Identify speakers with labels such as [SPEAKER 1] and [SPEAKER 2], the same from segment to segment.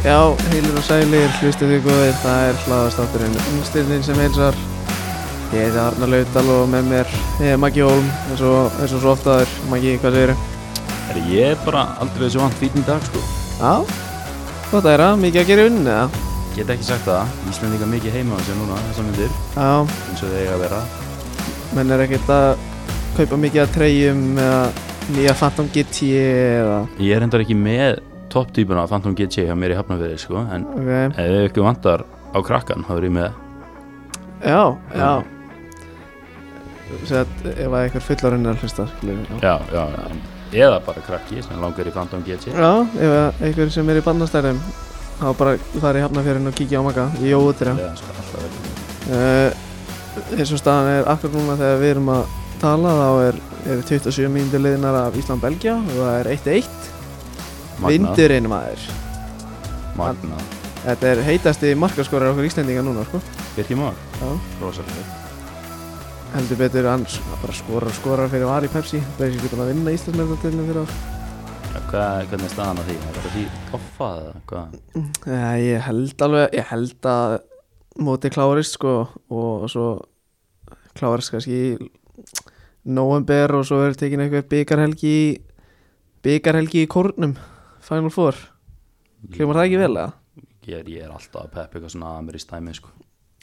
[SPEAKER 1] Já, heilir og sælir, hlustið við góðir, það er hlaðastátturinn Ungstyrnin sem heilsar Ég heiti Arnar Lautal og með mér ég er Maggi Ólm, eins og, eins og svo ofta er Maggi, hvað segirðu?
[SPEAKER 2] Er ég er bara aldrei þessu vant fítinn dag sko
[SPEAKER 1] Já, gott að það, mikið að gera unni, eða?
[SPEAKER 2] Get ekki sagt það, Íslendinga mikið heima á sér núna þessar myndir
[SPEAKER 1] Já,
[SPEAKER 2] eins og þeir eiga að vera
[SPEAKER 1] menn er ekkert að kaupa mikið að treyjum eða nýja Phantom GT eða
[SPEAKER 2] Ég er endar ekki með topptýpuna af Phantom GT hjá mér í hafnafyrir sko en
[SPEAKER 1] Ok,
[SPEAKER 2] ef þau ekki vantar á krakkan þá er ég með
[SPEAKER 1] já, já Sett, ef að einhver fullorinn er að hlusta, skiljum við
[SPEAKER 2] Já, já, en eða bara krakki sem langar í Phantom GT
[SPEAKER 1] Já, ef að einhver sem er í bannastærum þá bara fara í hafnafjörðin og kíkja á maga í óutra
[SPEAKER 2] Eða sko alltaf vel
[SPEAKER 1] uh, eins og staðan er akkur núna þegar við erum að tala þá er, er 27 mínútur liðnar af Ísland-Belgia og það er 1-1
[SPEAKER 2] Magnað,
[SPEAKER 1] vindurinn maður
[SPEAKER 2] magnað
[SPEAKER 1] þetta er heitasti markaskorar okkur Íslendinga núna sko.
[SPEAKER 2] Birkir Már,
[SPEAKER 1] Já.
[SPEAKER 2] rosalega
[SPEAKER 1] heldur betur hann s- hann bara skorar og skorar fyrir var í Pepsi það er sér búin að vinna Íslandsmeðartöðinu fyrir ár
[SPEAKER 2] Já, hvað, Hvernig er staðan á því? Er það því offað eða hvað?
[SPEAKER 1] Eh, ég held alveg ég held að móti klárist sko og svo klárist kannski í november og svo er tekin einhver byggarhelgi í byggarhelgi í kórnum Final Four, klemur það ekki vel eða?
[SPEAKER 2] Ég er, ég er alltaf að peppa eitthvað svona amerískt dæmi sko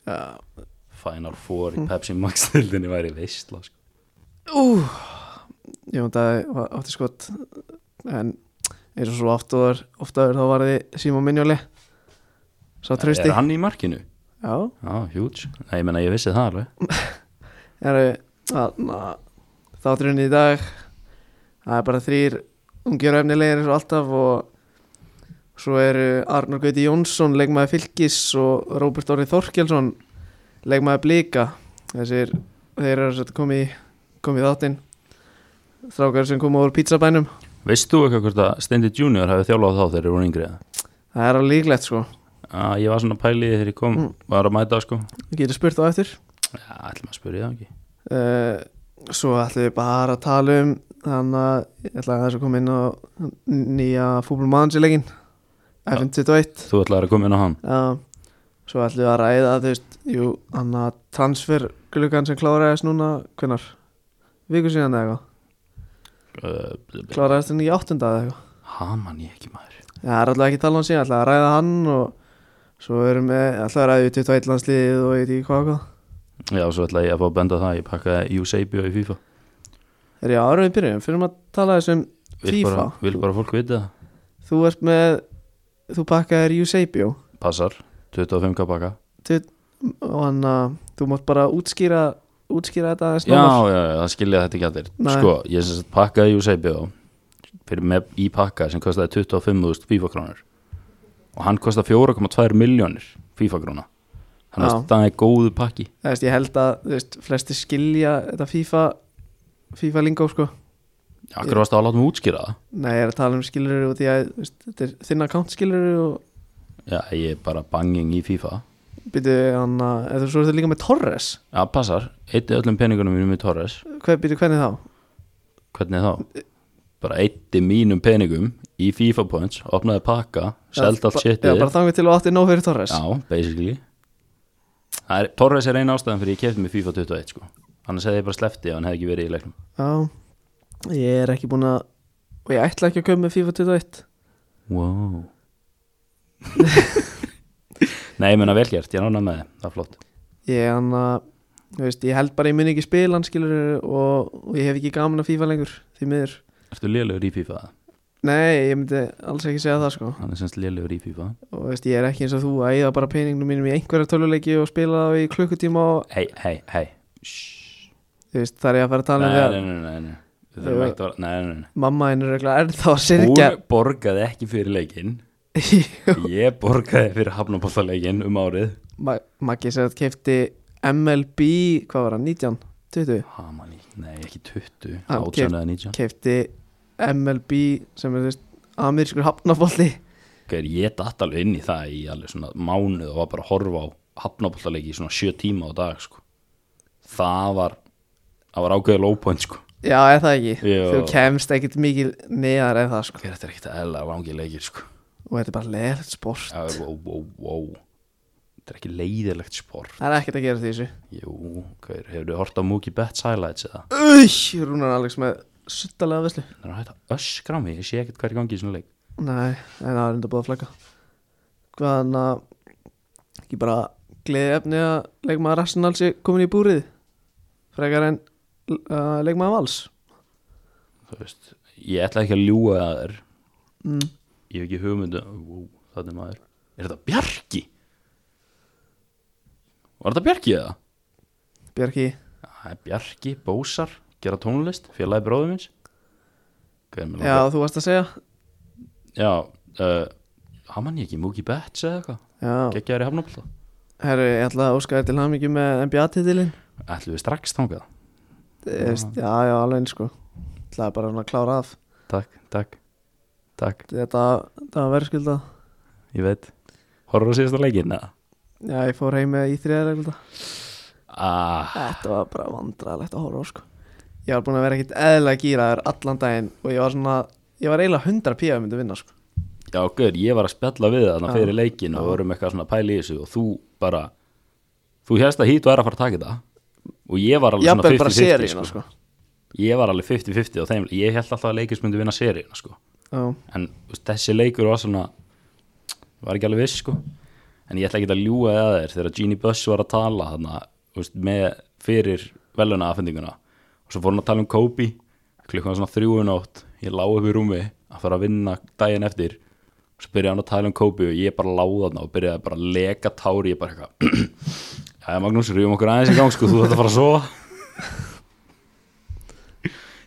[SPEAKER 1] Já
[SPEAKER 2] Final Four í Pepsi Max dildinni væri veistla sko.
[SPEAKER 1] Ú, ég vant að ég var- átti skot en eins og svo oft oftaður, oftaður þá var þið Simon Minjóli sá trösti
[SPEAKER 2] er hann í markinu?
[SPEAKER 1] Já,
[SPEAKER 2] Já, huge, Nei, ég menna ég vissi það alveg
[SPEAKER 1] Heru, að, na, þátturinn í dag það er bara þrýr ungjur efnilegir eins og alltaf og svo eru Arnar Gauti Jónsson leikmaði Fylkis og Róbert Orri Þorkelsson leikmaði Blika þessir, þeir eru að komið komi í þáttinn þrákar sem koma úr pizzabænum
[SPEAKER 2] Veist þú eitthvað hvort að Stendi Junior hefði þjálfað þá þegar þeir voru yngri? eða?
[SPEAKER 1] það er alveg líklegt sko
[SPEAKER 2] Ah, ég var svona pælið þegar ég kom, var að mæta sko
[SPEAKER 1] við getum spurt á eftir
[SPEAKER 2] Já, ætlum að spyrja það ekki
[SPEAKER 1] Eh, svo ætlum við bara að tala um þannig að ég ætla að þess að koma inn á nýja fútbolmannsleikin FN21
[SPEAKER 2] Þú ætlaði að koma inn á hann
[SPEAKER 1] já. svo ætlum við að ræða þú veist, jú, hann að transfergluggan sem kláraðist núna, hvernar viku síðan eða eitthvað
[SPEAKER 2] uh,
[SPEAKER 1] kláraðist hann í áttunda eða eitthvað
[SPEAKER 2] Haman ég ekki maður
[SPEAKER 1] já, það er alltaf ekki að tala um hann síðan, ætla að ræða hann og svo erum við alltaf að ræða 21 landsliðið og ég veit ekki hvað og hvað
[SPEAKER 2] Já, svo ætlaði ég að fá að benda á það, ég pakkaði Eusebio í FIFA
[SPEAKER 1] er ég áraðið byrjum, fyrir maður að tala þessum
[SPEAKER 2] Vil bara,
[SPEAKER 1] FIFA?
[SPEAKER 2] vil bara fólk vita það
[SPEAKER 1] þú ert með, þú pakkaðir Eusebio
[SPEAKER 2] Passar, 25k pakka
[SPEAKER 1] og hann að þú mátt bara útskýra útskýra þetta aðeins
[SPEAKER 2] Já,
[SPEAKER 1] nánar.
[SPEAKER 2] já, já, það skilja þetta ekki allir
[SPEAKER 1] Nei.
[SPEAKER 2] Sko, ég sem sagt pakkaði Eusebio fyrir með í pakka sem kostaði 25.000 FIFA krónur og hann kostaði 4,2 miljónir FIFA króna þannig
[SPEAKER 1] Já.
[SPEAKER 2] að það er góðu pakki
[SPEAKER 1] Þú veist, ég held að þú veist, flesti skilja þetta FIFA FIFA lingó sko
[SPEAKER 2] Akkur varst að láta mig útskýra það
[SPEAKER 1] nei, ég er að tala um skilur út í að þú veist, þetta er þinn account skilur og
[SPEAKER 2] Já, ég er bara banging í FIFA
[SPEAKER 1] byrju hann að eða svo er þetta líka með Torres
[SPEAKER 2] Já, passar, eitti öllum peningunum mínum í Torres
[SPEAKER 1] Hver, byrju hvernig þá?
[SPEAKER 2] Hvernig þá? Bara eitti mínum peningum í FIFA points opnaði pakka, seldi allt
[SPEAKER 1] Ba-
[SPEAKER 2] shitið
[SPEAKER 1] Já, bara þangur til og átti nóg fyrir Torres
[SPEAKER 2] Já, basically Það er, Torres er eina ástæðan fyrir ég kefti mig FIFA 21 sko. annars hefði ég bara slefti ef hann hefði ekki verið í leiknum
[SPEAKER 1] Já. ég er ekki búin að og ég ætla ekki að köpa með FIFA 21
[SPEAKER 2] Wow Nei, ég menna velgjart, ég nána með þið, það er flott
[SPEAKER 1] ég hann að þú veist, ég held bara ég mun ekki spila hann skilur og, og ég hef ekki gaman að FIFA lengur því miður
[SPEAKER 2] Ertu lélugur í FIFA?
[SPEAKER 1] Nei, ég myndi alls ekki segja það sko
[SPEAKER 2] Hann er semst lélugur í FIFA
[SPEAKER 1] og veist, ég er ekki eins og þú að eða bara peningnum mínum í einhverja töluleiki og spila það í klukkutíma og
[SPEAKER 2] Hei, hei, hei Shhh.
[SPEAKER 1] þú veist, þar er ég að fara að
[SPEAKER 2] Nei,
[SPEAKER 1] tala um þegar
[SPEAKER 2] nei, nei, nei, nei. Við þurfum
[SPEAKER 1] Jú.
[SPEAKER 2] ekkert að- Nei, nei, nei
[SPEAKER 1] mamma henni er örugglega ennþá að sirkja
[SPEAKER 2] Hún borgaði ekki fyrir leikinn
[SPEAKER 1] Jú.
[SPEAKER 2] Ég borgaði fyrir hafnabóttaleikinn um árið
[SPEAKER 1] Ma- Maggi sem þetta keipti MLB, hvað var það, 19? 20?
[SPEAKER 2] Haman í, nei, ekki 20
[SPEAKER 1] Ah,
[SPEAKER 2] 18 eða 19
[SPEAKER 1] Keipti MLB sem er þú veist, amerískur hafnabolli
[SPEAKER 2] Hver, ég datt alveg inn í það í alveg svona mánuð og var bara að horfa á hafnabóltaleiki í svona sjö tíma á dag sko. það var það var ágæðið lópoint sko.
[SPEAKER 1] Já, er það ekki?
[SPEAKER 2] Jú.
[SPEAKER 1] Þú kemst ekkit mikið neðar en það sko
[SPEAKER 2] Hver, þetta er ekkert eðla langið leikir sko.
[SPEAKER 1] og þetta er bara leðilegt sport
[SPEAKER 2] Já, wow, wow, wow Þetta er ekki leiðilegt sport
[SPEAKER 1] það er ekkert að gera því þessu
[SPEAKER 2] Jú, hver, hefur þið hort á Mookie Betts highlights eða?
[SPEAKER 1] Új, Rúnar Alex með suttalega veslu
[SPEAKER 2] Það er hægt að öskra á mig, ég sé ekkert hvað er í gangi í svona leik
[SPEAKER 1] Nei, en það er enda búið að flagga Hvaðan að ekki bara gleði efni að leikmaður Arsenal sé komin í búrið frekar en uh, leikmaður Vals
[SPEAKER 2] Þú veist, ég ætla ekki að ljúga að þér
[SPEAKER 1] mm.
[SPEAKER 2] Ég hef ekki hugmyndu wow, Það er maður Er þetta Bjarki? Var þetta Bjarki eða?
[SPEAKER 1] Bjarki,
[SPEAKER 2] Það er Bjarki, Bósar, gera tónlist Félagi bróðum minns Hver með
[SPEAKER 1] já þú varst að segja
[SPEAKER 2] Já uh, Hann mann ég ekki, Mookie Betts eða eitthvað
[SPEAKER 1] Já,
[SPEAKER 2] Gekkjaður í hafnabólta
[SPEAKER 1] herru, ég ætla að óska þér til hamingju með NBA-titilin
[SPEAKER 2] Ætlum við strax þangað
[SPEAKER 1] Já, já, alveg eins sko Það er bara svona að klára af
[SPEAKER 2] Takk, takk, takk
[SPEAKER 1] Þetta, þetta var verðskulda
[SPEAKER 2] Ég veit Horfur á síðasta leikinn eða?
[SPEAKER 1] Já, ég fór heim með í þriðar
[SPEAKER 2] Ah,
[SPEAKER 1] Þetta var bara vandralegt að horfa á sko Ég var búin að vera ekkit eðla gýraður allan daginn og ég var svona ég var eiginlega 100 píða myndi vinna sko
[SPEAKER 2] já, gör, ég var að spjalla við þarna
[SPEAKER 1] Já.
[SPEAKER 2] fyrir leikin og vorum eitthvað svona að pæla í þessu og þú bara þú hérst að hít og er að fara að taka þetta og ég var alveg
[SPEAKER 1] Jafnvel
[SPEAKER 2] svona
[SPEAKER 1] bara
[SPEAKER 2] 50-50 sko.
[SPEAKER 1] seríuna sko
[SPEAKER 2] ég var alveg 50-50 á þeim ég held alltaf að leikins myndi vinna seríuna sko.
[SPEAKER 1] Já,
[SPEAKER 2] en þú veist, þessi leikur var svona var ekki alveg viss sko. en ég ætla ekki að ljúga að þér þegar Gini Buss var að tala hana, veist, með fyrir veluna aðfendinguna og svo fór hann að tala um Kobe klukkan svona þrjúunótt ég lá upp í rúmi að fara að vinna daginn eftir og svo byrjaði hann að tala um Kobe og ég bara láði hann og byrjaði bara að leka tári ég bara eitthvað Jæja Magnús, rýfum okkur aðeins í gang sko, þú þetta fara að sofa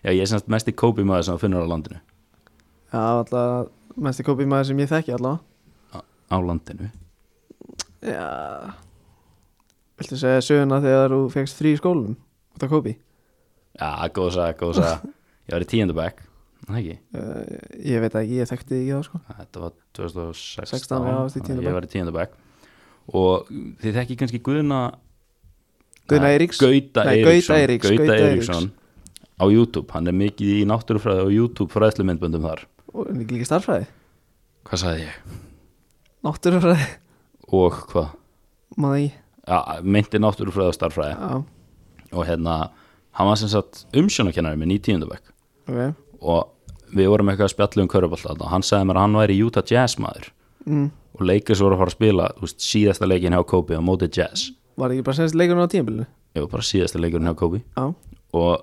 [SPEAKER 2] Já, ég er semst mest í Kobe maður sem þú finnur á landinu
[SPEAKER 1] já alltaf mest í kópi maður sem ég þekki allavega
[SPEAKER 2] á landinu
[SPEAKER 1] Já Viltu segja söguna þegar þú fegst frí í skólanum út af kópi?
[SPEAKER 2] Já, góð saga, góð saga Ég var í tíundabæk, það ekki
[SPEAKER 1] Uh, ég veit það ekki, ég þekkti ekki það sko
[SPEAKER 2] Þetta var 2016
[SPEAKER 1] 16, já, varst í tíunda
[SPEAKER 2] þannig að Ég
[SPEAKER 1] bekk.
[SPEAKER 2] var í tíundabæk Og þið þekki kannski Guðna
[SPEAKER 1] Guðna
[SPEAKER 2] Nei,
[SPEAKER 1] Eiríks?
[SPEAKER 2] Gauta
[SPEAKER 1] Nei,
[SPEAKER 2] Eiríksson,
[SPEAKER 1] Gauta Eiríks,
[SPEAKER 2] Gauta
[SPEAKER 1] Gauta
[SPEAKER 2] Eiríksson Á YouTube, hann er mikið í náttúrufræði á YouTube fræðslumyndböndum þar
[SPEAKER 1] Og en ekki líka starfræði,
[SPEAKER 2] Hvað sagði ég?
[SPEAKER 1] náttúrufræði
[SPEAKER 2] Og hvað?
[SPEAKER 1] Maður í,
[SPEAKER 2] Já, myndi náttúrufræði og starfræði
[SPEAKER 1] já,
[SPEAKER 2] Og hérna, hann var sem sagt umsjónakennari minn í tíundabæk
[SPEAKER 1] ok
[SPEAKER 2] Og við vorum eitthvað að spjalla um körfuballta Og hann sagði mér að hann væri Utah Jazz maður
[SPEAKER 1] mm.
[SPEAKER 2] og Lakers voru að fara að spila þú veist, síðasta leikin hjá Kobe á móti Jazz
[SPEAKER 1] Var ekki bara senst leikurinn á tímabilinu?
[SPEAKER 2] ég var bara síðasta leikurinn hjá Kobe
[SPEAKER 1] Já,
[SPEAKER 2] og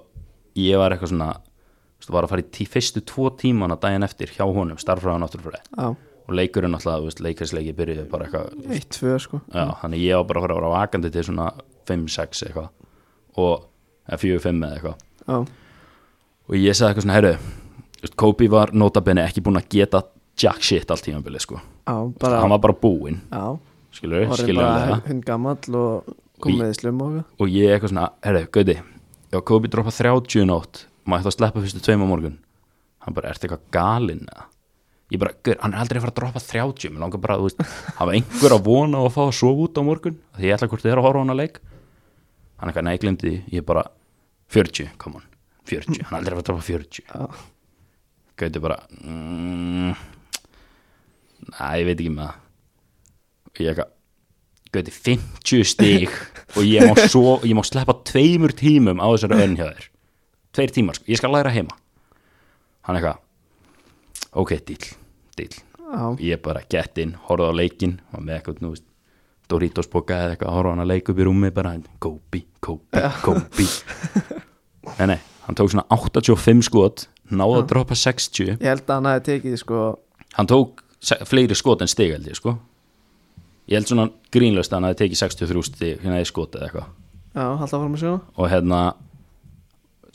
[SPEAKER 2] ég var eitthvað svona þú veist, var að fara í tí, fyrstu tvo tímana daginn eftir hjá honum, starfræðan náttúrulega
[SPEAKER 1] já,
[SPEAKER 2] og leikurinn alltaf, þú veist, Lakers leiki byrjuði bara eitthvað, þú veist,
[SPEAKER 1] eitt, tvö sko
[SPEAKER 2] já, þannig ég var bara að fara að vera vakandi til svona 5-6 eitthvað og eða 4-5 eða eitthvað
[SPEAKER 1] Já,
[SPEAKER 2] og ég sagði eitthvað svona, heyrðu, þú veist, Kobe var notabene ekki búin að geta jack shit allt tímabilið, sko,
[SPEAKER 1] já, bara
[SPEAKER 2] hann var bara búinn
[SPEAKER 1] Já,
[SPEAKER 2] skilur,
[SPEAKER 1] orðin
[SPEAKER 2] skilur
[SPEAKER 1] bara hund gamall og
[SPEAKER 2] Og í-
[SPEAKER 1] kom með í slum og eitthvað.
[SPEAKER 2] og ég eitthvað svona, herru, gauti já, Kobe droppa 30 í nótt maður ætti að sleppa fyrstu tveim á morgun hann bara, ertu eitthvað galinn eða ég bara, gaur, hann er aldrei að fara að droppa 30 mér langar bara, þú veist, hafa einhver að vona á að fá að sofa út á morgun af því ég ætla hvort þið er að horfa á hann að leik hann eitthvað, nei, ég glemdi því, ég bara 40, come on, 40 hann er aldrei að fara að droppa 40
[SPEAKER 1] Já,
[SPEAKER 2] gauti bara mm, næ, ég veit ekki með það og ég eitthvað gauti 50 stig og ég má, svo, ég má sleppa tveimur tímum á þessari önn hjá þér tveir tímar, sko, ég skal læra heima hann eitthvað ok, dýll, dýll
[SPEAKER 1] já,
[SPEAKER 2] ég bara gett inn, horfði á leikin og með eitthvað, nú veist Doritos boka eða eitthvað, horfði á hann að leik upp í rúmi bara, Kobe, Kobe, Kobe nei, nei, hann tók svona 85 skot, náði að droppa 60,
[SPEAKER 1] ég held að hann hafi tekið sko
[SPEAKER 2] hann tók se- fleiri skot en stig held ég, sko ég held svona grínlaust að hann hafi tekið 63 stig hérna í skot eða eitthvað
[SPEAKER 1] Já, halda fram að sjá
[SPEAKER 2] og hérna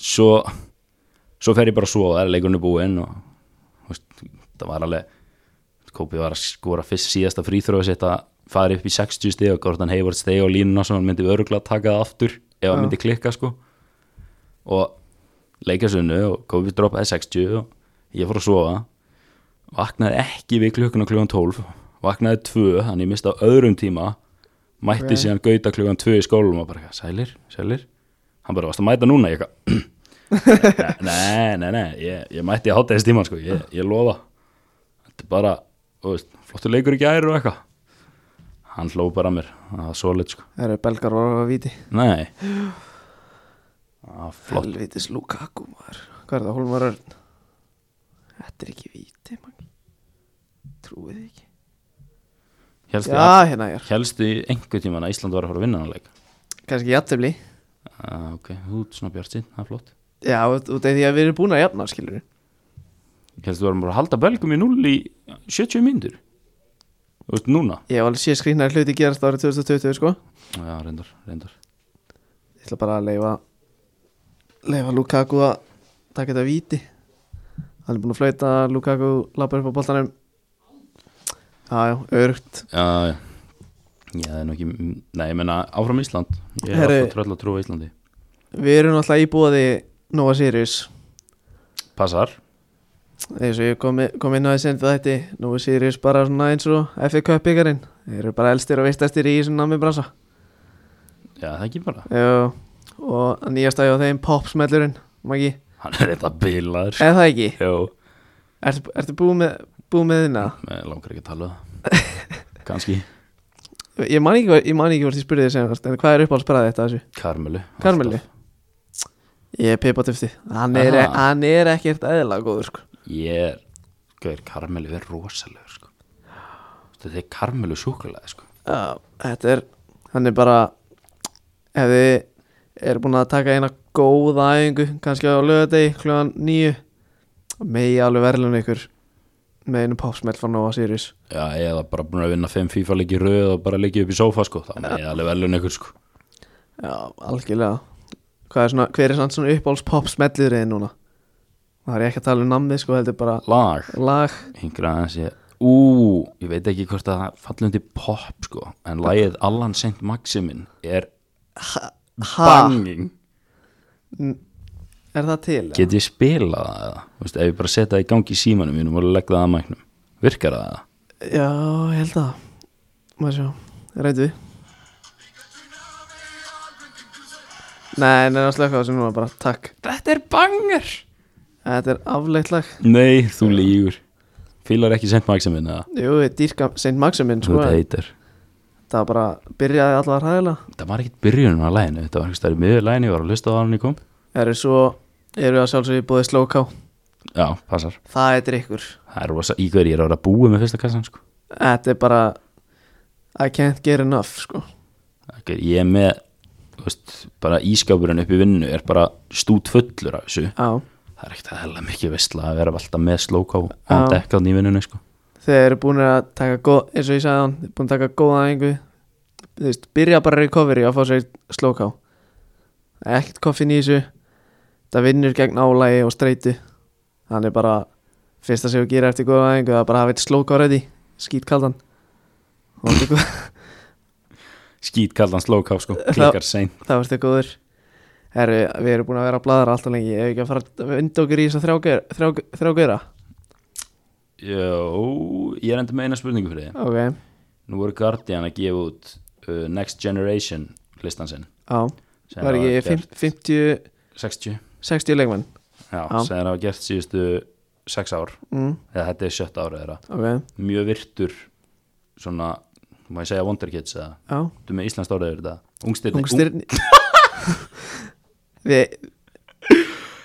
[SPEAKER 2] svo svo fer ég bara svo og það er leikurinn er búinn og þú veist, það var alveg Kobi var að skora fyrst síðasta fríþróðu sitt að fara upp í 60 stig og Gordon Hayward steg á línuna svo hann myndi örugla að taka það aftur ef hann myndi klikka sko og leika sunnu og Kobi droppaði 60 og ég fór að sofa vaknaði ekki við klukkuna klukkan 12 vaknaði 2, hann ég misti á öðrum tíma mætti
[SPEAKER 1] Ok.
[SPEAKER 2] síðan gauta klukkan 2 í skólum og bara, eitthvað, sælir, sælir hann bara, varst að mæta núna ég "Hm." eitthvað nei, nei, nei, nei ég, ég mætti að hátta þessi tíma sko, ég, ég lofa þetta er bara og þú veist, flottur leikur í gæri og eitthvað hann hló bara að mér, það var solid sko
[SPEAKER 1] Það eru belgar var að viti
[SPEAKER 2] nei það var flott,
[SPEAKER 1] Helvitis Lukaku maður Hvað er það, Hólmar Örn? Þetta er ekki viti man. Trúið þið ekki
[SPEAKER 2] helstu, ja.
[SPEAKER 1] Já, hérna ég er
[SPEAKER 2] helstu í einhver tíman að Ísland var að fara að vinna hann leik
[SPEAKER 1] Kannski jafntefli
[SPEAKER 2] uh, ok, þú ert svona bjart sín, það er flott
[SPEAKER 1] Já, út út af því að við erum búin að jafna, skilur
[SPEAKER 2] helstu varum bara að halda belgum í 0 í 70 myndur þú veist, núna
[SPEAKER 1] Ég hef alveg sé skrýnaði hluti gerast árið 2020, sko
[SPEAKER 2] já, reyndar, reyndar
[SPEAKER 1] Ég ætla bara að leifa leifa Lukaku að taka þetta víti Hann er búin að flauta Lukaku lappar upp á boltanum Já, já, örugt
[SPEAKER 2] já, já Já, það er nú ekki, nei, ég menna áfram Ísland Ég er
[SPEAKER 1] Herri.
[SPEAKER 2] alltaf tröll að trúa Íslandi
[SPEAKER 1] Við erum alltaf íbúði Nova Sirius
[SPEAKER 2] Passar,
[SPEAKER 1] eins og ég kom, kom inn á þessi enda þetta nú er Sirius bara svona eins og FA Cup byggarinn þeir eru bara elstir og veistastir í þessum námi brasa
[SPEAKER 2] já, það er ekki bara
[SPEAKER 1] Jú, og að nýjast aðjóð þeim popsmellurinn, Maggi
[SPEAKER 2] Hann er eitthvað bilaður sko.
[SPEAKER 1] eða það ekki,
[SPEAKER 2] Jó,
[SPEAKER 1] ertu, ertu búið með, búið með þina?
[SPEAKER 2] með langar ekki að tala um það Kanski
[SPEAKER 1] Ég man ekki, hvar- ég man ekki hvort ég spurði þér senast en hvað er uppáhaldsbræðið þetta þessu?
[SPEAKER 2] Karmelu alltaf.
[SPEAKER 1] Karmelu? Ég er pipa tuftið, hann, er-
[SPEAKER 2] Aha.
[SPEAKER 1] hann er ekkert eðla góður sko
[SPEAKER 2] Ég er, gauður, Karmelu er rosalegur sko. Þetta er Karmelu sjúkulega sko.
[SPEAKER 1] Já, þetta er hann er bara ef þið eru búin að taka eina góða æfingu, kannski á lögadegi kljóðan nýju megi alveg verðlun ykkur með einu popsmell frá Nova Sirius
[SPEAKER 2] Já, eða bara búin að vinna 5 FIFA leiki í röð og bara leiki upp í sófa sko. Það er alveg velun ykkur sko.
[SPEAKER 1] Já, algjörlega Hvað er svona, hver er svona, svona uppáhalds popsmellir þið núna? Það er ég ekki að tala um namnið sko, heldur bara
[SPEAKER 2] Lag
[SPEAKER 1] lag
[SPEAKER 2] Hingra aðeins ég Ú, ég veit ekki hvort að það falli undir pop sko. En lagið Allan Saint Maximin er
[SPEAKER 1] Ha,
[SPEAKER 2] banging
[SPEAKER 1] er það til? eða?
[SPEAKER 2] Get ég spilað það eða? Þú veist, ef ég bara setja það í gangi í símanum mínum og legg það að mæknum Virkar það eða?
[SPEAKER 1] Já, ég held að Maður sjá, rættu við Nei, nei, það slökka á þessu núna bara, takk
[SPEAKER 2] Þetta er banger
[SPEAKER 1] Þetta er afleitt lag
[SPEAKER 2] Nei, þú lígur Fílar ekki sent maximin eða?
[SPEAKER 1] Jú, ég dýrka St. Maximin, sko
[SPEAKER 2] Þetta heitir
[SPEAKER 1] Það var bara, byrjaði allar hæðilega
[SPEAKER 2] Það var ekkert byrjunum á læginu Þetta var einhvers staðar í miður læginu, ég var að hlusta á hann í kom
[SPEAKER 1] Eru svo, eru að sjálfsögðu búið slóká
[SPEAKER 2] Já, passar
[SPEAKER 1] Það er drikkur
[SPEAKER 2] Það er rosa ígver, ég er að vera að búa með fyrsta kassan sko
[SPEAKER 1] Þetta er bara I can't get enough, sko
[SPEAKER 2] Ekki, Ég er með, þú veist, bara ískápurinn upp í vinnu er bara stút fullur af þessu
[SPEAKER 1] Já,
[SPEAKER 2] Það er ekkert að hella mikið veistla að vera alltaf með slóká
[SPEAKER 1] Já.
[SPEAKER 2] án dekkað í vinnunni sko
[SPEAKER 1] þeir eru búin að taka góð, eins og ég sagði hann, búin að taka góða æfingu þú veist, byrja bara recovery og fá sér slóká ekkert koffin í þessu það vinnur gegn álægi og streitu hann er bara, fyrsta sem þú gerir eftir góða æfingu, það er bara að hafa eitt slóká ready skítkaldan Og þetta er góð-
[SPEAKER 2] Skít kallan slóká sko, klikkar sein
[SPEAKER 1] þá ertu góður Herru, við erum búin að vera að bladra alltaf lengi ef ekki að fara að vinda okkur í þess að þrjágöra
[SPEAKER 2] Jó, ég er enda með eina spurningu fyrir þið
[SPEAKER 1] ok,
[SPEAKER 2] Nú voru Guardian að gefa út uh, Next Generation listan sinn
[SPEAKER 1] á,
[SPEAKER 2] sem
[SPEAKER 1] var
[SPEAKER 2] hafa
[SPEAKER 1] ekki
[SPEAKER 2] gert
[SPEAKER 1] 50, 50
[SPEAKER 2] 60
[SPEAKER 1] 60 leikmenn
[SPEAKER 2] Já,
[SPEAKER 1] Já.
[SPEAKER 2] sem það hafa gert síðustu 6 ár
[SPEAKER 1] mm,
[SPEAKER 2] eða þetta er sjötta ára þeirra
[SPEAKER 1] ok,
[SPEAKER 2] mjög virtur svona, má ég segja Wonderkids eða
[SPEAKER 1] já
[SPEAKER 2] þú með Íslands ára þeirra þetta Ungstirni,
[SPEAKER 1] Ungstyrni Við,
[SPEAKER 2] Ung,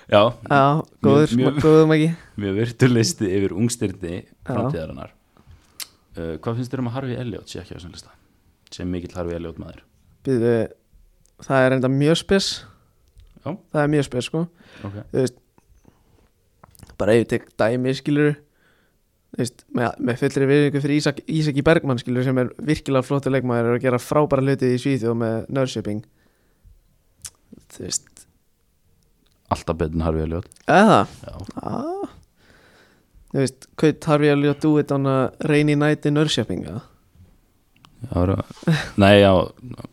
[SPEAKER 2] Já,
[SPEAKER 1] á, góður,
[SPEAKER 2] Mjög- mjög-
[SPEAKER 1] góður mæki
[SPEAKER 2] mjög virtur listi yfir Ungstirni framtíðarinnar uh, Hvað finnst þér um að Harfi Elliot sé ekki á þessum lista? sem mikill Harfi Elliot maður
[SPEAKER 1] Býðu, það er enda mjög spes
[SPEAKER 2] Já.
[SPEAKER 1] Það er mjög spes, sko
[SPEAKER 2] okay.
[SPEAKER 1] Þú veist Bara ef ég tek dæmi, skilur Þú veist, með, með fullri virðingu fyrir Ísak, Ísaki Bergmann, skilur sem er virkilega flottur leikmaður er að gera frábæra hluti í Svíþjóð með Nörsjöping Þú veist,
[SPEAKER 2] Alltaf betur en Harfi Elliot
[SPEAKER 1] eða
[SPEAKER 2] Já,
[SPEAKER 1] ah. Þú veist, hvað þarf ég að ljóta út á hana reyni næti Nörsjöping, eða?
[SPEAKER 2] Já, rá- Nei, já,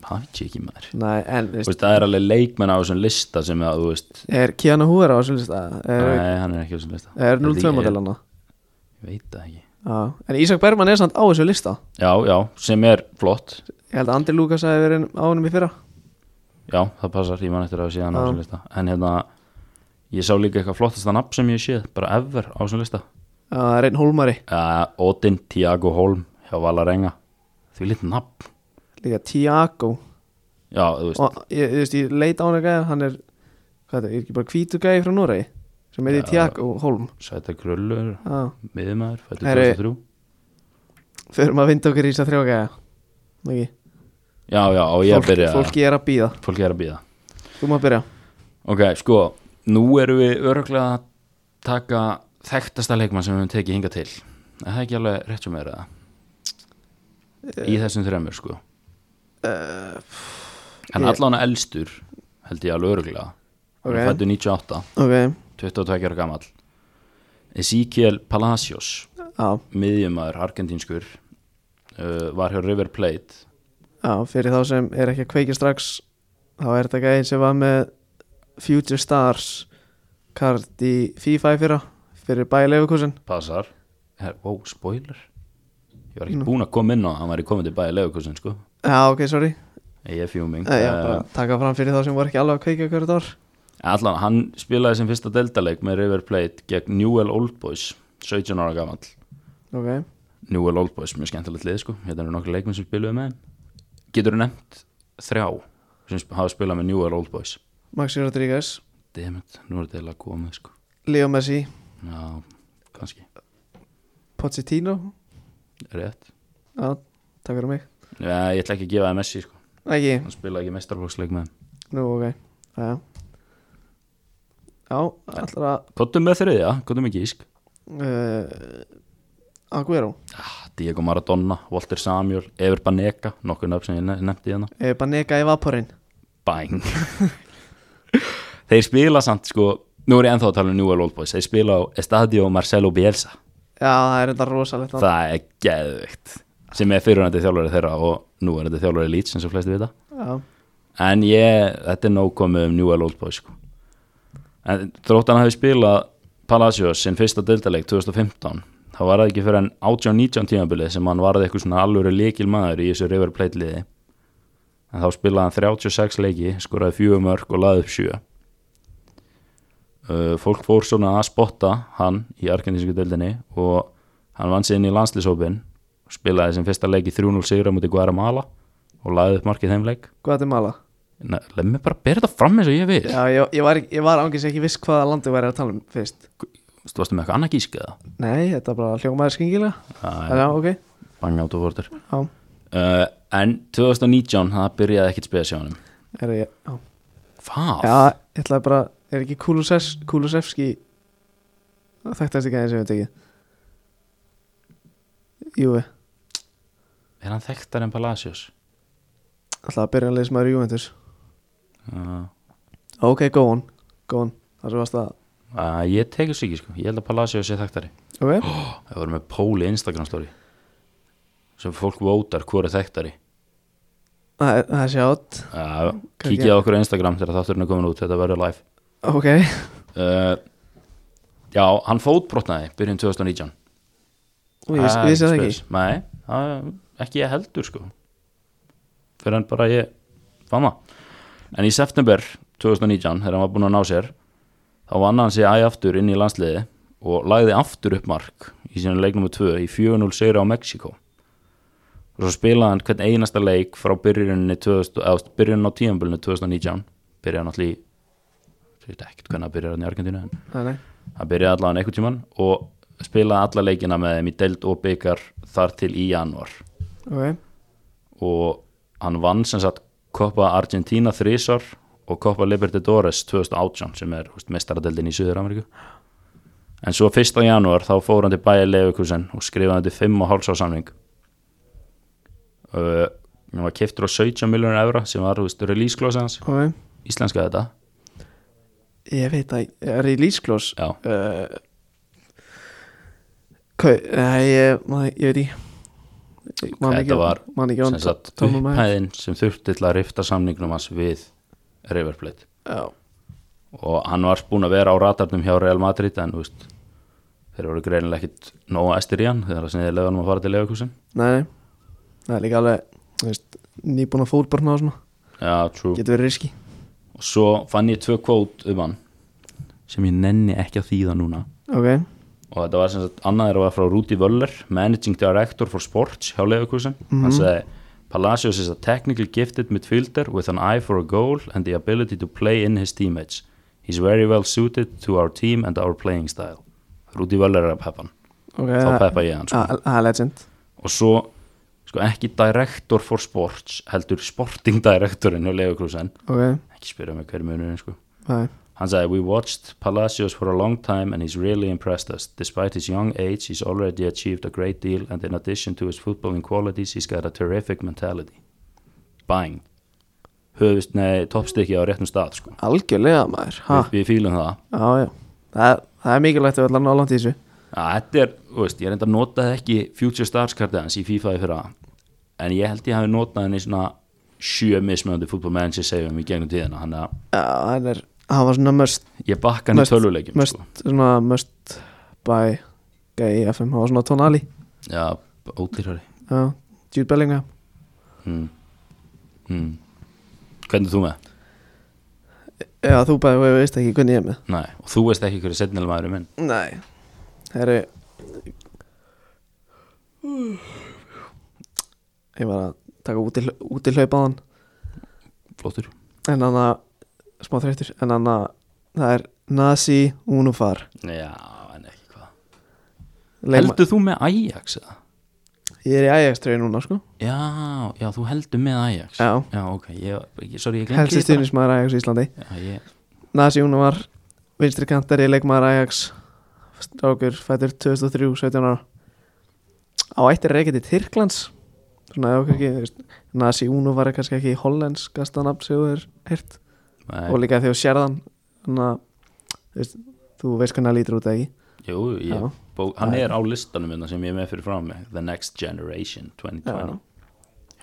[SPEAKER 2] það veit ég ekki maður
[SPEAKER 1] Nei, en, þú
[SPEAKER 2] Þú
[SPEAKER 1] veist
[SPEAKER 2] veist, Það er alveg leikmenn á þessum lista sem að, þú veist,
[SPEAKER 1] Er Keanu Hoover á þessu lista? Er,
[SPEAKER 2] nei, hann er ekki á þessum lista
[SPEAKER 1] er
[SPEAKER 2] Ég veit
[SPEAKER 1] 02
[SPEAKER 2] ekki-
[SPEAKER 1] modelana?
[SPEAKER 2] Ég veit það ekki
[SPEAKER 1] Já, en Ísak Bergman er samt á þessu lista
[SPEAKER 2] Já, já, sem er flott
[SPEAKER 1] Ég held að Andri Lukas hafi verið á honum í fyrra
[SPEAKER 2] Já, það passar, ég man eftir að sé hann á
[SPEAKER 1] Já.
[SPEAKER 2] þessum lista En hérna, ég sá líka eitthvað flottasta nafn sem ég séð, bara ever á þessum lista
[SPEAKER 1] Það er einn hólmari,
[SPEAKER 2] uh, Odin Tiago Holm hjá Valarenga því lítið nafn
[SPEAKER 1] líka Tiago
[SPEAKER 2] já, þú veist,
[SPEAKER 1] og ég, ég, veist, ég leit á hann eitthvað hann er, hvað er þetta, er ekki bara hvítu gæði frá Noregi sem heiti
[SPEAKER 2] Já.
[SPEAKER 1] Tiago Holm
[SPEAKER 2] Sæta Krullur
[SPEAKER 1] Já,
[SPEAKER 2] miðumæður, fættu
[SPEAKER 1] Herri.
[SPEAKER 2] 2003
[SPEAKER 1] förum að vinda okkur í þess að þrjá gæða Ekki,
[SPEAKER 2] já, já, og ég að
[SPEAKER 1] fólk,
[SPEAKER 2] byrja fólki,
[SPEAKER 1] fólki er að býða
[SPEAKER 2] er að býða
[SPEAKER 1] Þú maður byrja
[SPEAKER 2] ok, sko, nú erum við öruglega að taka þekktasta leikmann sem við höfum tekið hinga til Er það er ekki alveg rétt sem er það í
[SPEAKER 1] Eh,
[SPEAKER 2] þessum þremur, sko en
[SPEAKER 1] ég-
[SPEAKER 2] allan að elstur held ég alveg öruglega hann
[SPEAKER 1] Eh, Ok.
[SPEAKER 2] er fættu 98
[SPEAKER 1] Ok,
[SPEAKER 2] 22 ára gamall Ezekiel Palacios
[SPEAKER 1] já,
[SPEAKER 2] miðjumæður argentínskur uh, var hjá River Plate
[SPEAKER 1] já, fyrir þá sem er ekki að kveikja strax þá er þetta gæði sem var með Future Stars kart í FIFA í fyrra fyrir bæði leifukúsin
[SPEAKER 2] passar Her, wow, spoiler ég var ekki búinn að koma inn á að hann væri komið til bæði lefukursin sko
[SPEAKER 1] Já, ok, sorry
[SPEAKER 2] ég er fjúming
[SPEAKER 1] Nei, já,
[SPEAKER 2] Eh,
[SPEAKER 1] bara taka fram fyrir þá sem voru ekki alveg að kveika hverju dór
[SPEAKER 2] allan, hann spilaði sem fyrsta deltaleik með River Plate gegn Newell Old Boys 17 ára gamall
[SPEAKER 1] Ok,
[SPEAKER 2] Newell Old Boys, mjög skemmtilegt lið sko hérna eru nokkri leikmenn sem spiluðu með þeim getur þú nefnt þrjá sem sp- hafa spilað með Newell Old Boys
[SPEAKER 1] Maxi Rodríguez
[SPEAKER 2] dammit, nú er þetta eiginlega komið sko
[SPEAKER 1] Leo Messi,
[SPEAKER 2] Já, kannski,
[SPEAKER 1] Pochettino
[SPEAKER 2] rétt
[SPEAKER 1] Já, takk fyrir mig
[SPEAKER 2] Já, ég ætla ekki að gefa það Messi sko.
[SPEAKER 1] Ekki,
[SPEAKER 2] Hann spilaði ekki mestarflóksleik með þeim.
[SPEAKER 1] nú ok Já, já allra
[SPEAKER 2] Kottum með þriðja, kottum ekki ísk
[SPEAKER 1] uh, Aguero
[SPEAKER 2] ah, Diego Maradona, Walter Samuel Ever Banega, nokkur nöfn sem ég ne- nefndi hérna
[SPEAKER 1] eh, Banega í Vaporin
[SPEAKER 2] Bang Þeir spila samt sko Nú er ég ennþá að tala um Newell Old Boys Þeir spila á Estadio Marcelo Bielsa
[SPEAKER 1] Já, það er enda rosalegt
[SPEAKER 2] Það er geðveikt Sem er fyrirhandi þjálfari þeirra og nú er þetta þjálfari Leeds eins og flesti vita
[SPEAKER 1] Já,
[SPEAKER 2] En ég, þetta er nóg komið um Newell Old Boys sko. En þrótt hann hafi spilað Palacios sinn fyrsta deildaleik 2015 þá var það ekki fyrir en 18-19 tímabilið sem hann varði eitthvað svona alvöru leikil maður í þessu River Plate liði en þá spilaði hann 36 leiki skoraði fjögur mörg og laði upp sjö uh, fólk fór svona að spotta hann í argentinsku deildinni og hann vann sér inn í landslýshópin spilaði sem fyrsta leiki 3-0 sigra mútið Guaramala og laði upp markið þeim leik
[SPEAKER 1] Guatemala
[SPEAKER 2] Nei, leið mér bara að bera þetta fram eins og ég við
[SPEAKER 1] Já, ég, ég var, ekki- ég var ángis ekki viss hvaða landi væri að tala um fyrst
[SPEAKER 2] Þú varstu með eitthvað annað gísk eða?
[SPEAKER 1] Nei, þetta bara hljómaður skringilega
[SPEAKER 2] Já,
[SPEAKER 1] Já, ok
[SPEAKER 2] Bang out of order
[SPEAKER 1] Já,
[SPEAKER 2] uh, En 2019, það byrjaði ekkit spila sjá honum
[SPEAKER 1] er ég Já,
[SPEAKER 2] Hvað?
[SPEAKER 1] já ég ætlaði bara Er ekki Kulusevs- Kulusevski Þekktast ekki aðeins sem við tekið Júi
[SPEAKER 2] Er hann þekktar en Palacios?
[SPEAKER 1] Alltaf að byrja að leysa maður Juventus
[SPEAKER 2] Uh,
[SPEAKER 1] Ok, go on, go on Það sem varst að
[SPEAKER 2] uh, ég tekið svo ekki sko, ég held að Palacios sé þekktari
[SPEAKER 1] Ok,
[SPEAKER 2] Það voru með pól í Instagram story sem fólk votar hvor er þekktari
[SPEAKER 1] það er- það er sjátt
[SPEAKER 2] uh, Kíkið á okkur á Instagram þegar þátturinn er komin út, þetta verður live
[SPEAKER 1] Ok,
[SPEAKER 2] uh, Já, hann fótbrotnaði byrjun 2019
[SPEAKER 1] Úi, ég vissi það ekki
[SPEAKER 2] spes. Nei, það, ekki ég heldur sko Fyrir hann bara ég fann það En í september 2019 þegar hann var búinn að ná sér þá vann hann sig æ aftur inn í landsliði og lagði aftur upp mark í sínum leiknum 2 í 4-0 sigra á Mexiko og svo spilaði hann hvern einasta leik frá byrjuninni 2000, eða, byrjunin á tíðanbölinu 2019 byrjaði hann allir ég veit ekkert hvernig að byrjaði hann í Argentínu en
[SPEAKER 1] Nei, nei
[SPEAKER 2] hann byrjaði allavega einhvern tíman og spilaði alla leikina með þeim í deild og byggar þar til í januar
[SPEAKER 1] Ok,
[SPEAKER 2] og hann vann sem sagt Copa Argentina þrísar og Copa Libertadores 2018 sem er húst, mestaradeldin í Suður-Ameríku en svo 1. januar þá fór hann til bæja Leifikusen og skrifaði hann til 5 og hálfsá samning uh, hann var keftur á 17 miljonar evra sem var þú veist, release clause hans
[SPEAKER 1] ok
[SPEAKER 2] íslenska þetta
[SPEAKER 1] Ég veit að, er ég lísklós?
[SPEAKER 2] Já.
[SPEAKER 1] uh, Hvað, nei, ég, maður- ég veit ekki Ég man
[SPEAKER 2] Þetta
[SPEAKER 1] ekki-
[SPEAKER 2] var
[SPEAKER 1] Man ekki án
[SPEAKER 2] sem sagt
[SPEAKER 1] tómum maður.
[SPEAKER 2] upphæðin sem þurfti til að rifta samningnum hans við River Plate
[SPEAKER 1] Já,
[SPEAKER 2] og hann var búinn að vera á ratarnum hjá Real Madrid en þú veist, þeir voru greinilega ekkit nóga estir í hann þegar það sem þeir leiðanum að fara til leiðakúsin
[SPEAKER 1] nei, nei Það er líka alveg, þú veist, nýbúna fótbarna og svona
[SPEAKER 2] ja, og
[SPEAKER 1] Getur verið riski
[SPEAKER 2] svo fann ég tvö kvót um hann sem ég nenni ekki að þýða núna
[SPEAKER 1] Ok,
[SPEAKER 2] og þetta var sem sagt annaðir var frá Rúti Völler Managing Director for Sports hjá Leverkusen hann sagði Palacios is a technically gifted midfielder with an eye for a goal and the ability to play in his teammates he's very well suited to our team and our playing style Rúti Völler er að peppa hann
[SPEAKER 1] Ok,
[SPEAKER 2] þá
[SPEAKER 1] það
[SPEAKER 2] peppa ég hann sko.
[SPEAKER 1] er legend
[SPEAKER 2] og svo sko, ekki Director for Sports heldur Sporting Directorinn hjá Leverkusen
[SPEAKER 1] Ok,
[SPEAKER 2] ekki spyrja mig hver munurinn sko
[SPEAKER 1] það
[SPEAKER 2] Hann sagði, we watched Palacios for a long time and he's really impressed us. Despite his young age, he's already achieved a great deal and in addition to his footballing qualities, he's got a terrific mentality. Bang. Höfust, nei, toppstykki á réttum stað, sko.
[SPEAKER 1] Algjörlega maður ha,
[SPEAKER 2] Við, við fílum það.
[SPEAKER 1] já, já. Það, það er mikilvægt að við allan álant í þessu
[SPEAKER 2] Já, þetta er, þú veist, ég reynda að nota ekki Future Stars kartið hans í FIFA í fyrra en ég held ég hafi notað henni svona sjö mismöndi fútbolmennsi segjum í gegnum tíðina, hann að
[SPEAKER 1] Já, hann er, hann var svona must
[SPEAKER 2] ég bakka henni
[SPEAKER 1] Must-
[SPEAKER 2] töluleikjum, sko.
[SPEAKER 1] must, svona must by gay FM, hann var svona tónali
[SPEAKER 2] sko. Já, ódýrari.
[SPEAKER 1] Já, Jude Bellingham
[SPEAKER 2] mm. Mm. Hvernig er þú með?
[SPEAKER 1] Já, þú bæði og ég veist ekki hvernig ég er með
[SPEAKER 2] Nei, og þú veist ekki hverju setnilega maður er minn
[SPEAKER 1] Nei, herri Ég var að taka út í, út í hlaupaðan
[SPEAKER 2] Flottur
[SPEAKER 1] En hann að, smá þreytur En hann að, það er Nasi Unufar
[SPEAKER 2] Já, en ekki hvað
[SPEAKER 1] Leikma-
[SPEAKER 2] Heldur þú með Ajax eða?
[SPEAKER 1] Ég er í Ajax-treyju núna, sko
[SPEAKER 2] Já, já, þú heldur með Ajax
[SPEAKER 1] Já.
[SPEAKER 2] ok, ég, ég- sorry, ég glemti
[SPEAKER 1] Helsti stuðnismæður Ajax í Íslandi
[SPEAKER 2] Já, ég,
[SPEAKER 1] Nasi Unumar, vinstri kantari leikmaður Ajax Strákur, fættur 2003, 17 ára Á ættir reikið til Tyrklands Svona, ef okkur ekki, þú veist Nasi Unumar er kannski ekki hollensk gastanafn sem þú er hirt
[SPEAKER 2] nei,
[SPEAKER 1] Og líka þegar þú sérðan Þannig að, þú veist, þú veist hvernig hann lítur út eða ekki
[SPEAKER 2] Jú, ég,
[SPEAKER 1] Já.
[SPEAKER 2] bó, hann er á listanum minna sem ég er með fyrir frá mig The Next Generation 2020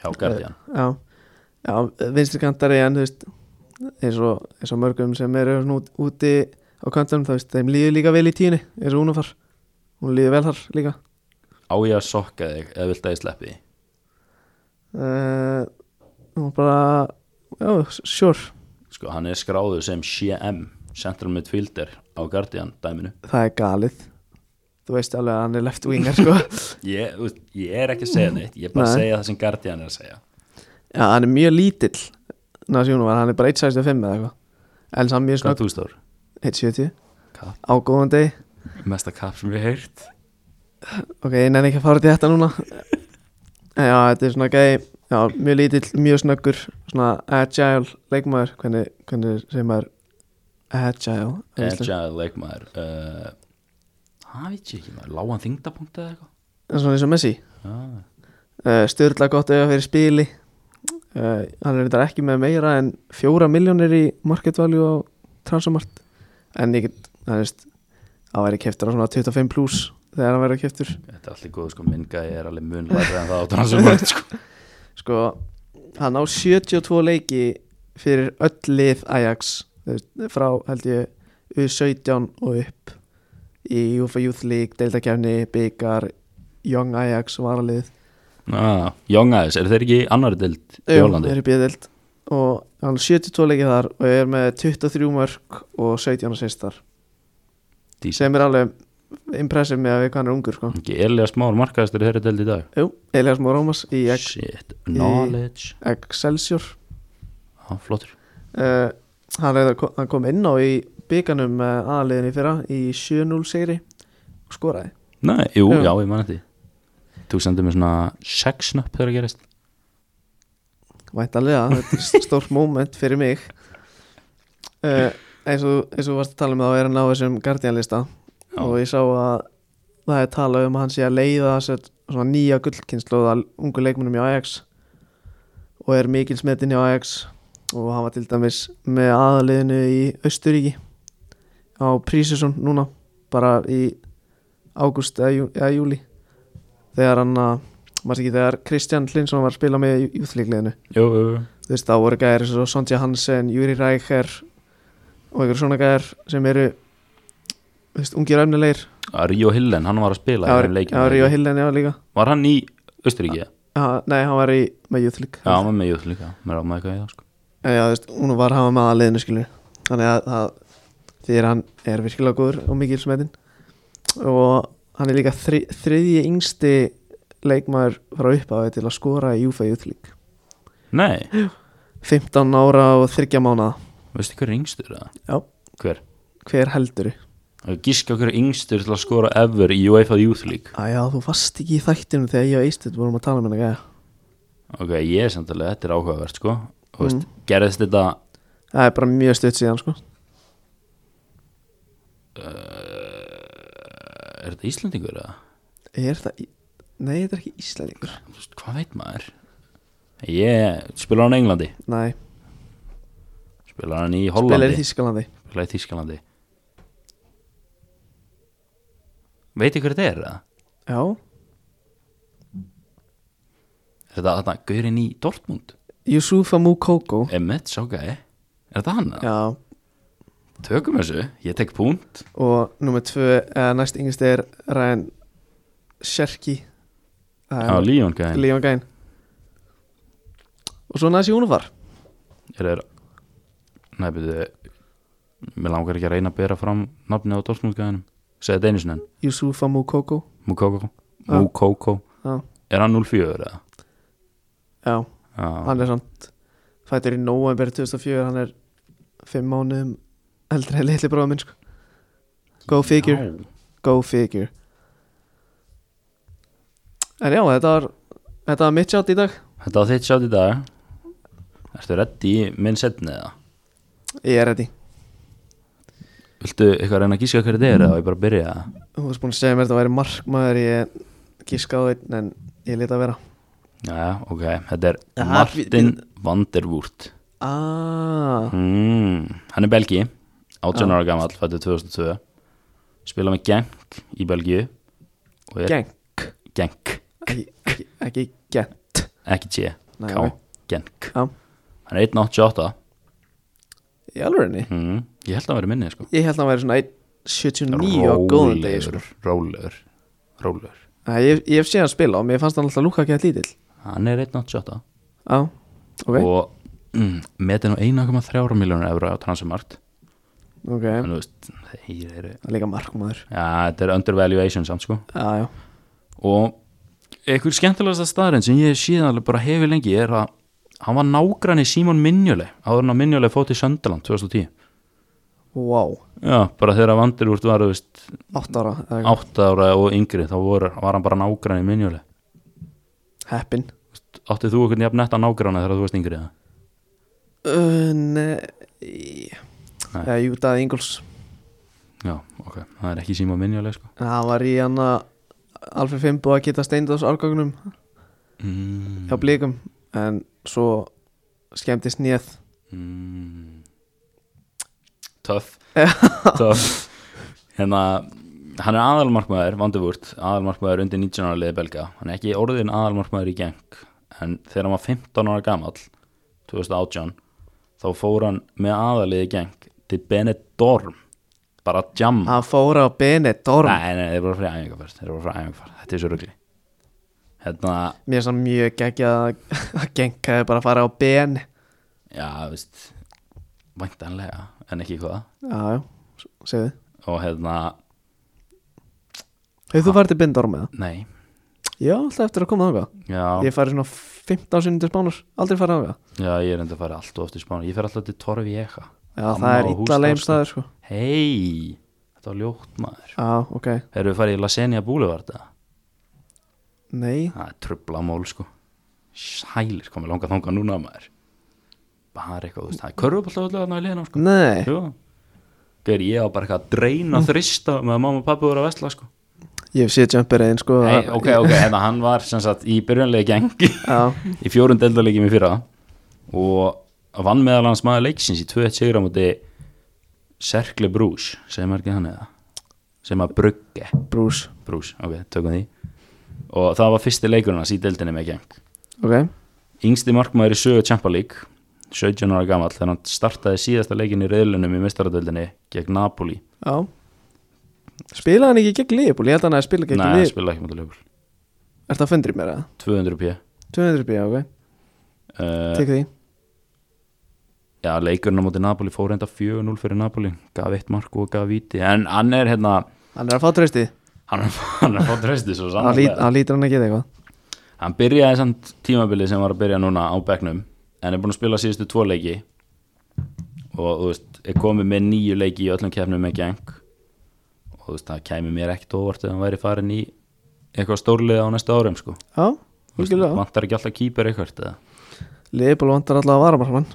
[SPEAKER 2] Hjá Guardian
[SPEAKER 1] Já, já vinstri kantari en þú veist eins og, eins og mörgum sem eru svona út, úti á kantanum þá veist þeim líður líka vel í tíunni eins og hún far hún líður vel þar líka Eh.
[SPEAKER 2] Á ég að sokka þig eða vilt að ég sleppi því?
[SPEAKER 1] uh, og bara já, sure,
[SPEAKER 2] Sko, hann er skráður sem CM Central Midfielder á Guardian dæminu
[SPEAKER 1] það er galið þú veist alveg að hann er left winger sko
[SPEAKER 2] Ég, þú veist, ég er ekki að segja neitt, ég er bara að
[SPEAKER 1] Nei.
[SPEAKER 2] segja það sem Guardian er að segja
[SPEAKER 1] já, hann er mjög lítill Nasjónu var, hann er bara 1.65 eða eitthvað en samt mjög
[SPEAKER 2] Hvað er
[SPEAKER 1] snögg,
[SPEAKER 2] þú stór?
[SPEAKER 1] 1.70
[SPEAKER 2] Kapp.
[SPEAKER 1] á góðan degi
[SPEAKER 2] Mesta kapp sem ég heirt
[SPEAKER 1] Ok, ég nenni ekki að fara út í þetta núna En já, þetta er svona gæði Já, mjög lítill, mjög snöggur Svona agile leikmaður Hvernig, hvernig segir maður Agile á íslensku?
[SPEAKER 2] Agile leikmaður uh, Það veit ég ekki maður Lágan þingdapunkt eða eitthvað
[SPEAKER 1] Svona eins og Messi
[SPEAKER 2] ah.
[SPEAKER 1] uh, Sturla gott auðvitað fyrir spili uh, Hann er þetta ekki með meira en Fjóra miljónir í market value á Transomart En ég get, það veist Það væri keftur á svona 25 plus Þegar hann verið keftur
[SPEAKER 2] Þetta er allir góð sko Minn gæði er alveg mun læri en það á transumart sko.
[SPEAKER 1] sko, hann á 72 leiki fyrir öll lið Ajax þú veist, frá held ég U17 og upp í UEFA Youth League, deildakefni, byggar Young Ajax varalið
[SPEAKER 2] ah, Young Eyes, eru þeir ekki í annari dild í
[SPEAKER 1] Jú,
[SPEAKER 2] Hollandi?
[SPEAKER 1] er í bíðdeild og hann á 72 leiki þar og er með 23 mörg og 17 sýstar
[SPEAKER 2] Decent.
[SPEAKER 1] sem er alveg impressive með að við hvað hann er ungur sko.
[SPEAKER 2] Ekki Elia Smár markaðistur í þeirri dild í dag
[SPEAKER 1] Jú, Elias Mórómas í Ex-
[SPEAKER 2] Shit, knowledge
[SPEAKER 1] Excelsior
[SPEAKER 2] ah, Flottur
[SPEAKER 1] uh, hann, reyðar, hann kom inn á í bygganum uh, aðliðinni fyrra í 7-0 sigri og skoraði
[SPEAKER 2] Nei, jú,
[SPEAKER 1] Já.
[SPEAKER 2] já, ég man þetta Þú sendir mér svona sex snöpp þegar að gerist
[SPEAKER 1] væntalega, þetta er stórt moment fyrir mig uh, eins, og, eins og þú varst að tala um þá er hann á þessum Guardian-lista
[SPEAKER 2] Já.
[SPEAKER 1] og ég sá að það er talað um að hann sé að leiða sér, svona nýja gullkynslu að ungu leikmunum í Ajax og er mikil smetin í Ajax og hann var til dæmis með aðaliðinu í Östuríki á Prísesson núna bara í ágúst eða, jú, eða júli þegar hann að maður sé ekki þegar Kristján Hlinsson var að spila með í júþlíkliðinu
[SPEAKER 2] Jú, jú, jú
[SPEAKER 1] þú veist þá voru gæðir eins og Sondja Hansen, Júri Rækher og einhver svona gæðir sem eru þú veist, ungir öfnilegir
[SPEAKER 2] Að Ríó Hillen, hann var að spila í þeim leikjum,
[SPEAKER 1] Já,
[SPEAKER 2] var
[SPEAKER 1] Ríó
[SPEAKER 2] ekki?
[SPEAKER 1] Hillen já líka
[SPEAKER 2] Var hann í Östuríki?
[SPEAKER 1] ha, Nei, hann var í með Youth League
[SPEAKER 2] Já, hann var með Júð líka, mér ámaði eitthvað í það sko.
[SPEAKER 1] En já, þú veist, hún var hafa með að leiðinu skilur Þannig að, að því er hann er virkilega góður og mikil smetin og hann er líka þri, þriðji yngsti leikmaður frá upphafi til að skora í UFA Youth League
[SPEAKER 2] Nei,
[SPEAKER 1] 15 ára og 30 mánuða
[SPEAKER 2] veistu hver er yngstur það?
[SPEAKER 1] Já.
[SPEAKER 2] Hver?
[SPEAKER 1] hver heldur
[SPEAKER 2] Gíska hver er yngstur til að skora ever í UEFA Youth League
[SPEAKER 1] Æja, þú varst ekki í þættinu þegar ég og Eistit vorum að tala með henni gæja
[SPEAKER 2] Ok, ég er samtalið, þetta er áhugavert sko Þú
[SPEAKER 1] Mm.
[SPEAKER 2] veist, gerðist þetta
[SPEAKER 1] Það er bara mjög stutt síðan sko
[SPEAKER 2] uh, Er þetta Íslendingur eða?
[SPEAKER 1] Er það, í- nei þetta er ekki Íslandingur
[SPEAKER 2] Þú veist, Hvað veit maður? Ég spila hann í Englandi
[SPEAKER 1] Nei,
[SPEAKER 2] Spila hann í
[SPEAKER 1] spilar í
[SPEAKER 2] Hollandi
[SPEAKER 1] Þískalandi
[SPEAKER 2] Spila í Þískalandi Veit ég hver þetta er eða?
[SPEAKER 1] Já,
[SPEAKER 2] Er þetta þarna gaurinn í Dortmund?
[SPEAKER 1] Yusufa Mukoko
[SPEAKER 2] Emmett, sá gæði Er þetta hann? eða?
[SPEAKER 1] Já,
[SPEAKER 2] Tökum þessu, ég tek punkt
[SPEAKER 1] og nummer tvö, eða næst yngst er Ryan Sherky
[SPEAKER 2] Já, Líón gæði
[SPEAKER 1] Leon Gain og svo næst Jónufar
[SPEAKER 2] Er þeir Nei, byrju Mér langar ekki að reyna að bera fram nafni á Dortmund gæðinum Segði þetta einu sinni enn.
[SPEAKER 1] Yusufa Mukoko
[SPEAKER 2] Mukoko
[SPEAKER 1] Já.
[SPEAKER 2] Mukoko
[SPEAKER 1] Já,
[SPEAKER 2] Er hann 04 eða?
[SPEAKER 1] já
[SPEAKER 2] Já,
[SPEAKER 1] hann er samt fættur í november 2004 hann er fimm mánuðum eldri en litli bróða minn sko Go figure,
[SPEAKER 2] Já.
[SPEAKER 1] go figure En já, þetta var þetta var mitt sjátt í dag
[SPEAKER 2] Þetta var þitt sjátt í dag Ertu reddi í minn setni eða?
[SPEAKER 1] Ég er ready
[SPEAKER 2] Viltu eitthvað reyna að gíska hverju þetta er eða á ég bara að byrja það?
[SPEAKER 1] Þú varst búin að segja mér þetta væri markmaður ég gískaði einn en ég lita að vera
[SPEAKER 2] Jæja, ok, þetta er
[SPEAKER 1] Aha,
[SPEAKER 2] Martin van der Woert
[SPEAKER 1] Ah,
[SPEAKER 2] mm, Hann er belgi 18 ára gamall, fættu 2002 Spila með Genk í Belgiu og er-
[SPEAKER 1] geng
[SPEAKER 2] Genk,
[SPEAKER 1] Ekki, ekki, ekki gent
[SPEAKER 2] ekki T,
[SPEAKER 1] Nei,
[SPEAKER 2] K
[SPEAKER 1] ok.
[SPEAKER 2] Genk
[SPEAKER 1] Já.
[SPEAKER 2] Hann er 1.88
[SPEAKER 1] Í alvörinni?
[SPEAKER 2] mm, Ég held að hann veri minni sko
[SPEAKER 1] Ég held að hann væri svona 1.79 á góðum degi sko.
[SPEAKER 2] Rólegur, rólegur, rólegur
[SPEAKER 1] Æ, Ég ég hef séð hann spila og mér fannst hann alltaf lúka ekki að lítill
[SPEAKER 2] Hann er 1.88
[SPEAKER 1] Já, ok,
[SPEAKER 2] og mm, metin á 1,3 miljónur euro á transfermarkt
[SPEAKER 1] ok
[SPEAKER 2] en þú veist, þeir eru
[SPEAKER 1] Það er líka markmaður
[SPEAKER 2] já, þetta er undervaluation samt sko
[SPEAKER 1] Já, já,
[SPEAKER 2] og einhver skemmtilegasta staðarinn sem ég síðan alveg bara hefur lengi er að hann var nágrann í Simon Minjole áður en að Minjole fótt í Söndaland 2010
[SPEAKER 1] wow
[SPEAKER 2] já, bara þegar Vandir úr var þú veist,
[SPEAKER 1] 8 ára, eða eitthvað.
[SPEAKER 2] 8 ára og yngri þá voru, var hann bara nágrann í Minjole
[SPEAKER 1] heppin
[SPEAKER 2] áttið þú einhvern jafn netta nágranna þegar þú varst yngri eða?
[SPEAKER 1] Uh, Nei
[SPEAKER 2] Nei.
[SPEAKER 1] Já, jú, Daði Ingolfs
[SPEAKER 2] já, ok, það er ekki Simon Minjole sko
[SPEAKER 1] Það var í hann að Alfred Fimbo að geta steindaðs árgangunum
[SPEAKER 2] mm,
[SPEAKER 1] hjá blíkum en svo skemmtist nýð
[SPEAKER 2] Mm. Töff
[SPEAKER 1] Já.
[SPEAKER 2] Töff Hérna, hann er aðalmarkmaður Vandivúrt, aðalmarkmaður undir 19 ára liði belga Hann er ekki orðin aðalmarkmaður í geng En þegar hann var 15 ára gamall 2018 Þá fór hann með aðaliði geng Til Benedorm Bara að jamma
[SPEAKER 1] hann fór á Benedorm
[SPEAKER 2] Mm. Nei, nei, þeir eru bara frá æfingarferð Þeir eru bara frá æfingarferð, þetta er svo rugli Hérna,
[SPEAKER 1] mér er samt mjög geggja að genka bara að fara á Ben
[SPEAKER 2] já, þú veist Væntanlega, en ekki hvað
[SPEAKER 1] já, já, segðu
[SPEAKER 2] Og hérna,
[SPEAKER 1] hefur þú farið til Benedorm eða?
[SPEAKER 2] nei
[SPEAKER 1] já, alltaf eftir að koma þangað
[SPEAKER 2] Já,
[SPEAKER 1] ég farið svona 15 sinni til Spánur aldrei farið þangað
[SPEAKER 2] já ég er enda að fara alltaf oft í Spánu Ég fer alltaf til Torvieja
[SPEAKER 1] já, það er illa leim staður sko
[SPEAKER 2] Hei, þetta var ljótt maður
[SPEAKER 1] já, ok
[SPEAKER 2] Erum við farið í Lasenia Boulevard eða?
[SPEAKER 1] nei
[SPEAKER 2] Það er trubla mól sko Sælir komið langa þangað núna maður Bara eitthvað, þú veist Það er körfuball alltaf þarna í liðinu sko
[SPEAKER 1] nei Mm.
[SPEAKER 2] Jú Gauður, ég á bara eitthvað að dreina þrista með að mamma og pappi voru að vesla sko
[SPEAKER 1] ég hef séð jumper einn sko
[SPEAKER 2] Nei, ok, ok, en hann var sem sagt í byrjanlega gengi
[SPEAKER 1] já,
[SPEAKER 2] í fjórun deildarleikjum í fyrra og vann meðal hans maður leiksins í 2-1 sigur á móti Cercle Bruges, segir maður ekki hann eða sem að Brugge
[SPEAKER 1] brús
[SPEAKER 2] Bruges, ok, tökum því og það var fyrsti leikurinn hans í deildinni með geng
[SPEAKER 1] ok
[SPEAKER 2] yngsti markmaður í sögu Champions League 17 ára gamall þegar hann startaði síðasta leikin í reyðlunum í mistaradöldinni gegn Napoli
[SPEAKER 1] já spilaði hann ekki gegn Leopold ég held að hann að spila gegn
[SPEAKER 2] Nei, hann
[SPEAKER 1] Leopold
[SPEAKER 2] spilaði ekki mútið leikul
[SPEAKER 1] er það að fundri mér eða?
[SPEAKER 2] 200 p
[SPEAKER 1] 200 bíja, ok,
[SPEAKER 2] Eh. uh,
[SPEAKER 1] tek því
[SPEAKER 2] Já, leikurinn á móti Napoli fór enda 4-0 fyrir Napoli gaf eitt mark og gaf viti en hann er hérna
[SPEAKER 1] Hann er að fá trösti
[SPEAKER 2] hann er, hann er að fá trösti svo
[SPEAKER 1] Hann lít-
[SPEAKER 2] sannarlega
[SPEAKER 1] hann lítur hann að geta eitthvað
[SPEAKER 2] hann byrjaði samt tímabilið sem var að byrja núna á bekknum en er búin að spila síðustu tvo leiki og þú veist, er komið með nýju leiki í öllum kefnum með geng og þú veist, það kæmi mér ekkit óvart ef hann væri farin í eitthvað stórlega á næstu árum sko
[SPEAKER 1] Já,
[SPEAKER 2] Þú veist,
[SPEAKER 1] hlugilega
[SPEAKER 2] vantar ekki alltaf kýpur eitthvað eða
[SPEAKER 1] Leifból vantar alltaf að vara bara hann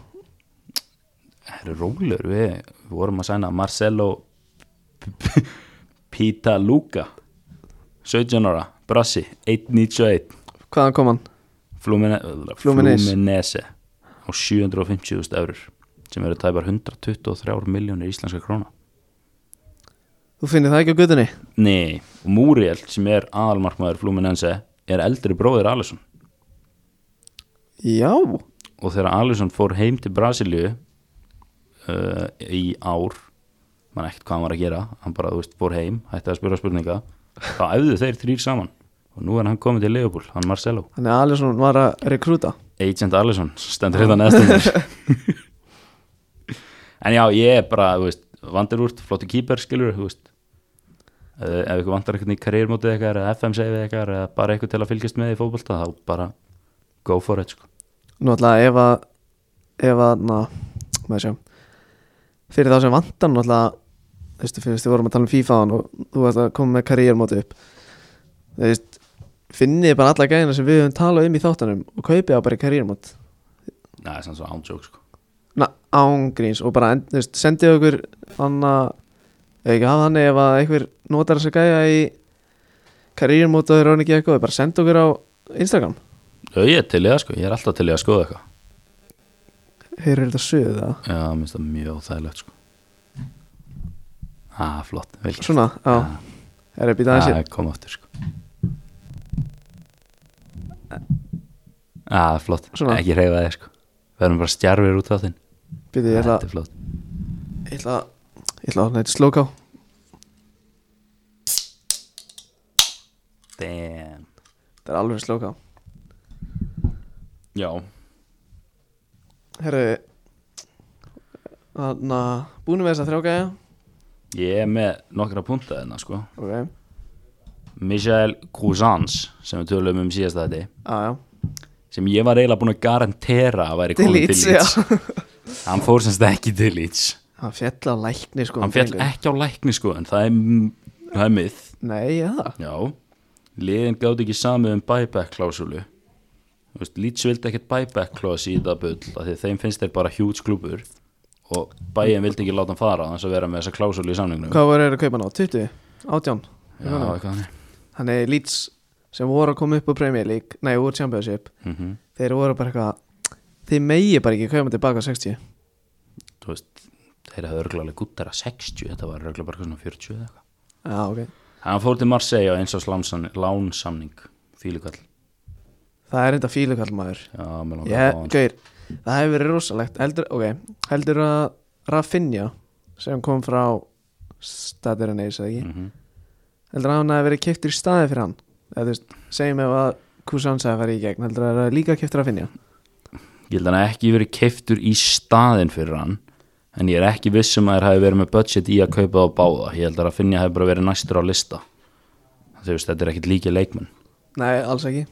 [SPEAKER 2] það eru rólegur við, við vorum að sæna Marcelo P- P- Pita Luca 17 ára, Brassi 1.91
[SPEAKER 1] Hvaðan kom hann?
[SPEAKER 2] Flumine,
[SPEAKER 1] Fluminense.
[SPEAKER 2] Fluminense á 750.000 eurur sem eru tæpar 123 miljónir íslenska króna
[SPEAKER 1] Þú finnir það ekki á gutunni?
[SPEAKER 2] Nei, og Múriel sem er aðalmarkmaður Fluminense er eldri bróðir Alisson
[SPEAKER 1] Já
[SPEAKER 2] og þegar Alisson fór heim til Brasilíu uh, í ár mann ekkert hvað hann var að gera hann bara, þú veist, fór heim, hætti að spura spurninga þá æfðu þeir þrýr saman og nú er hann komið til Leopold, hann Marcelo
[SPEAKER 1] Þannig að Alisson var að rekrúta
[SPEAKER 2] Agent Allison stendur hérna neðstum en já, ég er bara þú veist, vandir úrt, flottu kýper skilur þú veist Eh, ef ykkur vantar eitthvað í karriérmótið eitthvað eða FM segið eitthvað eða bara eitthvað til að fylgjast með í fótbolta þá bara go for it sko.
[SPEAKER 1] Nú alltaf ef að ef að, na, maður sjá fyrir þá sem vantar nú alltaf þú veist, fyrir við vorum að tala um FIFA áðan og þú varst að koma með karriérmóti upp þú veist, finnið bara alla gæðina sem við höfum talað um í þáttanum og kaupið það bara í karriérmót
[SPEAKER 2] Nei, það er svona svo ándjók sko.
[SPEAKER 1] Na, ángríns og bara end, þú veist, sendið okkur hann að ef ekki hafa hann ef að einhver notar þess að gæja í karriérmót og þeir ráðin ekki eitthvað bara senda okkur á Instagram
[SPEAKER 2] Já, ég er til í það sko, ég er alltaf til í að skoða eitthvað
[SPEAKER 1] heyrðu þetta sögðu það
[SPEAKER 2] já, mér finnst það mjög óþægilegt sko. ah, flott, vel gert.
[SPEAKER 1] svona, já,
[SPEAKER 2] Ah,
[SPEAKER 1] er að býta aðeins
[SPEAKER 2] ah, kom aftur sko. ah, flott,
[SPEAKER 1] Svona.
[SPEAKER 2] ekki reyfa þig sko. verðum bara stjarfir út á þinn
[SPEAKER 1] í- býta ég ætla
[SPEAKER 2] þetta er flott
[SPEAKER 1] Ég ætla að Ég ætla að opna eitt slóká
[SPEAKER 2] Damn.
[SPEAKER 1] Það er alveg slóká
[SPEAKER 2] já,
[SPEAKER 1] Herru Þannig að Búnum við þess að þrjóka
[SPEAKER 2] ég er með nokkra punta þarna sko.
[SPEAKER 1] Ok Já,
[SPEAKER 2] Michael Cousins sem við tölum um síðast þetta
[SPEAKER 1] já
[SPEAKER 2] sem ég var eiginlega búin að garantera að væri
[SPEAKER 1] Til
[SPEAKER 2] komin
[SPEAKER 1] Leeds,
[SPEAKER 2] til Leeds hann fór semst ekki til Leeds
[SPEAKER 1] Hann fjall á lækni sko
[SPEAKER 2] hann fjall
[SPEAKER 1] drengur.
[SPEAKER 2] ekki á lækni sko en það er, það er mið
[SPEAKER 1] Nei, já það
[SPEAKER 2] já, liðin gáði ekki samið um buyback klásulu Þú veist, Leeds vildi ekkert buyback klási í það bull af því þeim finnst þeir bara huge klúpur og bæin vildi ekki láta hann fara þannig að vera með þessa klásulu í samningnum
[SPEAKER 1] Hvað voru þeir að kaupa ná? 20? 18?
[SPEAKER 2] já, eitthvað þannig
[SPEAKER 1] Þannig að Leeds sem voru að koma upp á Premier League Nei, úr Championship
[SPEAKER 2] mm
[SPEAKER 1] Þeir voru bara eitthvað Þeir megi bara ekki kaupa tilbaka 60
[SPEAKER 2] þú veist, þeir hefðu örglega gúttara 60, þetta var örglega bara eitthvað svona 40 eða eitthvað
[SPEAKER 1] Já, ok
[SPEAKER 2] hann fór til Marseille á eins og lánsamning fílikall
[SPEAKER 1] Það er enda fílukall maður
[SPEAKER 2] já, mér langar að
[SPEAKER 1] Ég,
[SPEAKER 2] fá hann
[SPEAKER 1] gaur, það hefur verið rosalegt heldur, ok, heldur að Rafinha sem kom frá staðir hann eða ekki
[SPEAKER 2] mm
[SPEAKER 1] heldur að hann hefur verið kiptur í staði fyrir hann eða þú veist, segjum ef að Kusans hefur farið í gegn, heldur að það er líka kiptur Rafinha
[SPEAKER 2] ég held að hann hafi ekki verið keiftur í staðin fyrir hann en ég er ekki viss um að þær hafi verið með budget í að kaupa þá báða ég held að að finna hafi bara verið næstur á lista þú veist, þetta er ekkit líki leikmenn
[SPEAKER 1] nei, alls ekki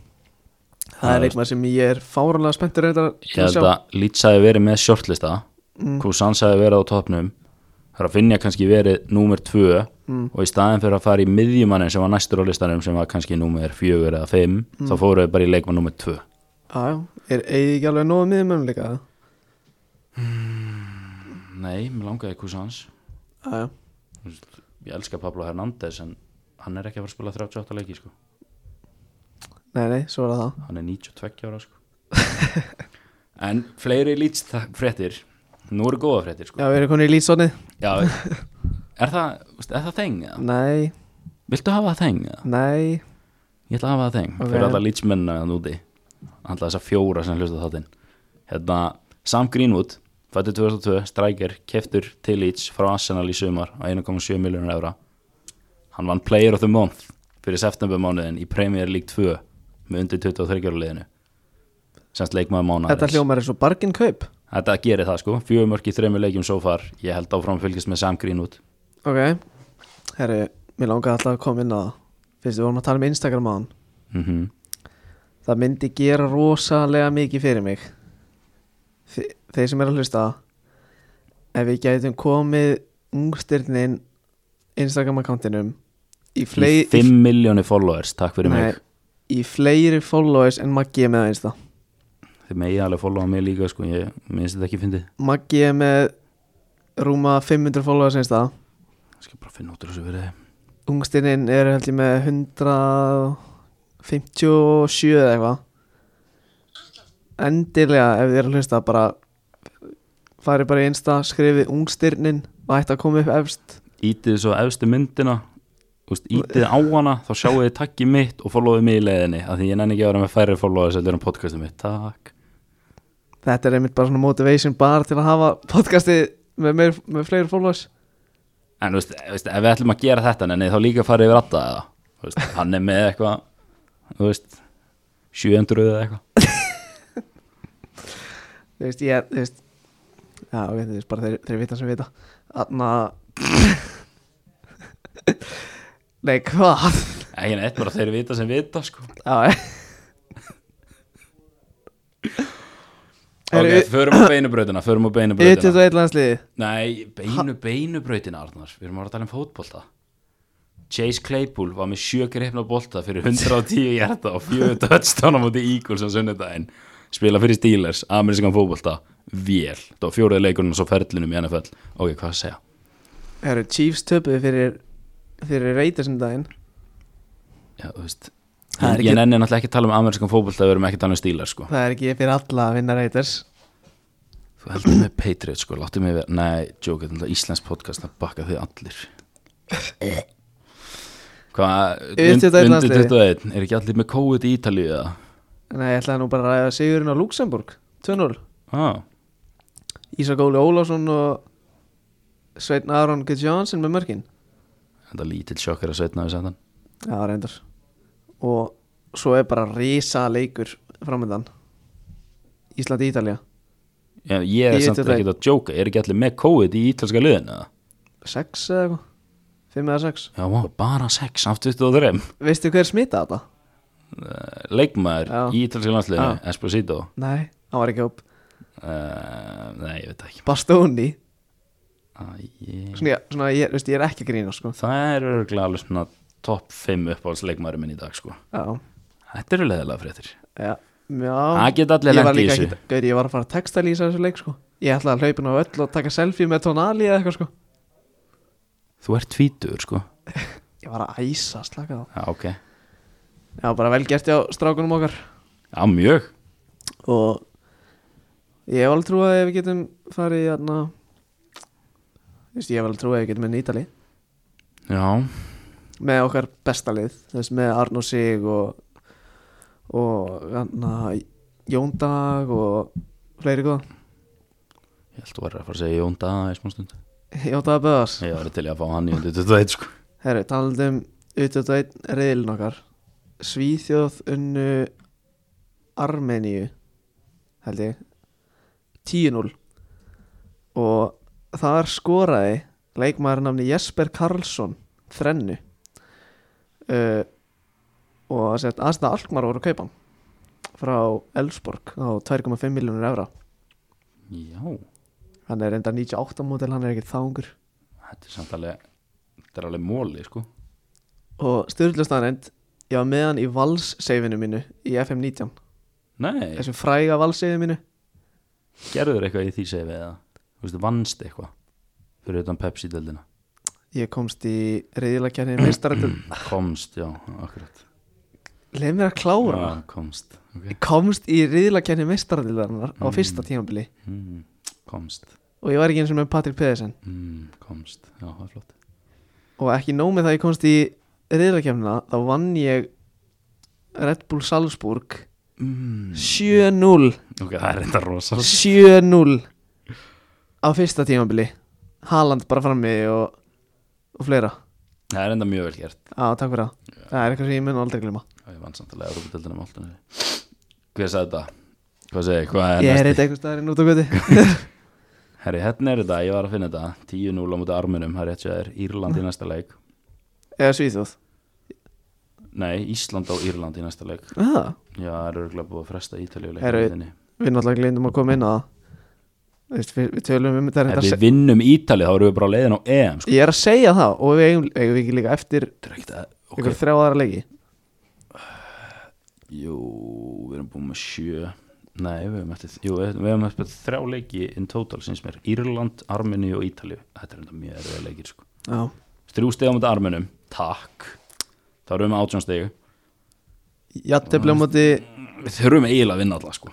[SPEAKER 1] það
[SPEAKER 2] Það
[SPEAKER 1] er
[SPEAKER 2] er-
[SPEAKER 1] eitthvað sem ég er fáranlega spenntur að
[SPEAKER 2] ég held að Leeds hafi verið með shortlista mm. Kousans hafi verið á topnum þar að finna kannski verið númer 2 og í staðin fyrir að fara í miðjumannin sem var næstur á listanum sem var kannski númer 4 eða 5 þá fóruðu bara í leikmann númer 2
[SPEAKER 1] já, er eigið ekki alveg nógu miðum líka
[SPEAKER 2] nei, mér langaði Kousans
[SPEAKER 1] já, já,
[SPEAKER 2] ég elska Pablo Hernández en hann er ekki að fara að spila 38 leiki sko.
[SPEAKER 1] nei, nei, svo er það það
[SPEAKER 2] hann er 92 ára sko. en fleiri Leeds þa- fréttir nú eru góða fréttir sko.
[SPEAKER 1] já, við erum konið í lýtsónið
[SPEAKER 2] Já, er það, er það þeng? eða?
[SPEAKER 1] nei,
[SPEAKER 2] viltu hafa það þeng? eða?
[SPEAKER 1] nei,
[SPEAKER 2] Ég ætla að hafa það þeng
[SPEAKER 1] Ok.
[SPEAKER 2] fyrir alla lýtsmennina þann úti alltaf þessa fjóra sem hlusta þáttinn hérna, Sam Greenwood fættu 2002, strækir, keftur til Leeds frá Arsenal í sumar á 1,7 miljónur evra hann vann Player of the Month fyrir septembermánuðin í Premier League 2 með undir 23 ára liðinu semst leikmaður
[SPEAKER 1] þetta
[SPEAKER 2] mánuðarins
[SPEAKER 1] hljómar er svo bargin kaup
[SPEAKER 2] þetta gerir það sko, fjögur mörk í þreymur leikjum so far, ég held áfram að fylgjast með Sam Greenwood
[SPEAKER 1] Ok, herri, mér langaði alltaf að koma inn á það fyrst við vorum að tala um Instagram á hann
[SPEAKER 2] mm
[SPEAKER 1] það myndi gera rosalega mikið fyrir mig Þi, þeir sem er að hlusta ef við gætum komið ungstyrnin Instagram accountinum í, flei,
[SPEAKER 2] 5 miljónir followers, takk fyrir
[SPEAKER 1] Nei,
[SPEAKER 2] mig
[SPEAKER 1] í fleiri followers en Maggi er með á Insta
[SPEAKER 2] þið megi alveg followa mig líka sko, ég minnst þetta ekki fyndið
[SPEAKER 1] Maggi er með rúma 500 followers á Insta
[SPEAKER 2] ég skal bara finna út úr þessu fyrir þið
[SPEAKER 1] ungstyrnin er held ég með 157 eða eitthvað endilega ef þið eru að hlusta bara farið bara í Insta, skrifið ungstyrnin og ætti að koma upp efst
[SPEAKER 2] Ítið svo efstu myndina úst, Ítið á hana, þá sjáu þið takkið mitt og followið mig í leiðinni af því ég nenni ekki að vera með færri followers heldur en podcastið mitt, takk
[SPEAKER 1] þetta er einmitt bara svona motivation bara til að hafa podcastið með, með, með fleiri followers
[SPEAKER 2] En veist, veist, ef við ætlum að gera þetta nenni, þá líka farið yfir alltaf eða Þú veist, hann er með eitthvað þú veist, 700 eða eitthvað
[SPEAKER 1] þú veist, ég, þú veist já, ok, þú veist, bara þeir, þeir vita sem vita þannig að nei, hvað
[SPEAKER 2] Ekki neitt, hérna, bara þeir vita sem vita sko.
[SPEAKER 1] já, eh.
[SPEAKER 2] Ok,
[SPEAKER 1] Eru-
[SPEAKER 2] förum á beinubrautina, förum á beinubrautina.
[SPEAKER 1] U21 landsliði
[SPEAKER 2] Nei, beinu, beinubrautina Arnar, við erum að vera að tala um fótbolta Chase Claypool var með sjö greifna bolta fyrir 110 hjarta og fjögur touchdown á móti Eagles á sunnudaginn spila fyrir Steelers, ameriskan fótbolta vél, það var fjóruði leikurinn og svo ferlinum í NFL, ok, hvað að segja
[SPEAKER 1] Það eru Chiefs töpuð fyrir fyrir reytir sem daginn
[SPEAKER 2] Já, þú veist
[SPEAKER 1] Það er
[SPEAKER 2] Ég
[SPEAKER 1] ekki-
[SPEAKER 2] nenni náttúrulega ekki að tala um ameriskan fótbolta við erum ekki að tala um Steelers, sko
[SPEAKER 1] Það er ekki fyrir alla að vinna reyters
[SPEAKER 2] Þú heldur með Patriots, sko, láttu mig vera Nei, joke, þetta er Íslands podcast, það bakka þau allir Hvað, und-
[SPEAKER 1] Yfir 21
[SPEAKER 2] undir
[SPEAKER 1] landsliði.
[SPEAKER 2] 21 Er ekki allir með COVID í Ítalíu, eða?
[SPEAKER 1] Nei, ég ætlaði nú bara að ræða sigurinn á Luxemburg 2-0
[SPEAKER 2] Ah,
[SPEAKER 1] Ísak Óli Ólásson og Sveinn Aron Gudjónsson með mörkin
[SPEAKER 2] þetta er lítill sjokkar að sveitna við sættan
[SPEAKER 1] Já, reyndar Og svo er bara risa leikur framöndan Ísland-Ítalja
[SPEAKER 2] Já, ég er
[SPEAKER 1] Í
[SPEAKER 2] samt
[SPEAKER 1] 21.
[SPEAKER 2] ekki að djóka, er ekki allir með COVID í ítalska liðin, eða?
[SPEAKER 1] 6 eða eitthvað 5 eða 6
[SPEAKER 2] Já, vá, bara 6 af 23
[SPEAKER 1] Veistu hver smita þetta?
[SPEAKER 2] eh, Leikmaður
[SPEAKER 1] Já.
[SPEAKER 2] í ítalska landsliðinu, Esposito
[SPEAKER 1] Nei, hann var ekki upp
[SPEAKER 2] uh, Nei, ég veit það ekki
[SPEAKER 1] Bastóni
[SPEAKER 2] ah, ég...
[SPEAKER 1] Svona, svona ég, veistu, ég er ekki að grína sko
[SPEAKER 2] Það er örgulega alveg svona topp 5 uppáhaldsleikmaður minn í dag sko.
[SPEAKER 1] Já
[SPEAKER 2] Þetta eru leiðilega fréttir
[SPEAKER 1] Já,
[SPEAKER 2] Það
[SPEAKER 1] já
[SPEAKER 2] geta allir
[SPEAKER 1] Ég var
[SPEAKER 2] lent í
[SPEAKER 1] líka
[SPEAKER 2] þessu
[SPEAKER 1] ekki Gauði, ég var að fara að textalýsa þessu leik sko Ég ætlaði að hlaupin á öll og taka selfie með tónali eða eitthvað sko
[SPEAKER 2] Þú ert tvítur sko
[SPEAKER 1] Ég var að æsa, slaka þá
[SPEAKER 2] Já, ok Já,
[SPEAKER 1] Já, bara vel gert hjá strákunum okkar
[SPEAKER 2] mjög
[SPEAKER 1] Og ég hef alveg trúið að ef við getum farið hérna Þú veist, ég hef alveg trúið að við getum með nýtali
[SPEAKER 2] Já,
[SPEAKER 1] Með okkar besta lið Þess með Arn og Sig og Og hérna Jóndag og fleiri góða
[SPEAKER 2] ég held þú verður að fara að segja Jón Daða í smá stund
[SPEAKER 1] Jóndag Böðars
[SPEAKER 2] Ég var til í að fá hann í undir 21 sko
[SPEAKER 1] Herru, talandum um U21 reyðilin okkar Svíþjóð unnu Armeníu held ég 10-0 og þar skoraði leikmaður namni Jesper Karlsson þrennu uh, og sett aðstæða Alkmaar voru að kaupa hann frá Elfsborg á 2,5 miljónur evra
[SPEAKER 2] Já,
[SPEAKER 1] hann er enda 98 mótil, hann er ekkert þángur
[SPEAKER 2] þetta er samt alveg Þetta er alveg móli sko
[SPEAKER 1] og styrlustanend ég var með hann í valsseifinu mínu í FM19,
[SPEAKER 2] Nei,
[SPEAKER 1] þessum fræga valsseifinu mínu
[SPEAKER 2] gerður eitthvað í því segið við eða Þú veist, vannst eitthvað Fyrir utan Pepsi-deldina
[SPEAKER 1] ég komst í reyðilakjarni meistaröldur,
[SPEAKER 2] Komst, já, akkurat
[SPEAKER 1] leið mér að klára
[SPEAKER 2] Já, komst okay.
[SPEAKER 1] Ég komst í reyðilakjarni meistaröldarnar á
[SPEAKER 2] Mm.
[SPEAKER 1] fyrsta tímabili
[SPEAKER 2] mm, Komst
[SPEAKER 1] og ég var ekki eins og með Patrik Pedersen
[SPEAKER 2] mm, Komst, já, það er flott
[SPEAKER 1] og ekki nóg með það ég komst í reyðilakjarnina þá vann ég Red Bull Salzburg
[SPEAKER 2] mm.
[SPEAKER 1] 7-0
[SPEAKER 2] Ok, það er reynda rosa
[SPEAKER 1] 7-0 á fyrsta tímabili Haaland bara frammi og, og fleira
[SPEAKER 2] Það er reynda mjög vel gert
[SPEAKER 1] Já, takk fyrir það. Það er eitthvað sem ég mun aldrei glima.
[SPEAKER 2] Já, Ég vann samtalið Európa-dildina með alltunni Hver sagði þetta? Hvað segi, hvað er
[SPEAKER 1] Ég er
[SPEAKER 2] næsti?
[SPEAKER 1] eitthvað eitthvað staðarinn út á göti.
[SPEAKER 2] Herri, hérna er þetta, ég var að finna þetta
[SPEAKER 1] Mm.
[SPEAKER 2] 10-0 á múti armunum, það er rétt sér Írland í næsta leik
[SPEAKER 1] Eða Svíþjóð.
[SPEAKER 2] Nei, Ísland á Írland í næsta leik
[SPEAKER 1] Það,
[SPEAKER 2] Já, það er örgulega búið að fresta Ítalíu
[SPEAKER 1] Herru,
[SPEAKER 2] leikinni
[SPEAKER 1] við náttúrulega gleymdum að koma inn á það Þú veist, við, við tölum um þetta
[SPEAKER 2] Ef
[SPEAKER 1] reyndar
[SPEAKER 2] við
[SPEAKER 1] se-
[SPEAKER 2] vinnum Ítalíu þá erum við bara leiðin á EM sko.
[SPEAKER 1] Ég er að segja það og við eigum, eigum við ekki líka eftir
[SPEAKER 2] Þetta er ekkert að- ok,
[SPEAKER 1] ykkur þrjá aðra leiki
[SPEAKER 2] Jú, við erum búin með sjö Nei, við hefum eftir, jú, við hefum eftir þrjá leiki in total, syns mér Írland, Armeni og Ítalíu Þetta er enda mjög erfið leikir sko.
[SPEAKER 1] Já,
[SPEAKER 2] Þrjú stegum á Armenum, takk Þá erum við með átjón stegu
[SPEAKER 1] jættefli á móti
[SPEAKER 2] Við þurfum eiginlega að vinna alla sko.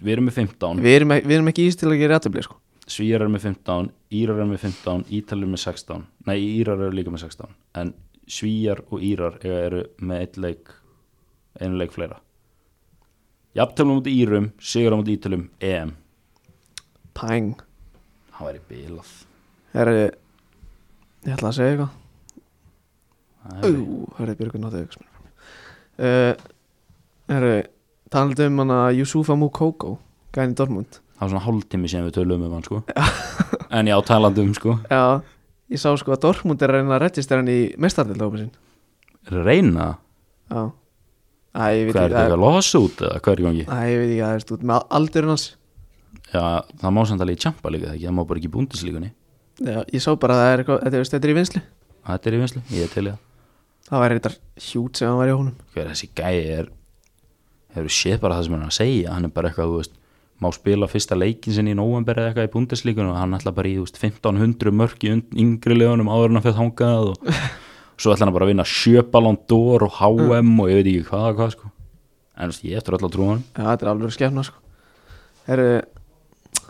[SPEAKER 2] Við erum með 15
[SPEAKER 1] Við erum, ek- við erum ekki ís til að gera jættefli sko.
[SPEAKER 2] Svíjar er með 15, Írar er með 15 Ítalir með 16, nei Írar eru líka með 16 En Svíjar og Írar eiga- eru með einn leik einu leik fleira Jafntöflum út í Írum, sigur á út í Ítalum EM,
[SPEAKER 1] Pæng
[SPEAKER 2] hann væri bilað
[SPEAKER 1] Herri, eh, ég ætla að segja eitthvað
[SPEAKER 2] Það er-
[SPEAKER 1] Ú, herri, Björgur náttu aukast mér uh, Herri, eh, talandi um hana Yusufa Mukoko, gæni Dortmund
[SPEAKER 2] það var svona hálftími sem við töluðum um hann sko En já, talandi um sko
[SPEAKER 1] Já, ég sá sko að Dortmund er að reyna að registera hann í mestardildópa sinn
[SPEAKER 2] Reyna,
[SPEAKER 1] Já Æ, ég veit
[SPEAKER 2] hvað er
[SPEAKER 1] ekki
[SPEAKER 2] þetta
[SPEAKER 1] að
[SPEAKER 2] eitthvað losa út eða hvað er í gangi?
[SPEAKER 1] Æ, ég veit ekki að það er stútt með aldurinn hans
[SPEAKER 2] Já, það má samt alveg í tjampa líka það ekki, það má bara ekki í búndislíkunni
[SPEAKER 1] Já, ég sá bara að það er eitthvað, þetta er, veist, þetta er í vinslu
[SPEAKER 2] Þetta er í vinslu, ég er til í það
[SPEAKER 1] Það var eitthvað hjút sem hann var í honum
[SPEAKER 2] hver þessi gæi er hefur séð bara það sem hann er að segja hann er bara eitthvað, þú veist, má spila fyrsta leikin sinni í november eða eitthvað í búndeslíkunum og hann ætla bara í, þú veist, 1500 mörk í und- yngri legunum áður en hann fyrir þangað og svo ætla hann bara að vinna sjöbalón dór og HM og ég veit ekki hvað og hvað, sko en þú veist, ég eftir öll að trúa hann
[SPEAKER 1] Já, þetta er alveg skefna sko Herru,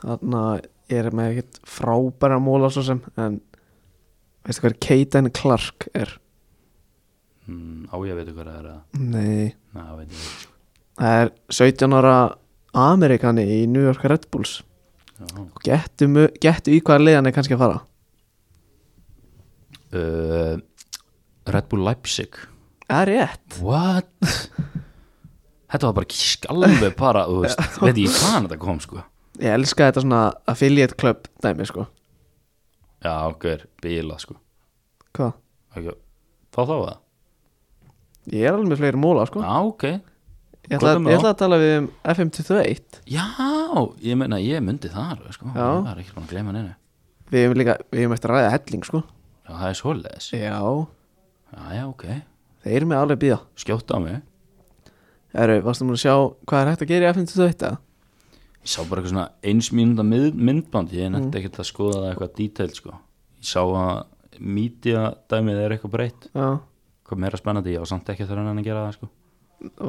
[SPEAKER 1] þarna ég er með ekkert frábæra móla svo sem En, veistu hver Keiten Clark er?
[SPEAKER 2] mm, á ég veit hvað það er að
[SPEAKER 1] Nei
[SPEAKER 2] na, veit ég ekki, sko.
[SPEAKER 1] Það er 17 ára Amerikani í New York Red Bulls
[SPEAKER 2] Já.
[SPEAKER 1] Og gettu, mu- gettu í hvaða leiðan er kannski að fara
[SPEAKER 2] uh, Red Bull Leipzig
[SPEAKER 1] Það er rétt
[SPEAKER 2] what? þetta var bara kísk alveg bara, þú veist, veit ég hvaðan þetta kom, sko
[SPEAKER 1] Ég elska þetta svona affiliate club dæmi sko
[SPEAKER 2] Já, hver, bíla sko
[SPEAKER 1] Hvað?
[SPEAKER 2] ekki, Þá þá var það?
[SPEAKER 1] Ég er alveg með fleiri móla sko
[SPEAKER 2] Já, ok
[SPEAKER 1] Ég ætla,
[SPEAKER 2] hvað er með
[SPEAKER 1] ég ætla að tala við um FM21
[SPEAKER 2] Já, ég meina, ég myndi það alveg, sko.
[SPEAKER 1] Já.
[SPEAKER 2] Ég var ekki búin að gleyma neina
[SPEAKER 1] Við hefum líka, við hefum eftir að ræða helling sko
[SPEAKER 2] Já, það er svoleiðis
[SPEAKER 1] Já
[SPEAKER 2] Já, já, ok
[SPEAKER 1] Þeir eru með alveg að býða
[SPEAKER 2] Skjótt á mig
[SPEAKER 1] Erru, varstu múin að sjá hvað er hægt að gera í FM21 eða?
[SPEAKER 2] Ég sá bara eitthvað svona eins mínúnda mið, myndband Ég
[SPEAKER 1] Mm.
[SPEAKER 2] nefndi ekkert að skoða það eitthvað detail, sko Ég sá að media dæmið er eitthvað breytt
[SPEAKER 1] Já
[SPEAKER 2] Hvað meira spennandi, ég var samt ekki að þurfa að gera það, sko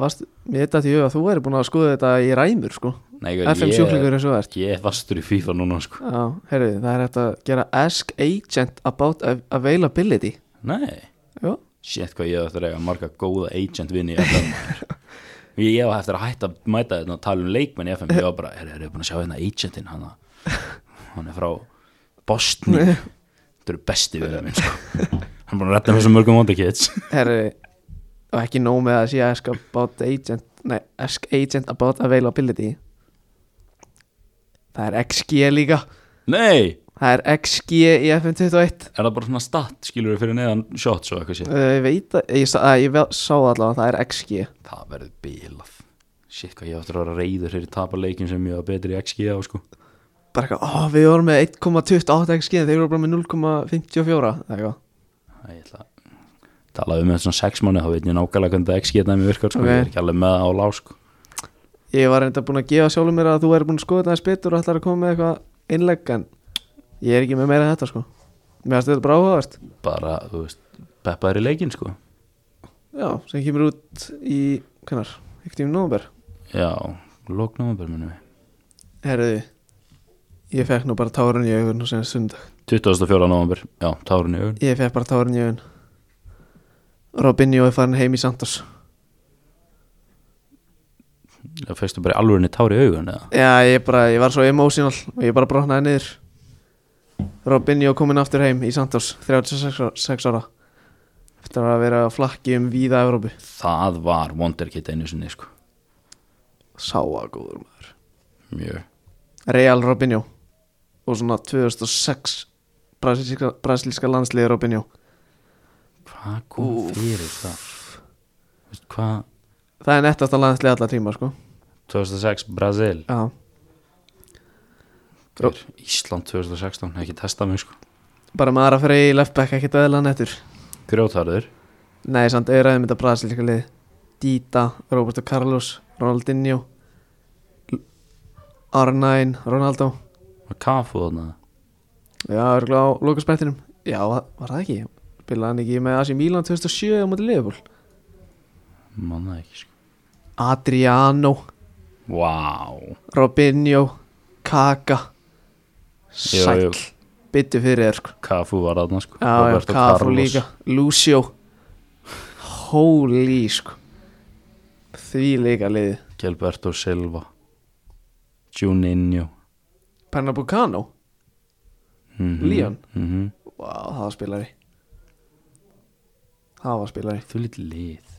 [SPEAKER 1] Varstu, mér þetta til ég að þú eru búin að skoða þetta í ræmur sko
[SPEAKER 2] Nei, ég,
[SPEAKER 1] FM sjúklingur eins og þú ert
[SPEAKER 2] ég, ég er fastur í FIFA núna, sko
[SPEAKER 1] Já, herru, það er hægt að gera Ask Agent about av- availability
[SPEAKER 2] Nei
[SPEAKER 1] Jó
[SPEAKER 2] Shit hvað ég hef eftir að eiga marga góða agent vinni í FM maður. Ég hef eftir að hætta að mæta þetta og tala um leikmenn í FM Ég var bara, er það búin að sjá hérna agentinn hann Hann er frá Bosni Þetta eru besti vinni minn sko. Hann er búin að redda mér svo mörgum Wonder Kids
[SPEAKER 1] Herru, og ekki nóg með að sé ask about agent Nei, ask agent about availability Það er XG líka
[SPEAKER 2] Nei,
[SPEAKER 1] Það er XG í FM21
[SPEAKER 2] er það bara svona stat skilur við fyrir neðan shots og eitthvað shit
[SPEAKER 1] Uh, Ég veit að, ég, sa- að ég vel- sá allavega að það er XG
[SPEAKER 2] Það verður bílað Shit hvað ég hef eftir að vera reyður fyrir taparleikin sem ég var betri í XG á sko
[SPEAKER 1] Bara eitthvað, ó, við vorum með 1,28 XG en þeir voru bara með 0,54 eða eitthvað.
[SPEAKER 2] Æ, Ég ætla að tala um þetta svona sex manni þá veit ég nákvæmlega hvernig þetta XG dæmi virkar sko.
[SPEAKER 1] Ok.
[SPEAKER 2] Ég er ekki alveg með það á lá sko.
[SPEAKER 1] Ég var reynda búin að gefa sjálfum mér að þú er búin að skoða þetta aðeins betur og ætlar að koma með eitthvað innlegg en ég er ekki með meira en þetta sko Mér fannst þetta bara áhugavert
[SPEAKER 2] bara, þú veist, peppaður í leikinn sko.
[SPEAKER 1] Já, sem kemur út í, hvernar, ekkert í nómber
[SPEAKER 2] Já, lóknum bara minnum við.
[SPEAKER 1] Herðu, ég fekk nú bara tárun í augun og sem sundag.
[SPEAKER 2] 24. november, já, tárun í augun.
[SPEAKER 1] Ég fekk bara tárun í augun. Robinho er farin heim í Santos.
[SPEAKER 2] Það fegstu bara í alvörinni tár í augun eða?
[SPEAKER 1] Já, ég bara, ég var svo emotional og ég bara brotnaði niður. Robinho kominn aftur heim í Santos, 36 ára- sex ára. Eftir að vera að flakki um víða Evrópu.
[SPEAKER 2] Það var Wonderkid einu sinni sko.
[SPEAKER 1] Sáa góður maður.
[SPEAKER 2] Mjög.
[SPEAKER 1] Real Robinho og svona 2006 brasilíska, brasilíska landsliði Robinho.
[SPEAKER 2] Hvað kom fyrir það? veist, hvað,
[SPEAKER 1] það er nettast að landslega alla tíma sko
[SPEAKER 2] 2006 Brasil
[SPEAKER 1] já, Ró-
[SPEAKER 2] Gaur, Ísland 2016, ekki testa mig sko
[SPEAKER 1] bara með aðra fyrir í leftback ekkert eðla nettur
[SPEAKER 2] grjótarður,
[SPEAKER 1] nei, samt auðvitað mynda brasilíska lið Dita, Roberto Carlos Ronaldinho L- R9, Ronaldo
[SPEAKER 2] og Kafu þarna
[SPEAKER 1] já, örgulega á lókaspættinum já, var var það ekki spilaði hann ekki með Asi Milan 2007 á móti Liverpool
[SPEAKER 2] manna ekki sko
[SPEAKER 1] Adriano,
[SPEAKER 2] Vá,
[SPEAKER 1] Robinho Kaka
[SPEAKER 2] Jú, jú.
[SPEAKER 1] Sæll, byttu fyrir þér sko
[SPEAKER 2] Kafu var þarna sko
[SPEAKER 1] Já, já,
[SPEAKER 2] Roberto
[SPEAKER 1] Cafu
[SPEAKER 2] Carlos.
[SPEAKER 1] líka Lucio Holy sko Því líka liði
[SPEAKER 2] Gilberto Silva Juninho
[SPEAKER 1] Pernambucano,
[SPEAKER 2] mm
[SPEAKER 1] Leon.
[SPEAKER 2] -hmm.
[SPEAKER 1] vá, það var spilari Það var spilari
[SPEAKER 2] Þú lítið lið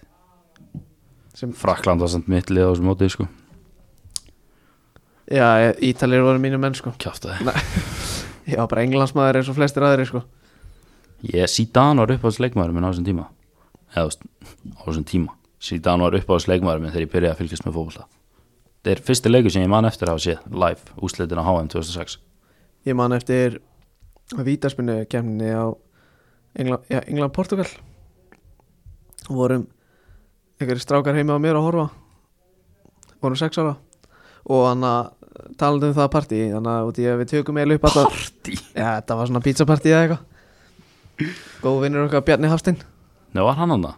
[SPEAKER 1] Sem-
[SPEAKER 2] Frakland var samt mitt lið á þessu móti sko
[SPEAKER 1] Já, Ítalir voru mínu menn sko
[SPEAKER 2] Kjáftaði
[SPEAKER 1] Nei. Já, bara englandsmaður eins og flestir aðrir sko
[SPEAKER 2] Ég, Zidane var uppáðsleikmaður minn á þessum tíma Eða, þú veist, á þessum tíma Zidane var uppáðsleikmaður minn þegar ég byrjaði að fylgjast með fótbolta Það er fyrsti leikur sem ég man eftir að hafa séð Live, úslitin á HM 2006
[SPEAKER 1] Ég man eftir Vítaspinu kemni á England, já, England Portugal vorum einhverjir strákar heima á mér að horfa vorum sex ára og hann að talaði um það partí þannig að út í að við tökum eða upp alltaf
[SPEAKER 2] Parti
[SPEAKER 1] já, þetta var svona pizzapartí eða eitthvað góð vinnur okkar Bjarni Hafstein
[SPEAKER 2] Nei, var hann hann það?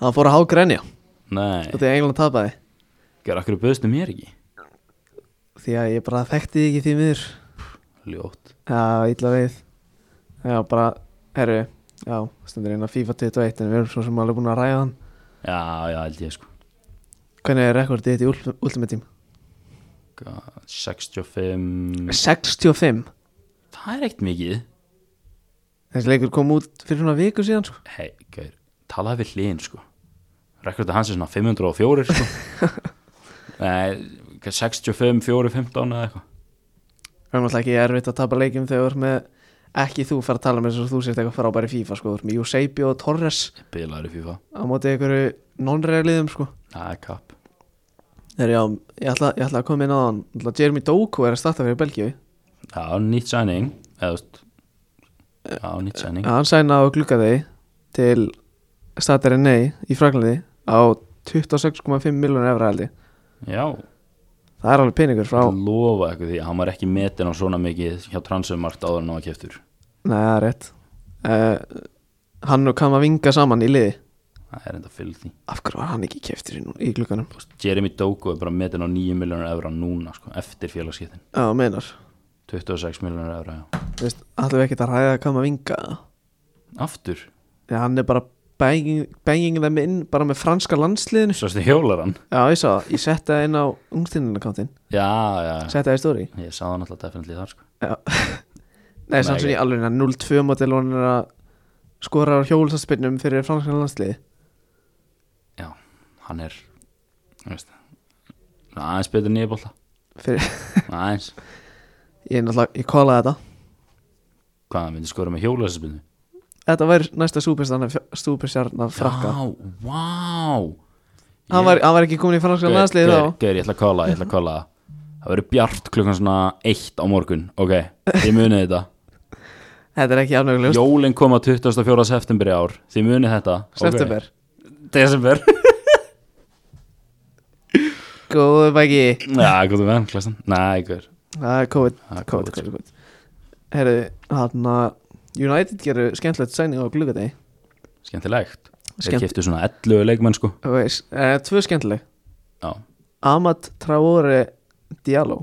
[SPEAKER 1] hann fór að hágrenja
[SPEAKER 2] Nei,
[SPEAKER 1] út í að England tapaði
[SPEAKER 2] gerði akkur bauðstu mér ekki
[SPEAKER 1] því að ég bara þekkti þig ekki því miður
[SPEAKER 2] Ljótt
[SPEAKER 1] Já, illa við Já, bara, herru Já, stundur inn á FIFA 21 En við erum svo sem alveg búin að ræða hann
[SPEAKER 2] Já, já, held ég sko
[SPEAKER 1] Hvernig er rekordið þetta í Ul- Ultimate Team?
[SPEAKER 2] Hvað, 65
[SPEAKER 1] 65
[SPEAKER 2] Það er ekkert mikið
[SPEAKER 1] Þessi leikur kom út fyrir svona viku síðan sko.
[SPEAKER 2] hei, gær, talaði við hliðin sko rekordið hans er svona 504 sko Nei, hvað, 65, 4, 15 eða eitthvað
[SPEAKER 1] Það er náttúrulega ekki erfitt að tapa leikum þegar þú ert með Ekki þú fara að tala með þess að þú sért eitthvað frábæri FIFA sko. Þú ert með Eusebio og Torres
[SPEAKER 2] bilaður í FIFA,
[SPEAKER 1] Á móti einhverju non-regliðum sko.
[SPEAKER 2] það er kapp
[SPEAKER 1] Herru, já, ég ætla, ég ætla að koma inn á hann Náttúrulega Jeremy Doku er að starta fyrir Belgíu
[SPEAKER 2] já, nýtt sæning eða þú veist já, nýtt sæning,
[SPEAKER 1] Hann sæna á gluggaði til Stadari Ney í Fraklandi á 26,5 miljónur evra held ég
[SPEAKER 2] já
[SPEAKER 1] Það er alveg peningur frá
[SPEAKER 2] ég lofa eitthvað því, að hann var ekki metin á svona mikið hjá transumart áður en hann var keftur
[SPEAKER 1] Nei, það er rétt uh, Hann og Kama vinga saman í liði
[SPEAKER 2] það er enda fylg því,
[SPEAKER 1] Af hverju var hann ekki keftur í, nú- í glugganum?
[SPEAKER 2] Þú veist, Jeremy Doku er bara metin á 9 miljonar evra núna sko, eftir félagskiptin
[SPEAKER 1] Já, meinar
[SPEAKER 2] 26 miljonar evra, já,
[SPEAKER 1] Þú veist, Ætlum við ekki að ræða Kama vinga
[SPEAKER 2] aftur
[SPEAKER 1] Já, hann er bara banging, banging þeim inn bara með franska landsliðinu
[SPEAKER 2] svo stu hjólar hann
[SPEAKER 1] Já, ég sá það, ég setti það inn á ungstinninakantin
[SPEAKER 2] já, já, já.
[SPEAKER 1] Setti það í stóri
[SPEAKER 2] Ég sá hann alltaf definitely þar sko
[SPEAKER 1] Nei, samt
[SPEAKER 2] Nei,
[SPEAKER 1] sem ég alveg hérna, 0-2 mótil hún er að skora á hjólsaspinnum fyrir franska landsliði
[SPEAKER 2] Já, hann er þú veist, svona aðeins betur nýja bólta
[SPEAKER 1] fyrir,
[SPEAKER 2] aðeins,
[SPEAKER 1] ég, náttúrulega- ég kólaði þetta
[SPEAKER 2] hvað hann myndi skora með hjólæsaspinnu
[SPEAKER 1] þetta væri næsta súperstjarnar frakka
[SPEAKER 2] Já, vá
[SPEAKER 1] hann var, hann var ekki komin í franska landsliði
[SPEAKER 2] Gaur,
[SPEAKER 1] þá
[SPEAKER 2] gaur, ég ætla að kála, ég ætla að kála Það verður bjart klukkan svona eitt á morgun Ok, þið munið þetta
[SPEAKER 1] þetta er ekki afnögulegust
[SPEAKER 2] Jólin koma 24. september í ár Þið munið þetta Ok.
[SPEAKER 1] september,
[SPEAKER 2] Desember
[SPEAKER 1] góðu bæki
[SPEAKER 2] Já, hvað þú verður, klassan Nei, gaur
[SPEAKER 1] það er COVID,
[SPEAKER 2] Það er
[SPEAKER 1] COVID,
[SPEAKER 2] COVID,
[SPEAKER 1] COVID, COVID. herru, hann að United gerur skemmtilegt sæning á gluggadegi
[SPEAKER 2] Skemmtilegt Þeir
[SPEAKER 1] Skemmt-
[SPEAKER 2] keftu svona 11 leikmenn sko
[SPEAKER 1] Ok, s- eh, tvö skemmtileg
[SPEAKER 2] Já
[SPEAKER 1] Amat Traore Diallo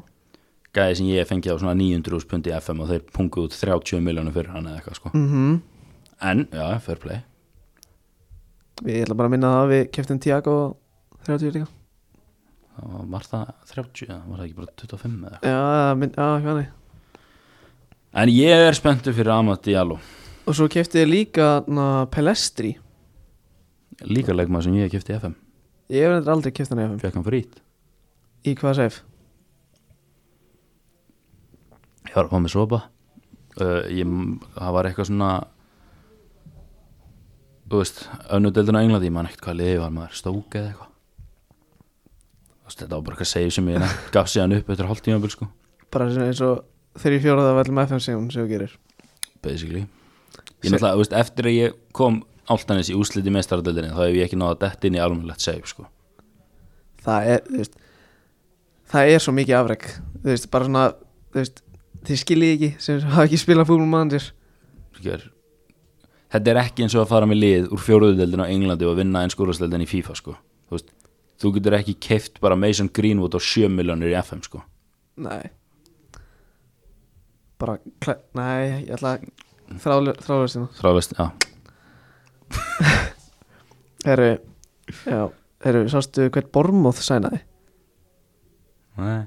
[SPEAKER 2] gæði sem ég fengið á svona 900 pundi FM og þeir punguð út 30 miljónum fyrir hann eða eitthvað sko
[SPEAKER 1] mm
[SPEAKER 2] en, já, fair play
[SPEAKER 1] við ætla bara að minna það að við keftum Tiago 30 líka
[SPEAKER 2] þá var það 30, eða var það ekki bara 25 eða eitthvað
[SPEAKER 1] já, minn, já, hvað nei
[SPEAKER 2] en ég er spenntu fyrir Amat Diallo
[SPEAKER 1] og svo kefti ég líka na, Pelestri
[SPEAKER 2] líka leikmaður sem ég hef kipti FM
[SPEAKER 1] ég hef reyndar aldrei keft hann í FM
[SPEAKER 2] fekk hann frýtt
[SPEAKER 1] í hvað sæf
[SPEAKER 2] ég var að fá með sopa uh, ég, það var eitthvað svona þú veist, önnu deildin á Englandi, ég man ekkert hvað liði var maður, stók eða eitthvað Þú veist, þetta var bara eitthvað save sem ég nefnt, gaf síðan upp eftir hálft tímabil sko,
[SPEAKER 1] bara svona eins og þegar ég fjóraða vellum FM sem hún sem þú gerir
[SPEAKER 2] basically
[SPEAKER 1] Se-
[SPEAKER 2] Ég náttúrulega, þú veist, eftir að ég kom áltanis í úsliti mestaradöldinni, þá hef ég ekki náða dett inn í almennlegt save sko
[SPEAKER 1] það er, þú veist það er svo mikið afreg þú veist, bara svona, þú veist þið skiljið ekki, sem hafa ekki spilað fútbolum mannir
[SPEAKER 2] Sker. Þetta er ekki eins og að fara með lið úr fjóruðudeldin á Englandi og vinna eins skóraðsdeldin í FIFA sko. þú, veist, þú getur ekki keift bara Mason Greenwood á 7 miljonir í FM sko.
[SPEAKER 1] nei bara, klæ, nei, ég ætla að þrálega sinna
[SPEAKER 2] Þráðast, já,
[SPEAKER 1] herru, já, herru, sástu hvert Bormóð sænaði
[SPEAKER 2] Nei.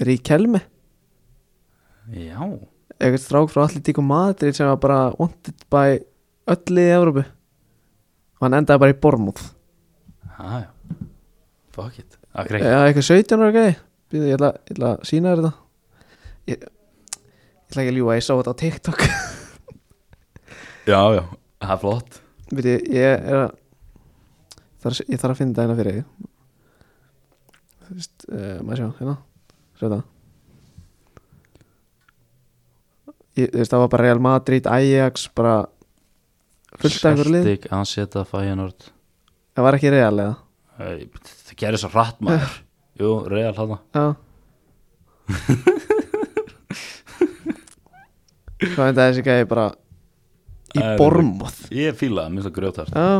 [SPEAKER 1] Ríkelme,
[SPEAKER 2] já
[SPEAKER 1] eitthvað strák frá allir tíku Madrid sem var bara wanted by öllu í Evrópu og hann endaði bara í Bormóð
[SPEAKER 2] Já, já. fuck it Akkur ekki,
[SPEAKER 1] Já, eitthvað 17 ára gæði Býðu, ég ætla, ég ætla að sína þér þetta ég, ég ætla ekki að ljúga, ég sá þetta á TikTok
[SPEAKER 2] já, já, það er flott
[SPEAKER 1] Býðu, ég er að þar, Ég þarf að finna þetta hérna fyrir þig Þú veist, uh, maður sjá, hérna Sjá þetta Ég- Þú veist, það var bara Real Madrid, Ajax Bara fullt af einhverju lið
[SPEAKER 2] Celtic, Anseta, Feyenoord
[SPEAKER 1] Það var ekki Real eða
[SPEAKER 2] Æ, Það gerir svo hratt maður
[SPEAKER 1] Eh.
[SPEAKER 2] Jú, Real hana
[SPEAKER 1] Já Svo endaði þessi gæði bara Í
[SPEAKER 2] Æ,
[SPEAKER 1] Bormoth
[SPEAKER 2] Ég fíla það, minnst það grjótart
[SPEAKER 1] Já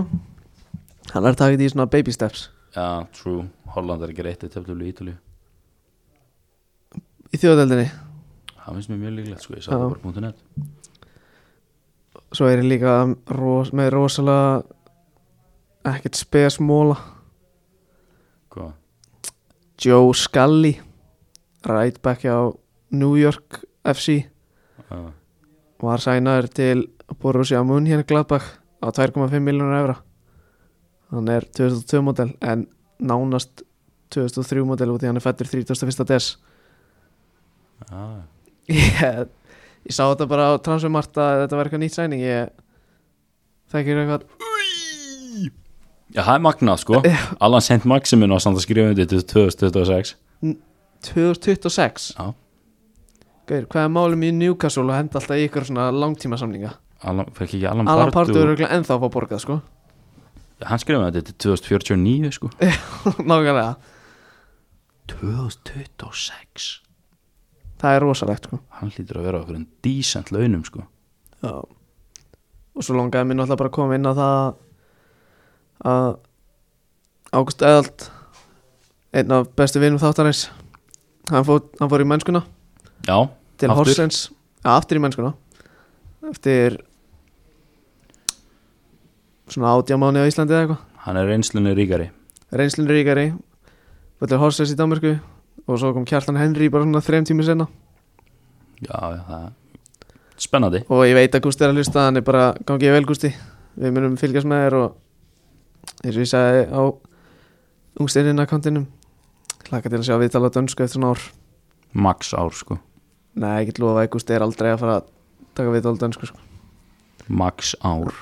[SPEAKER 1] Hann er takit í svona baby steps
[SPEAKER 2] Já, true, Holland er ekki reitt í tefnilu í Ítalíu
[SPEAKER 1] Í þjóðdeldinni
[SPEAKER 2] Það finnst mér mjög líklegt sko, ég sá
[SPEAKER 1] Já.
[SPEAKER 2] það bara punktu net
[SPEAKER 1] Svo er ég líka ros, með rosalega Ekkert spesmóla
[SPEAKER 2] Hvað?
[SPEAKER 1] Joe Scully Right back á New York FC
[SPEAKER 2] Já
[SPEAKER 1] Var sænaður til Borussia Mönchen Gladbach Á 2,5 miljonar evra Hann er 2002 model En nánast 2003 model Út í hann er fættur 31. des
[SPEAKER 2] Já,
[SPEAKER 1] ég, ég sá þetta bara á transfermarta að þetta var eitthvað nýtt sæning ég þekkir eitthvað
[SPEAKER 2] Já, það er magnað sko Allan sent Maximin var samt að skrifa undir til 2026
[SPEAKER 1] 2026
[SPEAKER 2] Já.
[SPEAKER 1] Gaur, hvað er málum í Newcastle og henda alltaf í ykkur svona langtíma samninga
[SPEAKER 2] Allan, fekk ekki Allan,
[SPEAKER 1] Alan
[SPEAKER 2] Allan
[SPEAKER 1] Pardew er
[SPEAKER 2] Partur
[SPEAKER 1] örugglega ennþá að fá borgað sko
[SPEAKER 2] Hann skrifaði þetta til 2049 sko
[SPEAKER 1] nákvæmlega,
[SPEAKER 2] 2026
[SPEAKER 1] það er rosalegt sko
[SPEAKER 2] Hann hlýtur að vera okkur en decent launum sko
[SPEAKER 1] Já. og svo longaði mér náttúrulega bara að koma inn á það að Ágúst Eðald einn af bestu vinum þáttarins hann fór, hann fór í mennskuna
[SPEAKER 2] Já,
[SPEAKER 1] til
[SPEAKER 2] Aftur?
[SPEAKER 1] Horsens ja, aftur í mennskuna eftir svona átjá mánu á Íslandi eða eitthvað
[SPEAKER 2] hann er reynslunni ríkari
[SPEAKER 1] reynslun ríkari fyrir Horsens í Danmarku og svo kom Kjartan Henry bara svona þrem tími senna
[SPEAKER 2] Já, já, það er Spennandi
[SPEAKER 1] og ég veit að Gústi er að hlusta hann er bara gangið vel Gústi við munum fylgjast með þér og eins og ég sagði á ungsteininn akkantinum hlaka til að sjá við tala dönsku eftir svona ár
[SPEAKER 2] Max ár sko
[SPEAKER 1] nei, ég get lofa að Gústi er aldrei að fara að taka við tala dönsku sko.
[SPEAKER 2] Max ár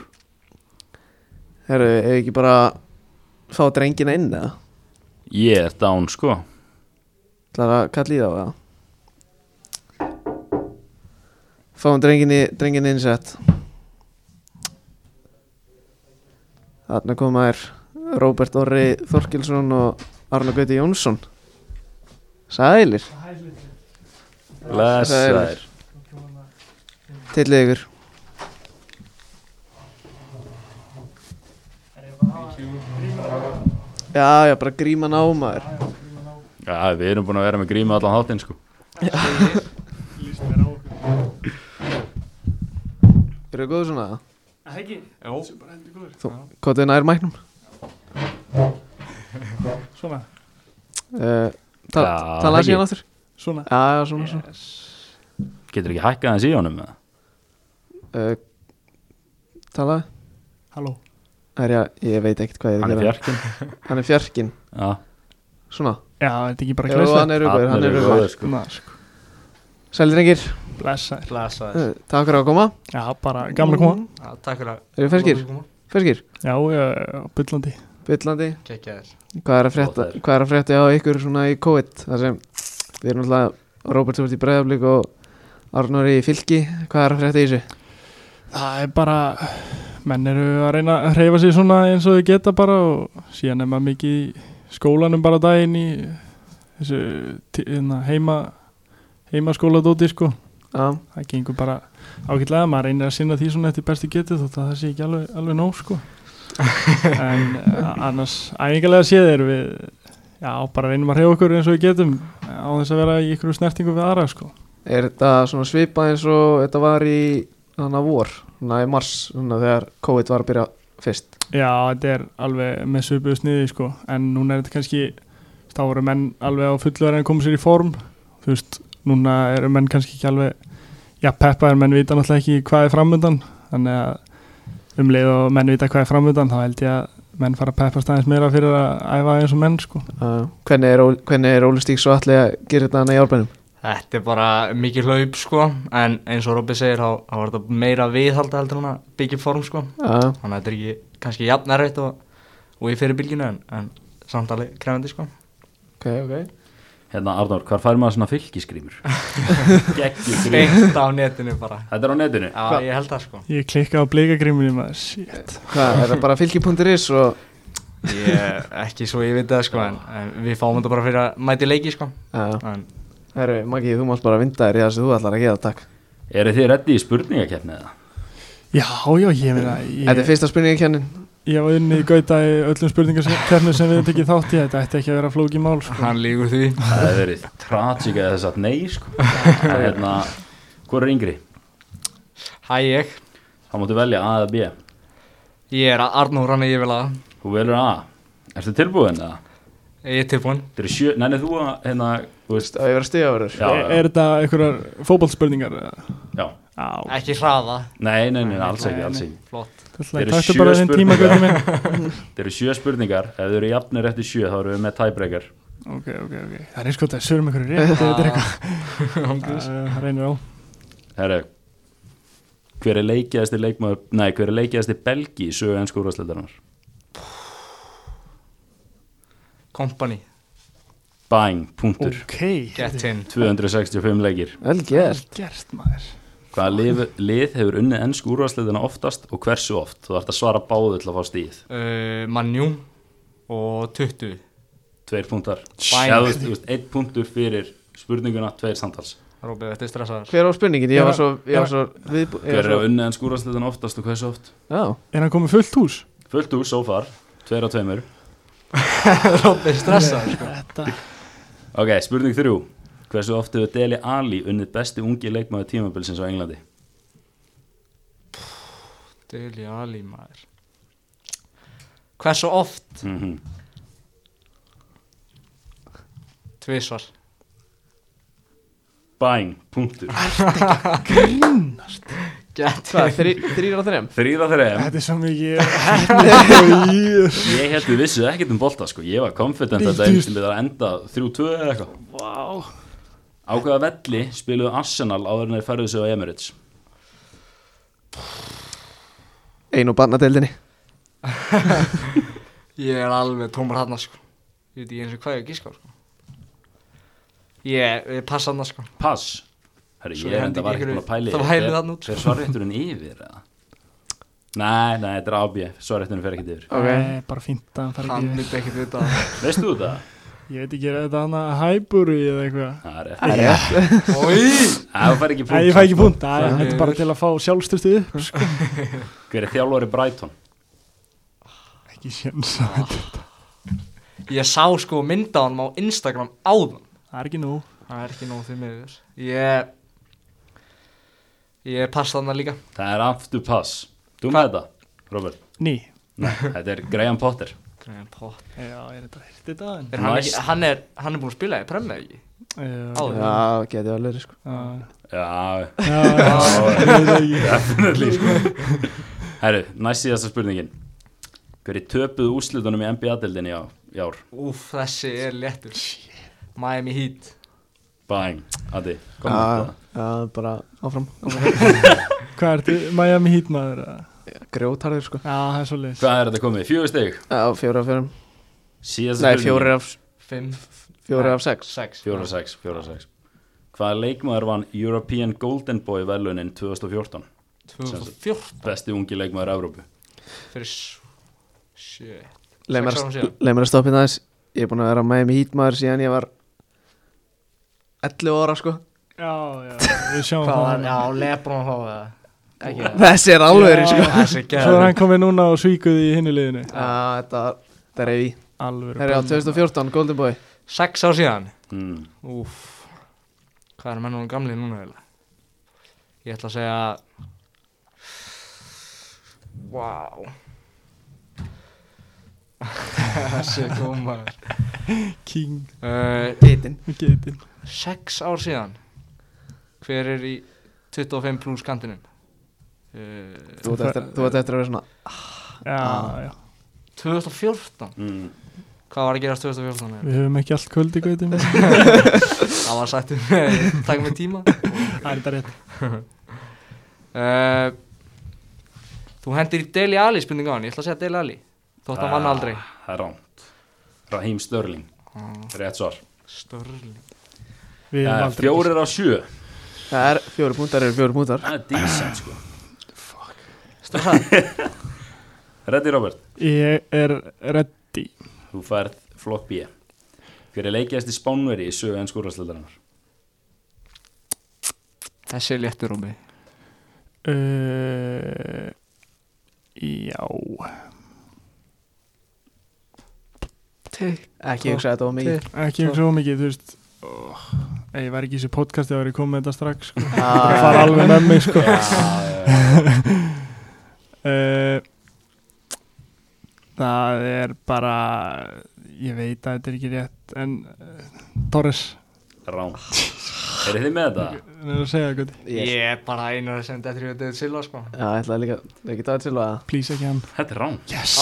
[SPEAKER 1] Herru, ef ekki bara fá drengina inn eða?
[SPEAKER 2] Ég er down sko
[SPEAKER 1] Það að kalla í þá eða? Fáum drengini, drengin innsett Þarna koma er Róbert Orri Þorkilsson og Arna Gauti Jónsson Sælir,
[SPEAKER 2] Blessaður
[SPEAKER 1] tillið ykkur Já, já, bara gríman á maður
[SPEAKER 2] Já, við erum búin að vera með grími allan þáttinn sko
[SPEAKER 3] Lýst mér á okkur.
[SPEAKER 1] Eru þið góð svona það?
[SPEAKER 3] Það ekki? Jó. Það er bara heldur góður.
[SPEAKER 1] Hvað þau nær mæknum?
[SPEAKER 3] Svona.
[SPEAKER 1] Uh,
[SPEAKER 2] Já,
[SPEAKER 1] Tala síðan
[SPEAKER 2] það ekki.
[SPEAKER 1] aftur
[SPEAKER 3] Svona.
[SPEAKER 1] Já, já, svona, svona
[SPEAKER 3] Yes.
[SPEAKER 2] Getur ekki hækkað hans í honum með það?
[SPEAKER 1] uh, Tala
[SPEAKER 3] Halló.
[SPEAKER 1] Herja, ég veit ekkert hvað ég
[SPEAKER 2] Hann
[SPEAKER 1] að
[SPEAKER 2] er
[SPEAKER 1] gera
[SPEAKER 2] fjarkinn
[SPEAKER 1] Hann er fjarkinn
[SPEAKER 2] Já,
[SPEAKER 1] Svona
[SPEAKER 3] Já, þetta er ekki bara
[SPEAKER 1] Jú, hann er rúgur, hann er rúgur
[SPEAKER 2] ruglaður, sko.
[SPEAKER 3] Ná, sko.
[SPEAKER 1] Sæli drengir,
[SPEAKER 3] Blessaður.
[SPEAKER 4] Blessaður
[SPEAKER 1] uh, takk fyrir að koma
[SPEAKER 3] Já, bara gamla koma.
[SPEAKER 4] Já, Takk fyrir að
[SPEAKER 1] Eru ferskir?
[SPEAKER 4] Góður koma.
[SPEAKER 1] ferskir,
[SPEAKER 3] Já, já, já, byllandi
[SPEAKER 1] byllandi
[SPEAKER 4] Kekjaður
[SPEAKER 1] hvað er að frétta,
[SPEAKER 2] Ó, það er-
[SPEAKER 1] hvað er að frétta á ykkur svona í COVID þar sem við erum alltaf Róbert sem ert í breiðaflik og Arnur í fylki, hvað er að frétta í þessu
[SPEAKER 3] Það er bara, menn eru að reyna að hreyfa sig svona eins og þau geta bara og síðan er maður mikið í skólanum bara daginn í þessu ti- hérna, heima, heimaskóladóti sko.
[SPEAKER 1] já,
[SPEAKER 3] Það gengur bara ágætlega, maður reynir að sinna því svona eftir bestu getið þótt að það sé ekki alveg, alveg nóg sko. En a- annars æfingarlega séð erum við, já, bara reynum að hreyfa okkur eins og við getum á þess að vera í ykkur snertingu við aðra sko.
[SPEAKER 1] er þetta svona svipað eins og þetta var í þannig að vor, svona í mars svona þegar COVID var að byrja fyrst
[SPEAKER 3] Já, þetta er alveg með söpuðu sniði sko, en núna er þetta kannski þá eru menn alveg á fullu að reyna að koma sér í form, þú veist núna eru menn kannski ekki alveg já, peppaðir menn vita náttúrulega ekki hvað er framöndan þannig að um leið og menn vita hvað er framöndan, þá held ég að menn fara að peppast aðeins meira fyrir að æfa eins og menn sko.
[SPEAKER 1] uh, hvernig er, Óli- hvernig er Óli Stík svo allir að gera þetta hann í árbænum
[SPEAKER 4] Þetta er bara mikið hlaup sko En eins og Robby segir þá þá var þetta meira viðhalda heldur hún að byggja upp form sko
[SPEAKER 1] já,
[SPEAKER 4] Þannig að þetta er ekki kannski jafn erfitt og, og í fyrir bylginu en, en samt alveg krefandi sko
[SPEAKER 1] ok, ok
[SPEAKER 2] Hérna Arnór, hvar fær maður svona fylgiskrímur? Gekkið skrím
[SPEAKER 4] Beint á netinu bara
[SPEAKER 2] Þetta er á netinu
[SPEAKER 4] Já, ég held það sko
[SPEAKER 3] Ég klikka á bleikagrimminni maður, shit
[SPEAKER 1] hvað, er það bara fylki.is og
[SPEAKER 4] Ég, ekki svo ég veit það sko en, en við fáum þetta bara fyrir að mæti leiki sko
[SPEAKER 1] já,
[SPEAKER 4] en,
[SPEAKER 1] herru, Maggi, þú mást bara vinda þér í það sem þú ætlar að gera, takk
[SPEAKER 2] Eru þið reddi í spurningakeppni eða?
[SPEAKER 3] Já, já, ég meina ég-
[SPEAKER 1] þetta er fyrsta spurningkennin
[SPEAKER 3] Ég var unni í gauta í öllum spurningarkernu sem við tekið þátt í þetta ætti ekki að vera flóki mál sko.
[SPEAKER 4] hann lígur því
[SPEAKER 2] Það hefur verið tragik eða þess að nei sko Það er hérna, Hvor er yngri?
[SPEAKER 4] Hæ ég,
[SPEAKER 2] Það máttu velja A eða B
[SPEAKER 4] ég er Arnór hann ég vil að
[SPEAKER 2] Þú velur A Ertu tilbúin eða?
[SPEAKER 4] ég er tilbúin
[SPEAKER 2] Þetta er sjö, nennið þú að hérna, þú veist
[SPEAKER 1] á ég verið að stiga verður
[SPEAKER 2] Já, já,
[SPEAKER 3] Er þetta einhverjar fótballspurningar?
[SPEAKER 2] já
[SPEAKER 3] Já,
[SPEAKER 4] ekki hraða,
[SPEAKER 2] Nei, nei, nei, alls ekki, alls ekki
[SPEAKER 4] flott
[SPEAKER 3] þetta
[SPEAKER 2] eru
[SPEAKER 3] er taktu
[SPEAKER 2] sjö
[SPEAKER 3] bara þinn tíma
[SPEAKER 2] spurningar.
[SPEAKER 3] gauti minn
[SPEAKER 2] Þetta eru sjö spurningar, ef þau eru jafnir eftir sjö þá eru við með tiebreaker
[SPEAKER 3] Ok, ok, ok Það er eins gott að sögum einhverju rétt ef Þetta er eitthvað
[SPEAKER 4] Ángriðs.
[SPEAKER 3] Það það reynir á
[SPEAKER 2] Herru Hver er leikiðasti leikmaður Nei, hver er leikiðasti belgi í sögu ennsku úrvarsleitarinnar
[SPEAKER 4] company,
[SPEAKER 2] Bang, punktur
[SPEAKER 3] Ok,
[SPEAKER 4] get in
[SPEAKER 2] 265 leikir
[SPEAKER 1] vel gert
[SPEAKER 3] gert maður
[SPEAKER 2] Hvaða lið, lið hefur unnið ennsku úrvarsleitina oftast og hversu oft? Þú ert að svara báðu til að fá stíð
[SPEAKER 4] uh, mannjú og 20
[SPEAKER 2] Tveir punktar
[SPEAKER 4] Bang.
[SPEAKER 2] Já, þú veist, þú veist, Einn punktur fyrir spurninguna, tveir samtals
[SPEAKER 4] Róbið, þetta er stressaður
[SPEAKER 1] Hver var spurningin? Ég var svo, ég var
[SPEAKER 3] Hver-
[SPEAKER 1] svo viðbú... ég
[SPEAKER 2] Hver
[SPEAKER 1] var
[SPEAKER 2] er
[SPEAKER 1] svo,
[SPEAKER 2] að unnið ennsku úrvarsleitina oftast og hversu oft?
[SPEAKER 1] Já,
[SPEAKER 3] Er hann komið fullt hús?
[SPEAKER 2] Fullt úr, so far, tveir á tveimur
[SPEAKER 4] Róbið, stressaður sko
[SPEAKER 3] Þetta
[SPEAKER 2] Ok, spurning þrjú Hversu oft hefur Deli Ali unnið besti ungi leikmaður tímabilsins á Englandi?
[SPEAKER 4] Deli Ali maður hversu oft
[SPEAKER 2] Mm
[SPEAKER 4] tvisvar
[SPEAKER 2] Bang, punktur
[SPEAKER 4] get
[SPEAKER 1] hvað, þrý, þrýr á þrem?
[SPEAKER 2] Þrýra þreim
[SPEAKER 3] Þetta er svo mikið
[SPEAKER 2] Ég held við vissið ekkert um bolta sko Ég var confident að þetta
[SPEAKER 3] Viltist.
[SPEAKER 2] einnig að enda 3-2 eða eitthvað
[SPEAKER 3] Vá
[SPEAKER 2] Á hvaða velli spiluðu Arsenal áður en þeir færðu sig á Emirates
[SPEAKER 1] Einu barnadeildinni
[SPEAKER 4] ég er alveg tómar hann sko ég veit ekki eins og hvað ég á að gíska á, sko ég, ég passa hann sko
[SPEAKER 2] Pass Herri,
[SPEAKER 4] Svo
[SPEAKER 2] ég er
[SPEAKER 4] hendi
[SPEAKER 2] enda var ekkert
[SPEAKER 4] ykkur-
[SPEAKER 2] búin að pæli
[SPEAKER 4] þá hælið þarna út, sko.
[SPEAKER 2] Fer svarrétturinn yfir eða? Nei, nei, þetta er ábjö Svarrétturinn fer ekkert yfir
[SPEAKER 1] Ok.
[SPEAKER 3] Nei, Bara fínt að hann fara
[SPEAKER 4] hann
[SPEAKER 3] ekki yfir.
[SPEAKER 4] myndi ekkert vita það.
[SPEAKER 2] Veist þú þetta?
[SPEAKER 3] Ég veit ekki, er þetta hann að hæburu eða eitthvað
[SPEAKER 2] Það er eftir
[SPEAKER 4] Oj,
[SPEAKER 2] Það fær ekki
[SPEAKER 3] Nei, ég fæ ekki
[SPEAKER 2] punkt sko.
[SPEAKER 3] punkt, Æ, þetta er bara til að fá sjálfstustið upp sko.
[SPEAKER 2] Hver er þjálfari Brighton?
[SPEAKER 3] Ekki sjans Það
[SPEAKER 4] ég sá sko mynda hann á Instagram áðan
[SPEAKER 3] er ekki nóg
[SPEAKER 4] það er ekki nóg því miður ég ég passa hann líka
[SPEAKER 2] Það er aftur pass Þú með þetta, Robert
[SPEAKER 3] Ný
[SPEAKER 2] Nei, þetta er Graham Potter
[SPEAKER 4] Graham Potter.
[SPEAKER 3] Já, er þetta hirtið daginn?
[SPEAKER 4] er hann,
[SPEAKER 2] Næst.
[SPEAKER 4] ekki, hann, er, hann er búin að spila í premja ekki
[SPEAKER 3] Já,
[SPEAKER 4] áður
[SPEAKER 1] Já, getið alveg verið, sko
[SPEAKER 2] Já,
[SPEAKER 3] já,
[SPEAKER 2] definitely sko. Herru, næst síðasta spurningin Hver er töpuð úrslutunum í NBA-deldinni á í ár?
[SPEAKER 4] Úf, þessi er léttur Miami Heat
[SPEAKER 2] Bang, Adi, kom
[SPEAKER 1] Já,
[SPEAKER 2] með
[SPEAKER 1] já, bara áfram
[SPEAKER 3] Hvað ertu, Miami Heat maður? eða?
[SPEAKER 1] grjótarður sko
[SPEAKER 3] Já, það er svolítið
[SPEAKER 2] Hvað er þetta komið? Fjögur stygg?
[SPEAKER 1] Já, fjóra af fjórum
[SPEAKER 2] Síðasta
[SPEAKER 1] Nei, fjóra af,
[SPEAKER 4] Fimm
[SPEAKER 1] fjóra af
[SPEAKER 4] Nei,
[SPEAKER 1] sex
[SPEAKER 4] Sex
[SPEAKER 2] Fjóra af sex, fjóra af sex Hvaða leikmaður vann European Golden Boy velunin 2014?
[SPEAKER 4] 2014
[SPEAKER 2] Besti ungi leikmaður Evrópu
[SPEAKER 4] Fyrir s- Shit
[SPEAKER 1] Leið mér
[SPEAKER 4] Sex árum síðan.
[SPEAKER 1] að- leið mér að stoppa þetta aðeins Ég er búin að vera með mig hítmaður síðan ég var 11 ára sko
[SPEAKER 3] Já, já, við sjáum
[SPEAKER 4] Hvað var,
[SPEAKER 3] það
[SPEAKER 4] já, Lebron þá eða Ekki það
[SPEAKER 1] Þessi er alveg
[SPEAKER 3] Já.
[SPEAKER 1] sko
[SPEAKER 4] Þessi
[SPEAKER 3] Svo er
[SPEAKER 4] gæði
[SPEAKER 3] hann komið núna og svíkuði í hinni liðinu
[SPEAKER 1] Já, þetta þetta er reyfi
[SPEAKER 3] Alveg
[SPEAKER 1] Herri á 2014, Golden Boy
[SPEAKER 4] Sex á síðan
[SPEAKER 2] mm.
[SPEAKER 4] Úf Hvað er menn og gamli núna eiginlega? Ég ætla að segja Vá Þessi gómaður
[SPEAKER 3] King,
[SPEAKER 4] uh,
[SPEAKER 1] Hitin
[SPEAKER 3] getin
[SPEAKER 4] Sex ár síðan Hver er í 25 pluss kantinum? Uh,
[SPEAKER 1] Þú ert eftir, þú ert eftir að vera svona
[SPEAKER 3] Já, já,
[SPEAKER 4] 2014
[SPEAKER 2] Mm.
[SPEAKER 4] Hvað var að gerast 2014? eiginlega?
[SPEAKER 3] við höfum ekki allt kvöld í gautum Það
[SPEAKER 4] Það var sagt um Takk með tíma
[SPEAKER 3] er þetta rétt
[SPEAKER 4] uh, Þú hendir í Deli Ali spurninga á hann Ég ætla að segja Deli Ali Þótt hann vann
[SPEAKER 2] Ah,
[SPEAKER 4] aldrei
[SPEAKER 2] Það er rámt Raheem Störling Rétt svar
[SPEAKER 4] Störling
[SPEAKER 3] Við höfum
[SPEAKER 2] Eh,
[SPEAKER 3] aldrei
[SPEAKER 2] Fjórir af sjö
[SPEAKER 1] Það er fjóri púntar eru fjóri púntar
[SPEAKER 2] Það er decent sko
[SPEAKER 4] Störling
[SPEAKER 2] Reddi Robert
[SPEAKER 3] Ég er ready
[SPEAKER 2] Þú færð flokk B Hver er leikjast í Spánveri í sögu en skúrastildarinnar?
[SPEAKER 4] Þessi er léttur um mig
[SPEAKER 3] uh, Já
[SPEAKER 1] Ekki hugsa þetta á mikið
[SPEAKER 3] Ekki um svo mikið, þú veist oh, ef Ég var ekki í þessu podcasti að vera komið með þetta strax sko. Það fara
[SPEAKER 1] Ah,
[SPEAKER 3] alveg með mig sko.
[SPEAKER 2] Já,
[SPEAKER 3] uh, Það er bara Ég veit að þetta er ekki rétt En uh, Torres
[SPEAKER 2] Rámt Eru þið með þetta?
[SPEAKER 3] Það er að segja gott
[SPEAKER 1] Ég
[SPEAKER 4] Ég er bara einar sem þetta er David Silva sko
[SPEAKER 1] Já, ég ætlaði líka Ekki það til að
[SPEAKER 3] Please ekki hann
[SPEAKER 2] Þetta er rámt
[SPEAKER 3] Yes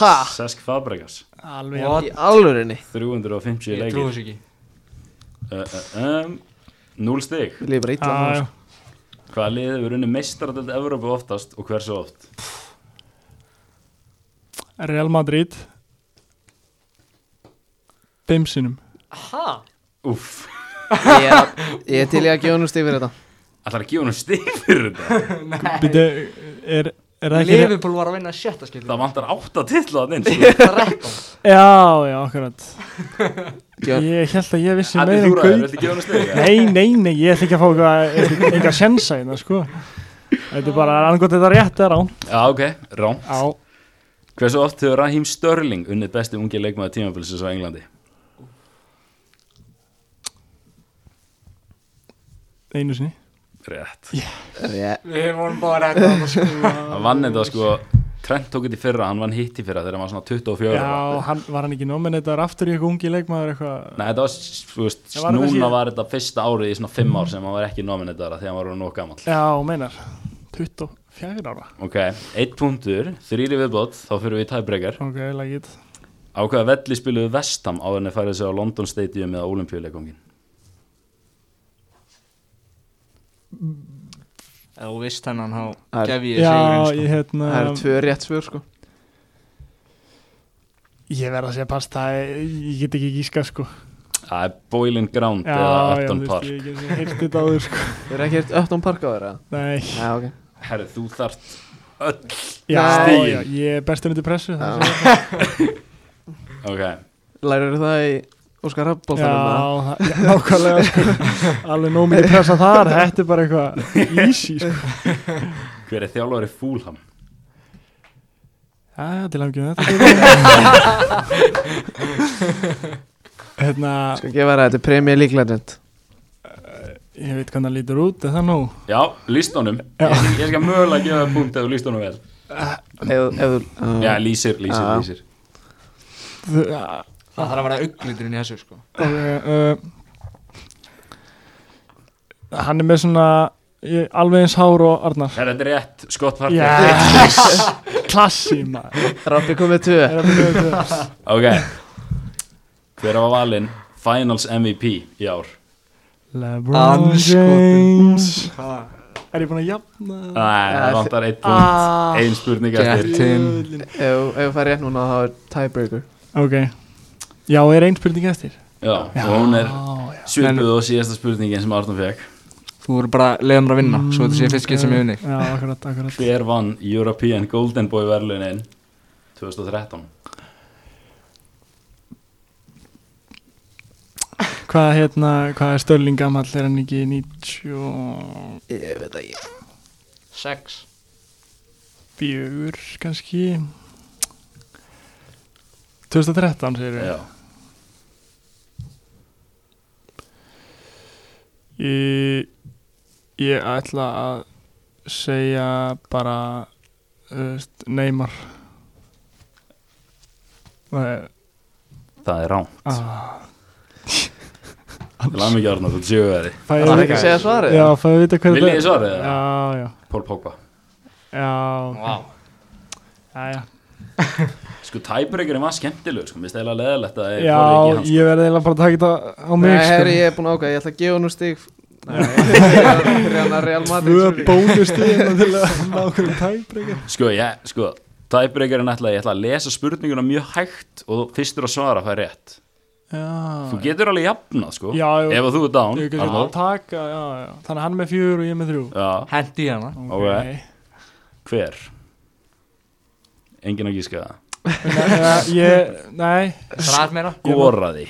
[SPEAKER 1] Ha?
[SPEAKER 2] Sesk Fabregas
[SPEAKER 3] Alveg
[SPEAKER 4] What?
[SPEAKER 1] Í alvörinni
[SPEAKER 2] 350
[SPEAKER 4] Ég trúi
[SPEAKER 2] leikir
[SPEAKER 4] þessu ekki
[SPEAKER 2] uh, uh, um, 0 stig
[SPEAKER 1] Við lífum bara ítla
[SPEAKER 3] Ah, Já, já.
[SPEAKER 2] Hvaða liðið hefur unni meistaradöld Evrópu oftast og hversu oft?
[SPEAKER 3] Real Madrid Bimsinum
[SPEAKER 4] Hæ?
[SPEAKER 2] Úff,
[SPEAKER 1] Ég er að- ég er til í að gefa nú stig fyrir þetta
[SPEAKER 2] ætlar að gefa hún stig fyrir þetta?
[SPEAKER 3] Býtu, er, er það ekki rétt?
[SPEAKER 4] Liverpool var að vinna sjötta skil
[SPEAKER 2] Það vantar átta titla að neins sko.
[SPEAKER 4] 13
[SPEAKER 3] Já, já, akkurat
[SPEAKER 1] Gjörn.
[SPEAKER 3] Ég held að ég vissi
[SPEAKER 2] Allir
[SPEAKER 3] meira en
[SPEAKER 2] þú ræður,
[SPEAKER 3] gauð
[SPEAKER 2] viltu gefa hún stig? eða?
[SPEAKER 3] Nei, nei, nei, ég ætla ekki að fá eitthvað eitthvað sensa hérna, sko Þetta er bara angótt þetta er rétt eða rán
[SPEAKER 2] Já, ok, rám
[SPEAKER 3] Já,
[SPEAKER 2] Hversu oft hefur Raheem Störling unnið besti ungi leikmaður tímabilsins á Englandi?
[SPEAKER 3] einu sinni
[SPEAKER 2] Rétt
[SPEAKER 1] Rétt
[SPEAKER 4] Við vorum bara að ræða það sko
[SPEAKER 2] Hann vann þetta sko Trent tók þetta í fyrra, hann vann hitt í fyrra þegar hann var svona 24 ára.
[SPEAKER 3] Já, hann, var hann ekki nominator aftur í eitthvað ungi leikmaður eitthvað
[SPEAKER 2] Nei, þetta var, s- þú veist,
[SPEAKER 3] Það var þetta
[SPEAKER 2] núna
[SPEAKER 3] síðan.
[SPEAKER 2] var þetta fyrsta árið í svona 5 ár sem hann var ekki nominetara þegar hann var orðinn nóg gammal
[SPEAKER 3] Já, meinar 24 ára
[SPEAKER 2] Ok, eitt punktur, þrýri viðbót, þá fyrir við í tæbreykar.
[SPEAKER 3] Ok, lagið
[SPEAKER 2] Á hvaða velli spiluðu Vestham áður en þeir færið sig á London Stadium eða Olympíuleikongin?
[SPEAKER 4] Ef þú vist hennan þá
[SPEAKER 1] Það er-
[SPEAKER 4] gef ég sko.
[SPEAKER 3] Já,
[SPEAKER 4] segurinn
[SPEAKER 3] ég hérna
[SPEAKER 1] Það eru tvö rétt svör sko
[SPEAKER 3] Ég verð að segja pass, það er, ég get ekki gíska sko
[SPEAKER 2] Það er Boiling Ground eða Upton
[SPEAKER 3] þú veist,
[SPEAKER 2] Park.
[SPEAKER 3] Ég get ekki þetta áður sko
[SPEAKER 1] Þeir eru ekki hirt öttum park á þeirra
[SPEAKER 3] Nei,
[SPEAKER 1] Já, ok
[SPEAKER 2] Herru, þú þart öll.
[SPEAKER 3] já,
[SPEAKER 1] Stigin.
[SPEAKER 3] já, ég er bestur undir pressu það er
[SPEAKER 1] Já.
[SPEAKER 3] svo-
[SPEAKER 2] Ok,
[SPEAKER 1] Lærir það í Óskar
[SPEAKER 3] Já,
[SPEAKER 1] Rappbóltanum
[SPEAKER 3] það- já, nákvæmlega sko Alveg nóg mikið pressa þar, þetta er bara eitthvað easy sko
[SPEAKER 2] hver er þjálfari Fúlham?
[SPEAKER 3] Já, já, til hafngjum þetta Hérna,
[SPEAKER 1] Skal gefa þér að þetta er premjör líklegend
[SPEAKER 3] ég veit hvernig það lítur út, er það nú?
[SPEAKER 2] Já, listónum.
[SPEAKER 3] Já.
[SPEAKER 2] Ég, ég skal mögulega gefa það punkt ef þú listónum vel.
[SPEAKER 1] Ef ef þú
[SPEAKER 2] Já, lýsir, lýsir,
[SPEAKER 1] Já.
[SPEAKER 2] lýsir.
[SPEAKER 3] Þú- já,
[SPEAKER 4] Það þarf að vera augliturinn í þessu sko
[SPEAKER 3] ok, uh, Hann er með svona, ég, alveg eins hár og Arnar
[SPEAKER 2] Herru, þetta er rétt, Scott Parker.
[SPEAKER 3] Yes, klassi maður
[SPEAKER 1] Rappi kom með tvö
[SPEAKER 3] Er það fyrir þetta?
[SPEAKER 2] Ok, hver var valinn Finals MVP í ár?
[SPEAKER 3] LeBron James
[SPEAKER 4] Hvað?
[SPEAKER 3] Er ég búin að jafna?
[SPEAKER 2] Nei, það vantar einn punkt
[SPEAKER 3] Ah,
[SPEAKER 2] Einn spurning
[SPEAKER 4] Get
[SPEAKER 2] eftir
[SPEAKER 4] it. Tim.
[SPEAKER 3] jöðlin.
[SPEAKER 1] Ef ef við farið rétt núna þá er tiebreaker
[SPEAKER 3] Ok Já, er ein spurning eftir?
[SPEAKER 2] Já, og hún er
[SPEAKER 3] Já, já.
[SPEAKER 2] svipuð og síðasta spurningin sem Arnum fekk
[SPEAKER 4] Þú voru bara leiðum að vinna Svo þetta sé fyrst getur sem ég unni
[SPEAKER 3] Mm, Já, akkurat, akkurat
[SPEAKER 2] Hver vann European Golden Boy verlunin 2013?
[SPEAKER 3] Hvað, hérna, hvað er Stölling gamall? Er hann ekki 94
[SPEAKER 1] Ég veit ekki
[SPEAKER 4] Sex
[SPEAKER 3] kannski? 2013 segir við
[SPEAKER 2] Já,
[SPEAKER 3] Ég, ég ætla að segja bara uh, Neymar Nei,
[SPEAKER 2] það er rán
[SPEAKER 3] ah,
[SPEAKER 2] Til aðmyggja Arnum, þú tjóðu
[SPEAKER 3] fæ
[SPEAKER 1] Það er ekki að segja svarið
[SPEAKER 3] Já, fæ að vita hver
[SPEAKER 2] Viljið þið svarið
[SPEAKER 3] Já,
[SPEAKER 2] það?
[SPEAKER 3] já,
[SPEAKER 2] Pól Pogba
[SPEAKER 3] já
[SPEAKER 4] Vá
[SPEAKER 3] Já, já.
[SPEAKER 2] Sko tæbrekurinn var skemmtilegur sko, mér finnst eða leðilegt að ég fór
[SPEAKER 3] já
[SPEAKER 2] ekki í hans
[SPEAKER 3] ég verði eiginlega bara að taka þetta á mig
[SPEAKER 1] Nei,
[SPEAKER 3] sko.
[SPEAKER 1] herri, ég er búin að ákvæða, ég ætla að gefa nú stig Nei, fyrir hann að Real Madrid
[SPEAKER 3] Tvö
[SPEAKER 1] sorry.
[SPEAKER 3] bónustíðina til að ná okkur um tæbreykar
[SPEAKER 2] Sko, ég, sko, tæbrekurinn ætla ég ætla að lesa spurninguna mjög hægt og þú- fyrstur að svara fær rétt Þú
[SPEAKER 3] Já,
[SPEAKER 2] getur alveg jafnað, sko
[SPEAKER 3] Já, jú.
[SPEAKER 2] Ef að þú er down
[SPEAKER 3] ég getur að
[SPEAKER 2] Arnór.
[SPEAKER 3] taka já, já. Þannig að hann með fjör og ég með þrjú
[SPEAKER 2] Já,
[SPEAKER 4] Hendi í hana
[SPEAKER 2] Ok. hver? Engin að gíska það
[SPEAKER 3] Nei, eh, ég, nei
[SPEAKER 4] Þrað meira
[SPEAKER 2] Goraði